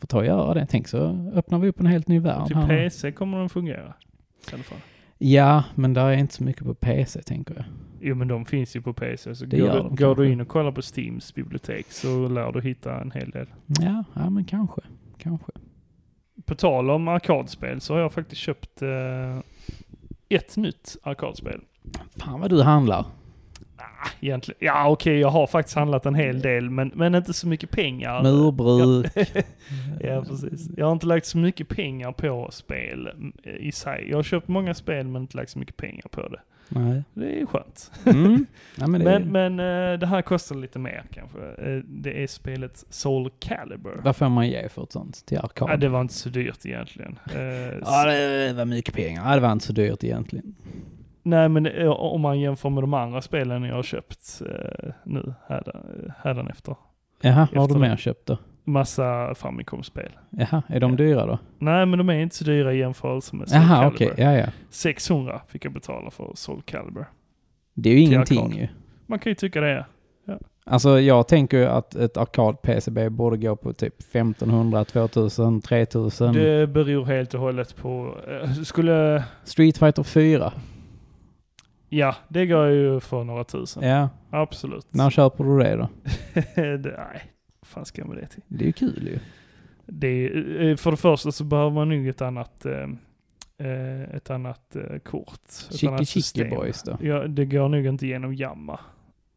[SPEAKER 1] Får ta och göra det. Tänk så öppnar vi upp en helt ny värld
[SPEAKER 2] Till
[SPEAKER 1] här nu.
[SPEAKER 2] PC kommer den fungera. I alla fall.
[SPEAKER 1] Ja, men där är inte så mycket på PC, tänker jag.
[SPEAKER 2] Jo men de finns ju på PC. Så
[SPEAKER 1] Det
[SPEAKER 2] går
[SPEAKER 1] gör
[SPEAKER 2] du,
[SPEAKER 1] de
[SPEAKER 2] går
[SPEAKER 1] kanske.
[SPEAKER 2] du in och kollar på Steams bibliotek så lär du hitta en hel del.
[SPEAKER 1] Ja, ja men kanske. Kanske.
[SPEAKER 2] På tal om arkadspel så har jag faktiskt köpt eh, ett nytt arkadspel.
[SPEAKER 1] Fan vad du handlar.
[SPEAKER 2] Ah, Egentligen. Ja okej, jag har faktiskt handlat en
[SPEAKER 1] Mm.
[SPEAKER 2] hel del men, men inte så mycket pengar.
[SPEAKER 1] Murbruk.
[SPEAKER 2] Ja precis. Jag har inte lagt så mycket pengar på spel eh, i sig. Jag har köpt många spel men inte lagt så mycket pengar på det.
[SPEAKER 1] Nej.
[SPEAKER 2] Det är skönt.
[SPEAKER 1] Mm. Ja, men det
[SPEAKER 2] Men, men eh, det här kostar lite mer kanske. Eh, Det är spelet Soul Calibur.
[SPEAKER 1] Vad får man ge för ett sånt till arkad?
[SPEAKER 2] Ja, det var inte så dyrt egentligen. Eh,
[SPEAKER 1] Ja,
[SPEAKER 2] s-
[SPEAKER 1] det var mycket pengar. Ja, det var inte så dyrt egentligen.
[SPEAKER 2] Nej, men eh, om man jämför med de andra spelen jag har köpt eh, nu, hädan- hädanefter.
[SPEAKER 1] Jaha, vad har du
[SPEAKER 2] Efter det.
[SPEAKER 1] mer köpt då?
[SPEAKER 2] Massa Famicom-spel.
[SPEAKER 1] Jaha, är de
[SPEAKER 2] Ja.
[SPEAKER 1] dyra då?
[SPEAKER 2] Nej, men de är inte så dyra i jämförelse med Soul
[SPEAKER 1] Jaha, okej.
[SPEAKER 2] Calibur.
[SPEAKER 1] Ja, ja.
[SPEAKER 2] 600 fick jag betala för Soul Calibur.
[SPEAKER 1] Det är ju
[SPEAKER 2] Till
[SPEAKER 1] ingenting
[SPEAKER 2] arkad.
[SPEAKER 1] ju.
[SPEAKER 2] Man kan ju tycka det.
[SPEAKER 1] Alltså jag tänker ju att ett arkad-PCB borde gå på typ 1500, 2000, 3000.
[SPEAKER 2] Det beror helt och hållet på... eh, Skulle...
[SPEAKER 1] Street Fighter 4.
[SPEAKER 2] Ja, det går ju för några tusen.
[SPEAKER 1] Ja,
[SPEAKER 2] Absolut.
[SPEAKER 1] när köper du det då?
[SPEAKER 2] det, nej, vad fan ska jag med det till?
[SPEAKER 1] Det är ju kul ju.
[SPEAKER 2] Det är, eh, för det första så behöver man nog ett annat, eh, eh, ett annat eh, kort. Ett
[SPEAKER 1] Chicky
[SPEAKER 2] annat
[SPEAKER 1] Chicky
[SPEAKER 2] system.
[SPEAKER 1] Boys då.
[SPEAKER 2] Ja, det går nog inte genom Jamma.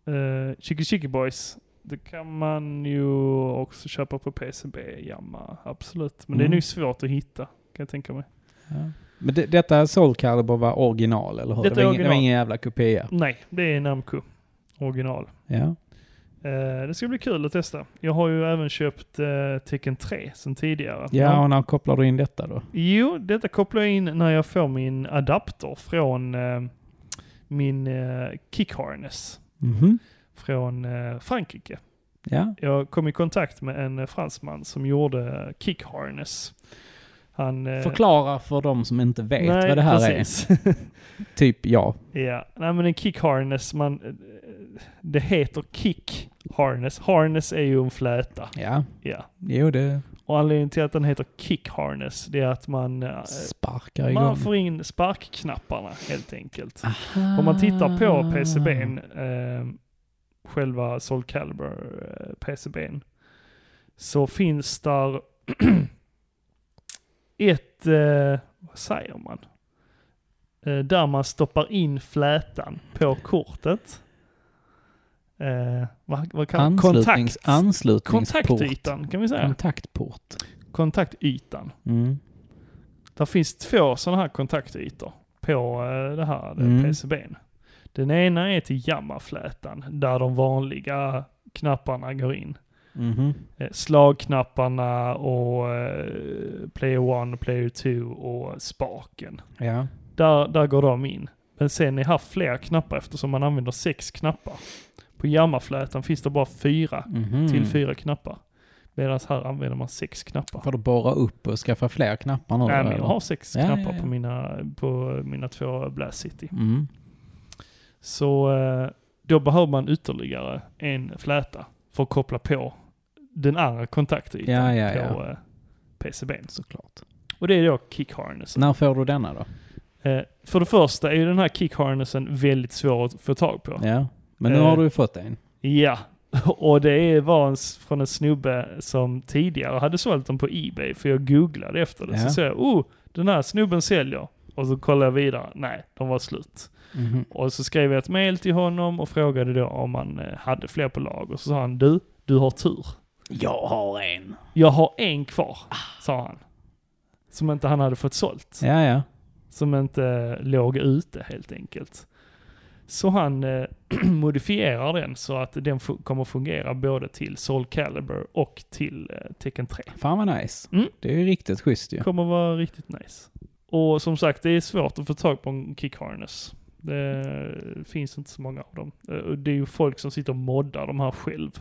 [SPEAKER 2] Uh, Chicky Chicky Boys, det kan man ju också köpa på PCB, Jamma, absolut. Men det
[SPEAKER 1] Mm.
[SPEAKER 2] är nog svårt att hitta, kan jag tänka mig.
[SPEAKER 1] Ja. Men det, detta Soul Calibur var original, eller hur?
[SPEAKER 2] Detta
[SPEAKER 1] det,
[SPEAKER 2] är
[SPEAKER 1] var ingen, det var
[SPEAKER 2] original.
[SPEAKER 1] ingen jävla kopia.
[SPEAKER 2] Nej, det är Namco. Original.
[SPEAKER 1] Ja.
[SPEAKER 2] Eh, det ska bli kul att testa. Jag har ju även köpt eh, Tekken 3 sen tidigare.
[SPEAKER 1] ja, och när kopplar du in detta då?
[SPEAKER 2] Jo, detta kopplar jag in när jag får min adapter från eh, min eh, kick harness
[SPEAKER 1] Mhm.
[SPEAKER 2] från eh, Frankrike.
[SPEAKER 1] Ja.
[SPEAKER 2] Jag kom i kontakt med en eh, fransman som gjorde kick harness. Han... eh,
[SPEAKER 1] Förklara för de som inte vet
[SPEAKER 2] nej,
[SPEAKER 1] vad det här
[SPEAKER 2] precis. är.
[SPEAKER 1] är. Typ jag.
[SPEAKER 2] ja, nej men en kick harness, man... eh, Det heter kick harness. Harness är ju en fläta.
[SPEAKER 1] Ja.
[SPEAKER 2] Ja.
[SPEAKER 1] Jo, det
[SPEAKER 2] Och anledningen till att den heter kick harness, det är att man... eh,
[SPEAKER 1] sparkar igång.
[SPEAKER 2] Man får in sparkknapparna helt enkelt. Om man tittar
[SPEAKER 1] Ah.
[SPEAKER 2] på PCBn, eh, själva Soul Calibur eh, PCBn, så finns där ett, eh, vad säger man? Eh, där man stoppar in flätan på kortet. Eh, vad, vad kan
[SPEAKER 1] Anslutnings,
[SPEAKER 2] Kontakt,
[SPEAKER 1] anslutningsport. Mm.
[SPEAKER 2] kontaktytan kan vi säga.
[SPEAKER 1] Kontaktport.
[SPEAKER 2] Kontaktytan.
[SPEAKER 1] Mm.
[SPEAKER 2] Där finns två sådana här kontaktytor på eh, det här
[SPEAKER 1] Mm.
[SPEAKER 2] mm. PCBn. Den ena är till jammaflätan där de vanliga knapparna går in.
[SPEAKER 1] Mhm.
[SPEAKER 2] Eh, Slagknapparna och eh, player 1, player 2 och spaken.
[SPEAKER 1] Ja.
[SPEAKER 2] Där, där går de in. Men sen är här fler knappar eftersom man använder sex knappar. På jammaflätan finns det bara fyra
[SPEAKER 1] Mhm.
[SPEAKER 2] till fyra knappar. Medan här använder man sex knappar.
[SPEAKER 1] Får du borra upp och skaffa fler knappar nu?
[SPEAKER 2] Nej,
[SPEAKER 1] då,
[SPEAKER 2] men jag
[SPEAKER 1] eller?
[SPEAKER 2] har sex
[SPEAKER 1] Ja, ja,
[SPEAKER 2] knappar
[SPEAKER 1] ja.
[SPEAKER 2] På, mina, på mina två Blast City.
[SPEAKER 1] Mm.
[SPEAKER 2] Så eh, då behöver man ytterligare en fläta för att koppla på den andra kontaktytan
[SPEAKER 1] Ja, ja,
[SPEAKER 2] på
[SPEAKER 1] ja.
[SPEAKER 2] eh, PCBn.
[SPEAKER 1] Såklart.
[SPEAKER 2] Och det är då kickharnessen.
[SPEAKER 1] När får du denna då?
[SPEAKER 2] Eh, för det första är ju den här kickharnessen väldigt svår att få tag på.
[SPEAKER 1] Ja. Men nu
[SPEAKER 2] Eh.
[SPEAKER 1] har du ju fått en.
[SPEAKER 2] Ja, och det var en, s- från en snubbe som tidigare hade sålt den på Ebay, för jag googlade efter det.
[SPEAKER 1] Ja.
[SPEAKER 2] Så sa jag, oh, den här snubben säljer. Och så kollade jag vidare, nej, de var slut.
[SPEAKER 1] Mhm.
[SPEAKER 2] Och så skrev jag ett mail till honom och frågade då om han eh, hade fler på lag. Och så sa han, du, du har tur.
[SPEAKER 1] Jag har en.
[SPEAKER 2] Jag har en kvar, sa han. Som inte han hade fått sålt.
[SPEAKER 1] Ja, ja.
[SPEAKER 2] Som inte eh, låg ute helt enkelt. Så han eh, modifierar den så att den fu- kommer fungera både till Soul Calibur och till eh, Tekken 3.
[SPEAKER 1] Fan vad nice.
[SPEAKER 2] Mm.
[SPEAKER 1] Det är ju riktigt schysst ju.
[SPEAKER 2] Kommer vara riktigt nice. Och som sagt, det är svårt att få tag på en kick harness. Det finns inte så många av dem. Eh, och Det är ju folk som sitter och moddar de här själv.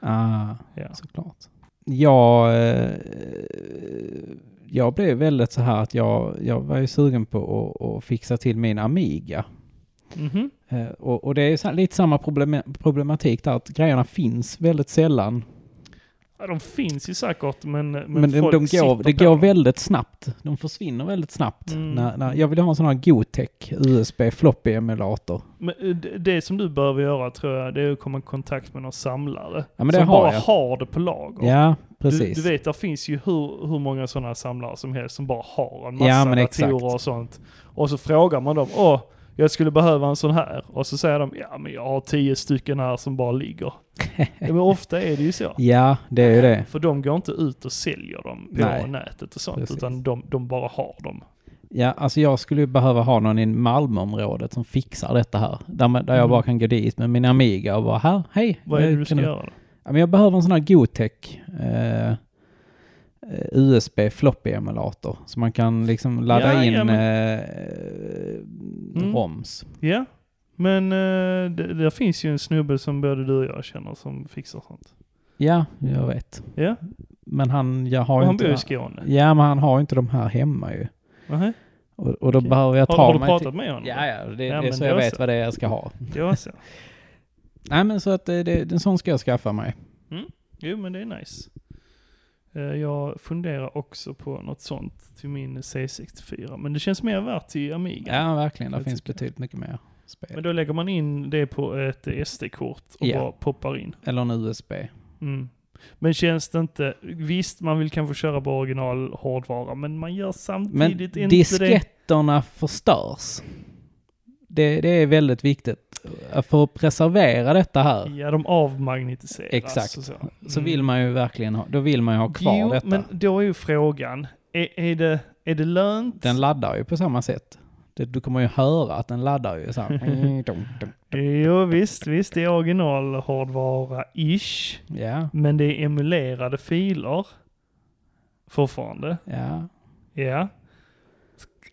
[SPEAKER 1] Ah,
[SPEAKER 2] Ja.
[SPEAKER 1] såklart. Jag, eh, jag blev väldigt så här att jag, jag var ju sugen på att, att fixa till min Amiga.
[SPEAKER 2] Mhm.
[SPEAKER 1] Eh, och, och det är ju så här, lite samma problem, problematik där att grejerna finns väldigt sällan.
[SPEAKER 2] Ja, de finns ju säkert, men Men,
[SPEAKER 1] Men, de,
[SPEAKER 2] folk
[SPEAKER 1] de går,
[SPEAKER 2] sitter
[SPEAKER 1] det
[SPEAKER 2] på
[SPEAKER 1] går
[SPEAKER 2] dem.
[SPEAKER 1] väldigt snabbt. De försvinner väldigt snabbt.
[SPEAKER 2] Mm.
[SPEAKER 1] När, när, jag vill ha en sån här Gotek USB floppy emulator.
[SPEAKER 2] Men eh, det- det som du behöver göra tror jag, det är att komma i kontakt med någon samlare.
[SPEAKER 1] Ja, men det
[SPEAKER 2] som
[SPEAKER 1] har
[SPEAKER 2] bara
[SPEAKER 1] jag.
[SPEAKER 2] har det på lager.
[SPEAKER 1] Ja,
[SPEAKER 2] du,
[SPEAKER 1] precis.
[SPEAKER 2] du vet, det finns ju hur, hur många sådana samlare som helst som bara har en massa
[SPEAKER 1] Ja, men exakt.
[SPEAKER 2] datorer och sånt. Och så frågar man dem, åh, jag skulle behöva en sån här. Och så säger de, ja men jag har tio stycken här som bara ligger. ja, men ofta är det ju så.
[SPEAKER 1] Ja, det är ju det.
[SPEAKER 2] För de går inte ut och säljer dem på
[SPEAKER 1] Nej.
[SPEAKER 2] nätet och sånt,
[SPEAKER 1] Precis.
[SPEAKER 2] utan de, de bara har dem.
[SPEAKER 1] Ja, alltså jag skulle ju behöva ha någon i Malmöområdet som fixar detta här. Där, man- där jag
[SPEAKER 2] Mm.
[SPEAKER 1] bara kan gå dit med min Amiga och bara här, hej.
[SPEAKER 2] Vad är det
[SPEAKER 1] jag
[SPEAKER 2] du ska
[SPEAKER 1] kan-
[SPEAKER 2] göra då?
[SPEAKER 1] Ja, men jag behöver en sån här Gotek eh, eh, USB floppy emulator. Så man kan liksom ladda
[SPEAKER 2] Ja,
[SPEAKER 1] in
[SPEAKER 2] ja, men-
[SPEAKER 1] eh,
[SPEAKER 2] Mm.
[SPEAKER 1] ROMs.
[SPEAKER 2] Ja, men eh, det, där finns ju en snubbe som både du och jag känner som fixar sånt.
[SPEAKER 1] Ja, jag vet.
[SPEAKER 2] Ja,
[SPEAKER 1] Men han jag har
[SPEAKER 2] och
[SPEAKER 1] ju
[SPEAKER 2] han
[SPEAKER 1] inte...
[SPEAKER 2] bor i Skåne.
[SPEAKER 1] Ja, men han har ju inte de här hemma ju.
[SPEAKER 2] Nähä.
[SPEAKER 1] Och, och då
[SPEAKER 2] Okej.
[SPEAKER 1] behöver jag ta
[SPEAKER 2] Har, har du
[SPEAKER 1] mig
[SPEAKER 2] pratat med honom?
[SPEAKER 1] Ja, ja, det,
[SPEAKER 2] Ja,
[SPEAKER 1] det är
[SPEAKER 2] men
[SPEAKER 1] så
[SPEAKER 2] det
[SPEAKER 1] jag
[SPEAKER 2] var
[SPEAKER 1] vet
[SPEAKER 2] så.
[SPEAKER 1] vad det är jag ska ha.
[SPEAKER 2] Det var så.
[SPEAKER 1] Nej, men så att det, det, en sån ska jag skaffa mig.
[SPEAKER 2] Jo, men det är nice. Eh, Jag funderar också på något sånt till min C64, men det känns mer värt till Amiga.
[SPEAKER 1] Ja, verkligen. Det
[SPEAKER 2] Jag
[SPEAKER 1] finns
[SPEAKER 2] tycker-
[SPEAKER 1] betydligt mycket mer. spel.
[SPEAKER 2] Men då lägger man in det på ett SD-kort och
[SPEAKER 1] Ja.
[SPEAKER 2] bara poppar in.
[SPEAKER 1] Eller en USB.
[SPEAKER 2] Mm. Men känns det inte... Visst, man vill kanske köra på original hårdvara, men man gör
[SPEAKER 1] Men
[SPEAKER 2] samtidigt inte det.
[SPEAKER 1] disketterna förstörs. Det, det är väldigt viktigt. För att preservera detta här
[SPEAKER 2] Ja, de avmagnetiseras.
[SPEAKER 1] Exakt.
[SPEAKER 2] och Så,
[SPEAKER 1] så
[SPEAKER 2] Mm.
[SPEAKER 1] vill man ju verkligen ha, då vill man ju ha kvar
[SPEAKER 2] jo,
[SPEAKER 1] detta.
[SPEAKER 2] men då är ju frågan, är, är, det, är det lönt?
[SPEAKER 1] Den laddar ju på samma sätt. Det, du kommer ju höra att den laddar ju så här.
[SPEAKER 2] Jo, visst, visst, det är original hårdvara-ish,
[SPEAKER 1] Ja,
[SPEAKER 2] men det är emulerade filer fortfarande.
[SPEAKER 1] ja.
[SPEAKER 2] Ja.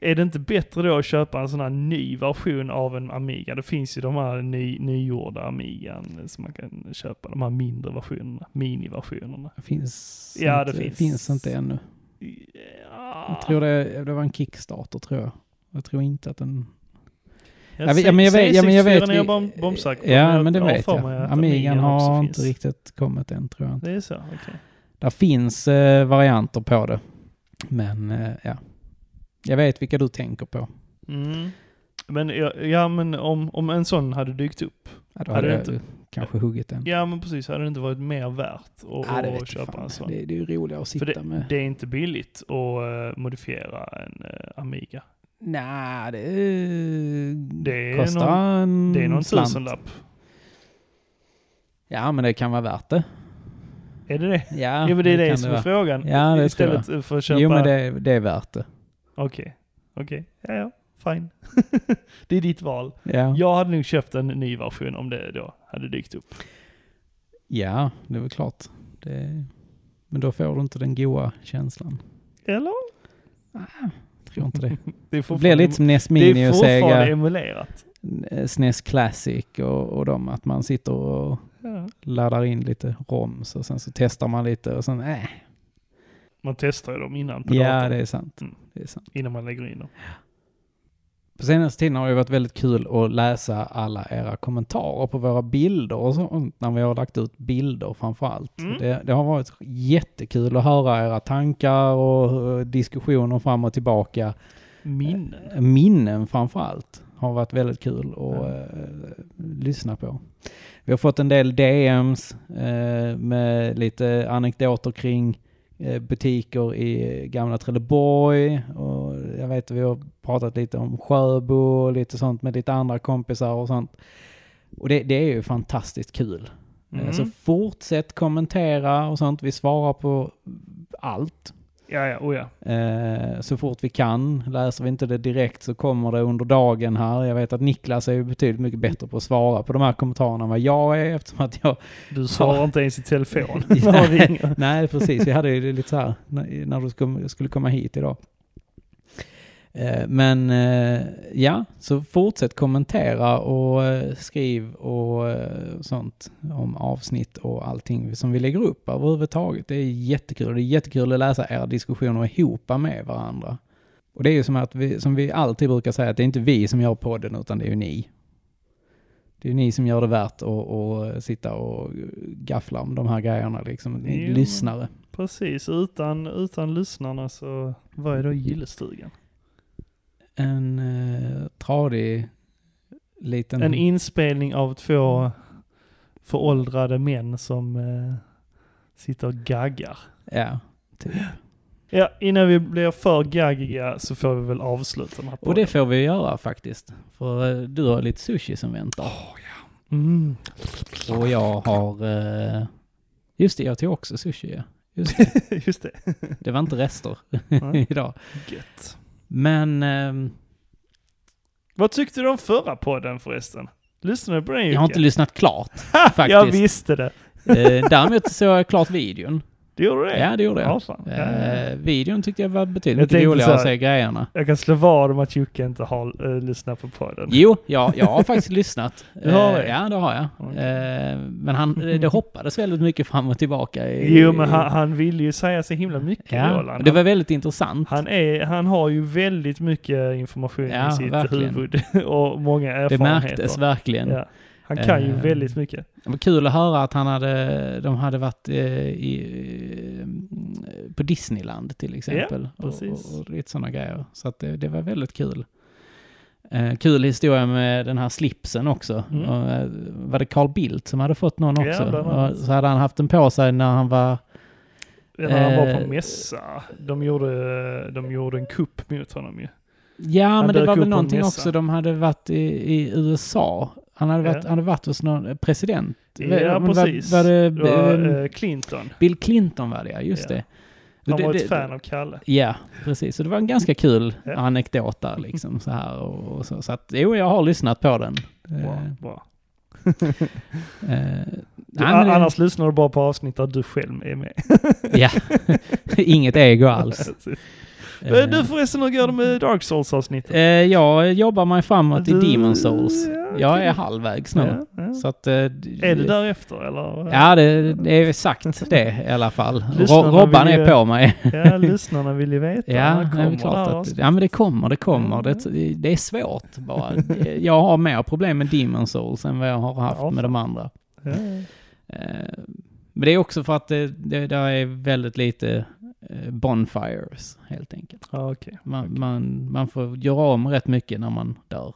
[SPEAKER 2] Är det inte bättre då att köpa en sån här ny version av en Amiga? Det finns ju de här ny, nygjorda Amigan som man kan köpa, de här mindre versionerna, miniversionerna.
[SPEAKER 1] Det finns,
[SPEAKER 2] Ja,
[SPEAKER 1] inte,
[SPEAKER 2] det finns. Ah.
[SPEAKER 1] inte ännu.
[SPEAKER 2] Ja,
[SPEAKER 1] Jag tror det, det var en Kickstarter tror jag. Jag tror inte att den...
[SPEAKER 2] Jag
[SPEAKER 1] Ja, men-
[SPEAKER 2] ser-
[SPEAKER 1] ja, men jag vet-
[SPEAKER 2] ser
[SPEAKER 1] ja, men jag vet-
[SPEAKER 2] 64 när jag bom- bombsäker på,
[SPEAKER 1] Ja,
[SPEAKER 2] jag
[SPEAKER 1] men det
[SPEAKER 2] har
[SPEAKER 1] vet
[SPEAKER 2] för
[SPEAKER 1] jag.
[SPEAKER 2] mig att
[SPEAKER 1] Amigan
[SPEAKER 2] också
[SPEAKER 1] har
[SPEAKER 2] finns.
[SPEAKER 1] inte riktigt kommit än tror jag.
[SPEAKER 2] Det är så, okej.
[SPEAKER 1] Där finns eh, varianter på det. Men eh, ja. Jag vet vilka du tänker på.
[SPEAKER 2] Mm. Men, ja, ja, men om, om en sån hade dykt upp,
[SPEAKER 1] Ja, då
[SPEAKER 2] Hade
[SPEAKER 1] hade
[SPEAKER 2] du
[SPEAKER 1] jag
[SPEAKER 2] inte-
[SPEAKER 1] kanske huggit den.
[SPEAKER 2] ja men precis, hade det inte varit mer värt att,
[SPEAKER 1] Ja, det
[SPEAKER 2] att
[SPEAKER 1] vet jag
[SPEAKER 2] köpa
[SPEAKER 1] fan.
[SPEAKER 2] en sån?
[SPEAKER 1] Det, det är ju roligare att
[SPEAKER 2] För
[SPEAKER 1] sitta
[SPEAKER 2] det,
[SPEAKER 1] med.
[SPEAKER 2] det är inte billigt att eh, modifiera en eh, Amiga.
[SPEAKER 1] Nej, det,
[SPEAKER 2] Det är
[SPEAKER 1] kostar en
[SPEAKER 2] Det är någon
[SPEAKER 1] slant.
[SPEAKER 2] tusenlapp.
[SPEAKER 1] Ja, men det kan vara värt det.
[SPEAKER 2] Är det det?
[SPEAKER 1] Ja,
[SPEAKER 2] Ja, men det är det,
[SPEAKER 1] kan
[SPEAKER 2] som är
[SPEAKER 1] vara.
[SPEAKER 2] frågan.
[SPEAKER 1] Ja, det tror jag.
[SPEAKER 2] Istället för att köpa...
[SPEAKER 1] Jo, men det, det är värt det.
[SPEAKER 2] Okej, okej. Ja, ja. Fine. det är ditt val.
[SPEAKER 1] Ja, ja.
[SPEAKER 2] Jag hade nog köpt en ny version om det då hade dykt upp.
[SPEAKER 1] det är väl klart. Det, men då får du inte den goa känslan.
[SPEAKER 2] Eller?
[SPEAKER 1] Tror inte det.
[SPEAKER 2] Det, är
[SPEAKER 1] Det blir lite som Nes
[SPEAKER 2] Det
[SPEAKER 1] Mini
[SPEAKER 2] är
[SPEAKER 1] och
[SPEAKER 2] fortfarande
[SPEAKER 1] Sega
[SPEAKER 2] emulerat.
[SPEAKER 1] eh, SNES Classic och, och de, att man sitter och
[SPEAKER 2] Ja.
[SPEAKER 1] laddar in lite ROMs och sen så testar man lite och sen äh,
[SPEAKER 2] Man testar ju dem innan på
[SPEAKER 1] Ja,
[SPEAKER 2] datorn,
[SPEAKER 1] det är sant.
[SPEAKER 2] Mm.
[SPEAKER 1] Det är sant.
[SPEAKER 2] innan man lägger in dem.
[SPEAKER 1] På senaste tiden har det varit väldigt kul att läsa alla era kommentarer på våra bilder och sånt, när vi har lagt ut bilder framför allt.
[SPEAKER 2] Mm.
[SPEAKER 1] Det, det har varit jättekul att höra era tankar och eh, diskussioner fram och tillbaka.
[SPEAKER 2] Minnen.
[SPEAKER 1] Minnen framför allt har varit väldigt kul att
[SPEAKER 2] Ja.
[SPEAKER 1] eh, lyssna på. Vi har fått en del DMs eh, med lite anekdoter kring eh, butiker i gamla Trelleborg och jag vet att vi har pratat lite om Sjöbo och lite sånt med lite andra kompisar och sånt. Och det, det är ju fantastiskt kul. Eh,
[SPEAKER 2] Mm.
[SPEAKER 1] Så fortsätt kommentera och sånt. Vi svarar på allt.
[SPEAKER 2] Ja, ja, oh ja.
[SPEAKER 1] Eh, så fort vi kan. Läser vi inte det direkt så kommer det under dagen här. Jag vet att Niklas är ju betydligt mycket bättre på att svara på de här kommentarerna än vad jag är eftersom att jag...
[SPEAKER 2] Du svarar inte ens i telefon.
[SPEAKER 1] Ja.
[SPEAKER 2] När du ringer.
[SPEAKER 1] Nej, precis. Vi hade ju det lite så här när när du skum- skulle komma hit idag. Eh, Men eh, ja, så fortsätt kommentera och eh, skriv och eh, sånt om avsnitt och allting som vi lägger upp överhuvudtaget. Det är jättekul. Det är jättekul att läsa era diskussioner ihop med varandra. Och det är ju som, att vi, som vi alltid brukar säga, att det är inte vi som gör podden, utan det är ju ni. Det är ju ni som gör det värt att, att sitta och gaffla om de här grejerna, liksom. Ni
[SPEAKER 2] Jo.
[SPEAKER 1] lyssnare.
[SPEAKER 2] Precis, utan, utan lyssnarna så, vad är då gillestugan?
[SPEAKER 1] En eh, tradig liten...
[SPEAKER 2] En inspelning av två föråldrade män som eh, sitter och gaggar.
[SPEAKER 1] ja, typ.
[SPEAKER 2] Ja, innan vi blir för gaggiga så får vi väl avsluta den här
[SPEAKER 1] Och det får vi göra faktiskt. För eh, du har lite sushi som väntar.
[SPEAKER 2] mm.
[SPEAKER 1] Och jag har... Eh, just det, jag tog också sushi. Ja. Just det.
[SPEAKER 2] Just det.
[SPEAKER 1] det var inte rester
[SPEAKER 2] Nej.
[SPEAKER 1] idag.
[SPEAKER 2] Gött.
[SPEAKER 1] Men ehm,
[SPEAKER 2] Vad tyckte du om förra podden förresten? Lyssnade du på den
[SPEAKER 1] jag har inte lyssnat klart
[SPEAKER 2] lyssnat Jag
[SPEAKER 1] faktiskt.
[SPEAKER 2] visste det.
[SPEAKER 1] eh, däremot såg jag klart videon.
[SPEAKER 2] Det gjorde det?
[SPEAKER 1] Ja, det gjorde jag.
[SPEAKER 2] Ja, fan. Ja, ja, ja.
[SPEAKER 1] Eh, videon tyckte jag var betydligt
[SPEAKER 2] Jag
[SPEAKER 1] mycket
[SPEAKER 2] tänkte
[SPEAKER 1] roligare
[SPEAKER 2] så
[SPEAKER 1] att
[SPEAKER 2] här-
[SPEAKER 1] se grejerna.
[SPEAKER 2] Jag kan slå vad om att Jocke inte har eh, lyssnat på podden.
[SPEAKER 1] Jo, ja, jag har faktiskt lyssnat.
[SPEAKER 2] Du har
[SPEAKER 1] Eh,
[SPEAKER 2] det?
[SPEAKER 1] Ja, det har jag.
[SPEAKER 2] Okej.
[SPEAKER 1] Eh, Men han, eh, det hoppades väldigt mycket fram och tillbaka. i-
[SPEAKER 2] Jo, men han, han ville ju säga så himla mycket,
[SPEAKER 1] Ja,
[SPEAKER 2] Roland.
[SPEAKER 1] det var väldigt intressant.
[SPEAKER 2] Han, är, han har ju väldigt mycket information
[SPEAKER 1] Ja,
[SPEAKER 2] i sitt
[SPEAKER 1] verkligen.
[SPEAKER 2] huvud och många
[SPEAKER 1] Det
[SPEAKER 2] erfarenheter.
[SPEAKER 1] märktes verkligen.
[SPEAKER 2] Ja. Han kan ju
[SPEAKER 1] Eh,
[SPEAKER 2] väldigt mycket.
[SPEAKER 1] Det var kul att höra att han hade, de hade varit eh, i, eh, på Disneyland till exempel. och,
[SPEAKER 2] precis.
[SPEAKER 1] och, och lite sådana grejer. Så att det, det var väldigt kul. Eh, kul historia med den här slipsen också.
[SPEAKER 2] Mm.
[SPEAKER 1] Och, eh, var det Carl Bildt som hade fått någon
[SPEAKER 2] Ja,
[SPEAKER 1] också?
[SPEAKER 2] bland annat.
[SPEAKER 1] och så hade han haft den på sig när han var...
[SPEAKER 2] När han var
[SPEAKER 1] Eh,
[SPEAKER 2] på mässa. De gjorde, de gjorde en kupp mot honom ju.
[SPEAKER 1] Ja, men det
[SPEAKER 2] dök
[SPEAKER 1] var
[SPEAKER 2] upp på
[SPEAKER 1] väl
[SPEAKER 2] en
[SPEAKER 1] någonting
[SPEAKER 2] mässa.
[SPEAKER 1] också. De hade varit i, i USA. Han hade varit,
[SPEAKER 2] Ja.
[SPEAKER 1] han hade varit hos någon president.
[SPEAKER 2] Ja,
[SPEAKER 1] Men var-
[SPEAKER 2] precis.
[SPEAKER 1] Var, det,
[SPEAKER 2] Det var
[SPEAKER 1] eh,
[SPEAKER 2] eh, Clinton.
[SPEAKER 1] Bill Clinton var det, ja. Just
[SPEAKER 2] Ja.
[SPEAKER 1] det.
[SPEAKER 2] Han
[SPEAKER 1] Det-
[SPEAKER 2] var
[SPEAKER 1] det-
[SPEAKER 2] ett fan av Kalle.
[SPEAKER 1] Ja, precis. Så det var en ganska kul
[SPEAKER 2] Ja.
[SPEAKER 1] anekdot där liksom så här och, och så. Så att jo, jag har lyssnat på den.
[SPEAKER 2] Bra,
[SPEAKER 1] Eh,
[SPEAKER 2] bra.
[SPEAKER 1] eh,
[SPEAKER 2] Du,
[SPEAKER 1] nej, men det-
[SPEAKER 2] annars lyssnar du bara på avsnitt där du själv är med.
[SPEAKER 1] Ja, inget ego alls.
[SPEAKER 2] Eh, Du förresten, hur går det med Dark Souls-avsnittet?
[SPEAKER 1] Eh, jag jobbar mig framåt i
[SPEAKER 2] Du-
[SPEAKER 1] Demon Souls.
[SPEAKER 2] ja,
[SPEAKER 1] Jag
[SPEAKER 2] okej.
[SPEAKER 1] är halvvägs nu.
[SPEAKER 2] Ja, ja.
[SPEAKER 1] Så att, eh, d-
[SPEAKER 2] Är det därefter eller?
[SPEAKER 1] Ja, det, det är sagt det i alla fall.
[SPEAKER 2] Lyssnarna
[SPEAKER 1] Ro- Robban
[SPEAKER 2] vill ju-
[SPEAKER 1] är på mig.
[SPEAKER 2] ja, lyssnarna vill ju veta.
[SPEAKER 1] Ja,
[SPEAKER 2] När
[SPEAKER 1] det är
[SPEAKER 2] kommer
[SPEAKER 1] klart
[SPEAKER 2] det här
[SPEAKER 1] att, ja, men det kommer, det
[SPEAKER 2] Mm.
[SPEAKER 1] kommer. Det, det är svårt bara. Jag har mer problem med Demon Souls än vad jag har haft
[SPEAKER 2] Ja,
[SPEAKER 1] med de andra.
[SPEAKER 2] avsnittet?
[SPEAKER 1] Eh, Men det är också för att det, det, där är väldigt lite eh, bonfires helt enkelt.
[SPEAKER 2] Ja, ja okej.
[SPEAKER 1] Man, man, man får göra om rätt mycket när man dör.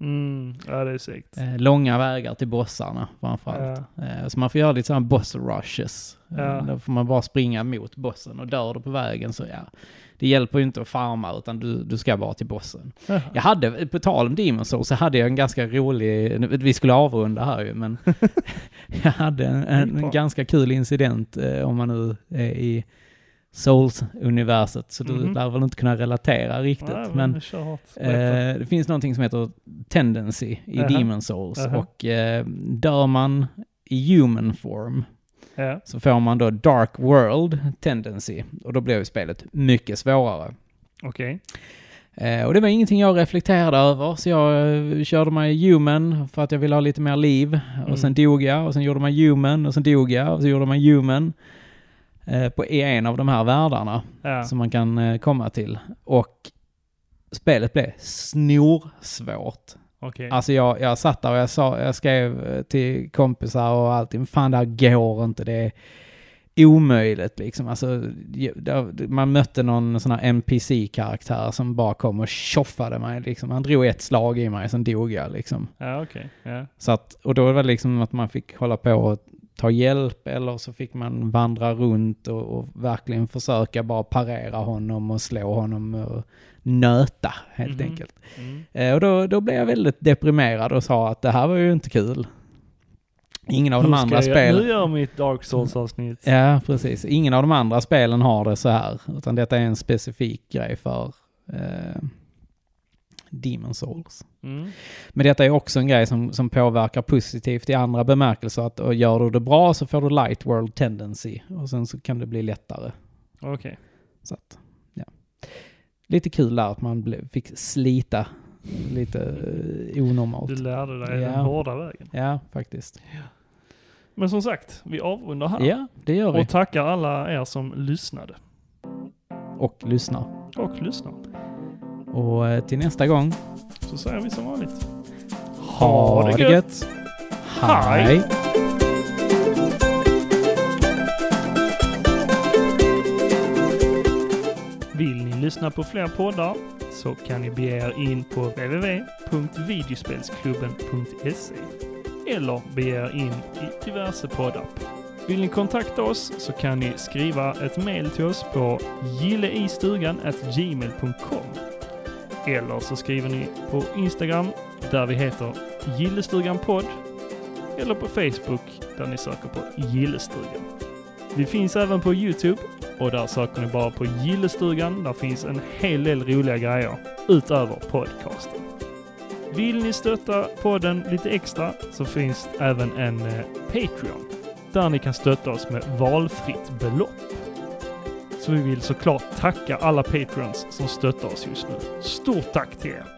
[SPEAKER 2] Mm, ja, det är segt.
[SPEAKER 1] Eh, Långa vägar till bossarna framförallt. Eh, Så man får göra lite sådana boss rushes. Eh,
[SPEAKER 2] Ja.
[SPEAKER 1] Då får man bara springa mot bossen och dör du på vägen så ja, det hjälper ju inte att farma utan du, du ska bara till bossen.
[SPEAKER 2] Ja.
[SPEAKER 1] Jag hade, på tal om Demon Souls, så hade jag en ganska rolig, vi skulle avrunda här ju, men jag hade en, en,
[SPEAKER 2] Bra.
[SPEAKER 1] ganska kul incident eh, om man nu är i Souls-universet, så du
[SPEAKER 2] Mhm.
[SPEAKER 1] lär väl inte kunna relatera riktigt.
[SPEAKER 2] Ja,
[SPEAKER 1] men
[SPEAKER 2] vi kör hårt. Berätta.
[SPEAKER 1] Eh, det finns någonting som heter tendency i
[SPEAKER 2] Jaha.
[SPEAKER 1] Demon Souls
[SPEAKER 2] Jaha.
[SPEAKER 1] och eh, dör man i human form
[SPEAKER 2] ja.
[SPEAKER 1] så får man då dark world tendency och då blir ju spelet mycket svårare.
[SPEAKER 2] Okej.
[SPEAKER 1] Eh, och det var ingenting jag reflekterade över så jag eh, körde mig human för att jag ville ha lite mer liv och
[SPEAKER 2] Mm.
[SPEAKER 1] sen dog jag och sen gjorde man human och sen dog jag och så gjorde man human eh, på i en av de här världarna
[SPEAKER 2] Ja.
[SPEAKER 1] som man kan eh, komma till och spelet blev snorsvårt.
[SPEAKER 2] Okej.
[SPEAKER 1] Alltså jag, jag satt där och jag, sa, jag skrev eh, till kompisar och allting, fan det här går inte, det är omöjligt liksom. Alltså, jag- där- man mötte någon sån här NPC-karaktär som bara kom och tjoffade mig liksom. Han drog ett slag i mig, sen dog jag liksom.
[SPEAKER 2] Ja, okej. Ja.
[SPEAKER 1] Så att, och då var det liksom att man fick hålla på och ta hjälp eller så fick man vandra runt och, och verkligen försöka bara parera honom och slå honom och nöta helt
[SPEAKER 2] Mhm.
[SPEAKER 1] enkelt.
[SPEAKER 2] Mm.
[SPEAKER 1] Eh, Och då, då blev jag väldigt deprimerad och sa att det här var ju inte kul. Ingen av de
[SPEAKER 2] Hur ska
[SPEAKER 1] andra
[SPEAKER 2] jag-
[SPEAKER 1] spelen...
[SPEAKER 2] Nu gör mitt Dark Souls-avsnitt.
[SPEAKER 1] Ja, precis. Ingen av de andra spelen har det så här. Utan detta är en specifik grej för eh, Demon Souls.
[SPEAKER 2] Mm.
[SPEAKER 1] Men detta är också en grej som, som påverkar positivt i andra bemärkelser. Att och gör du det bra så får du light world tendency. Och sen så kan det bli lättare.
[SPEAKER 2] Okej.
[SPEAKER 1] Så att, ja. Lite kul där att man blev, fick slita lite eh, onormalt.
[SPEAKER 2] Du lärde dig
[SPEAKER 1] Ja.
[SPEAKER 2] den hårda vägen.
[SPEAKER 1] Ja, faktiskt.
[SPEAKER 2] Men som sagt, vi avrundar här.
[SPEAKER 1] Ja, det gör vi.
[SPEAKER 2] Och tackar alla er som lyssnade.
[SPEAKER 1] Och lyssnar.
[SPEAKER 2] Och lyssnar.
[SPEAKER 1] Och eh, till nästa gång,
[SPEAKER 2] Så säger vi som vanligt.
[SPEAKER 1] ha det gött!
[SPEAKER 2] Hej.
[SPEAKER 1] Hej.
[SPEAKER 2] Vill ni lyssna på fler poddar så kan ni bege er in på www.videospelsklubben.se eller bege er in i diverse poddar. Vill ni kontakta oss så kan ni skriva ett mejl till oss på gilleistugan.gmail.com eller så skriver ni på Instagram där vi heter Gillestuganpodd eller på Facebook där ni söker på Gillestugan. Vi finns även på Youtube och där söker ni bara på Gillestugan. Där finns en hel del roliga grejer utöver podcasten. Vill ni stötta podden lite extra så finns även en eh, Patreon där ni kan stötta oss med valfritt belopp. Så vi vill såklart tacka alla Patreons som stöttar oss just nu. Stort tack till er!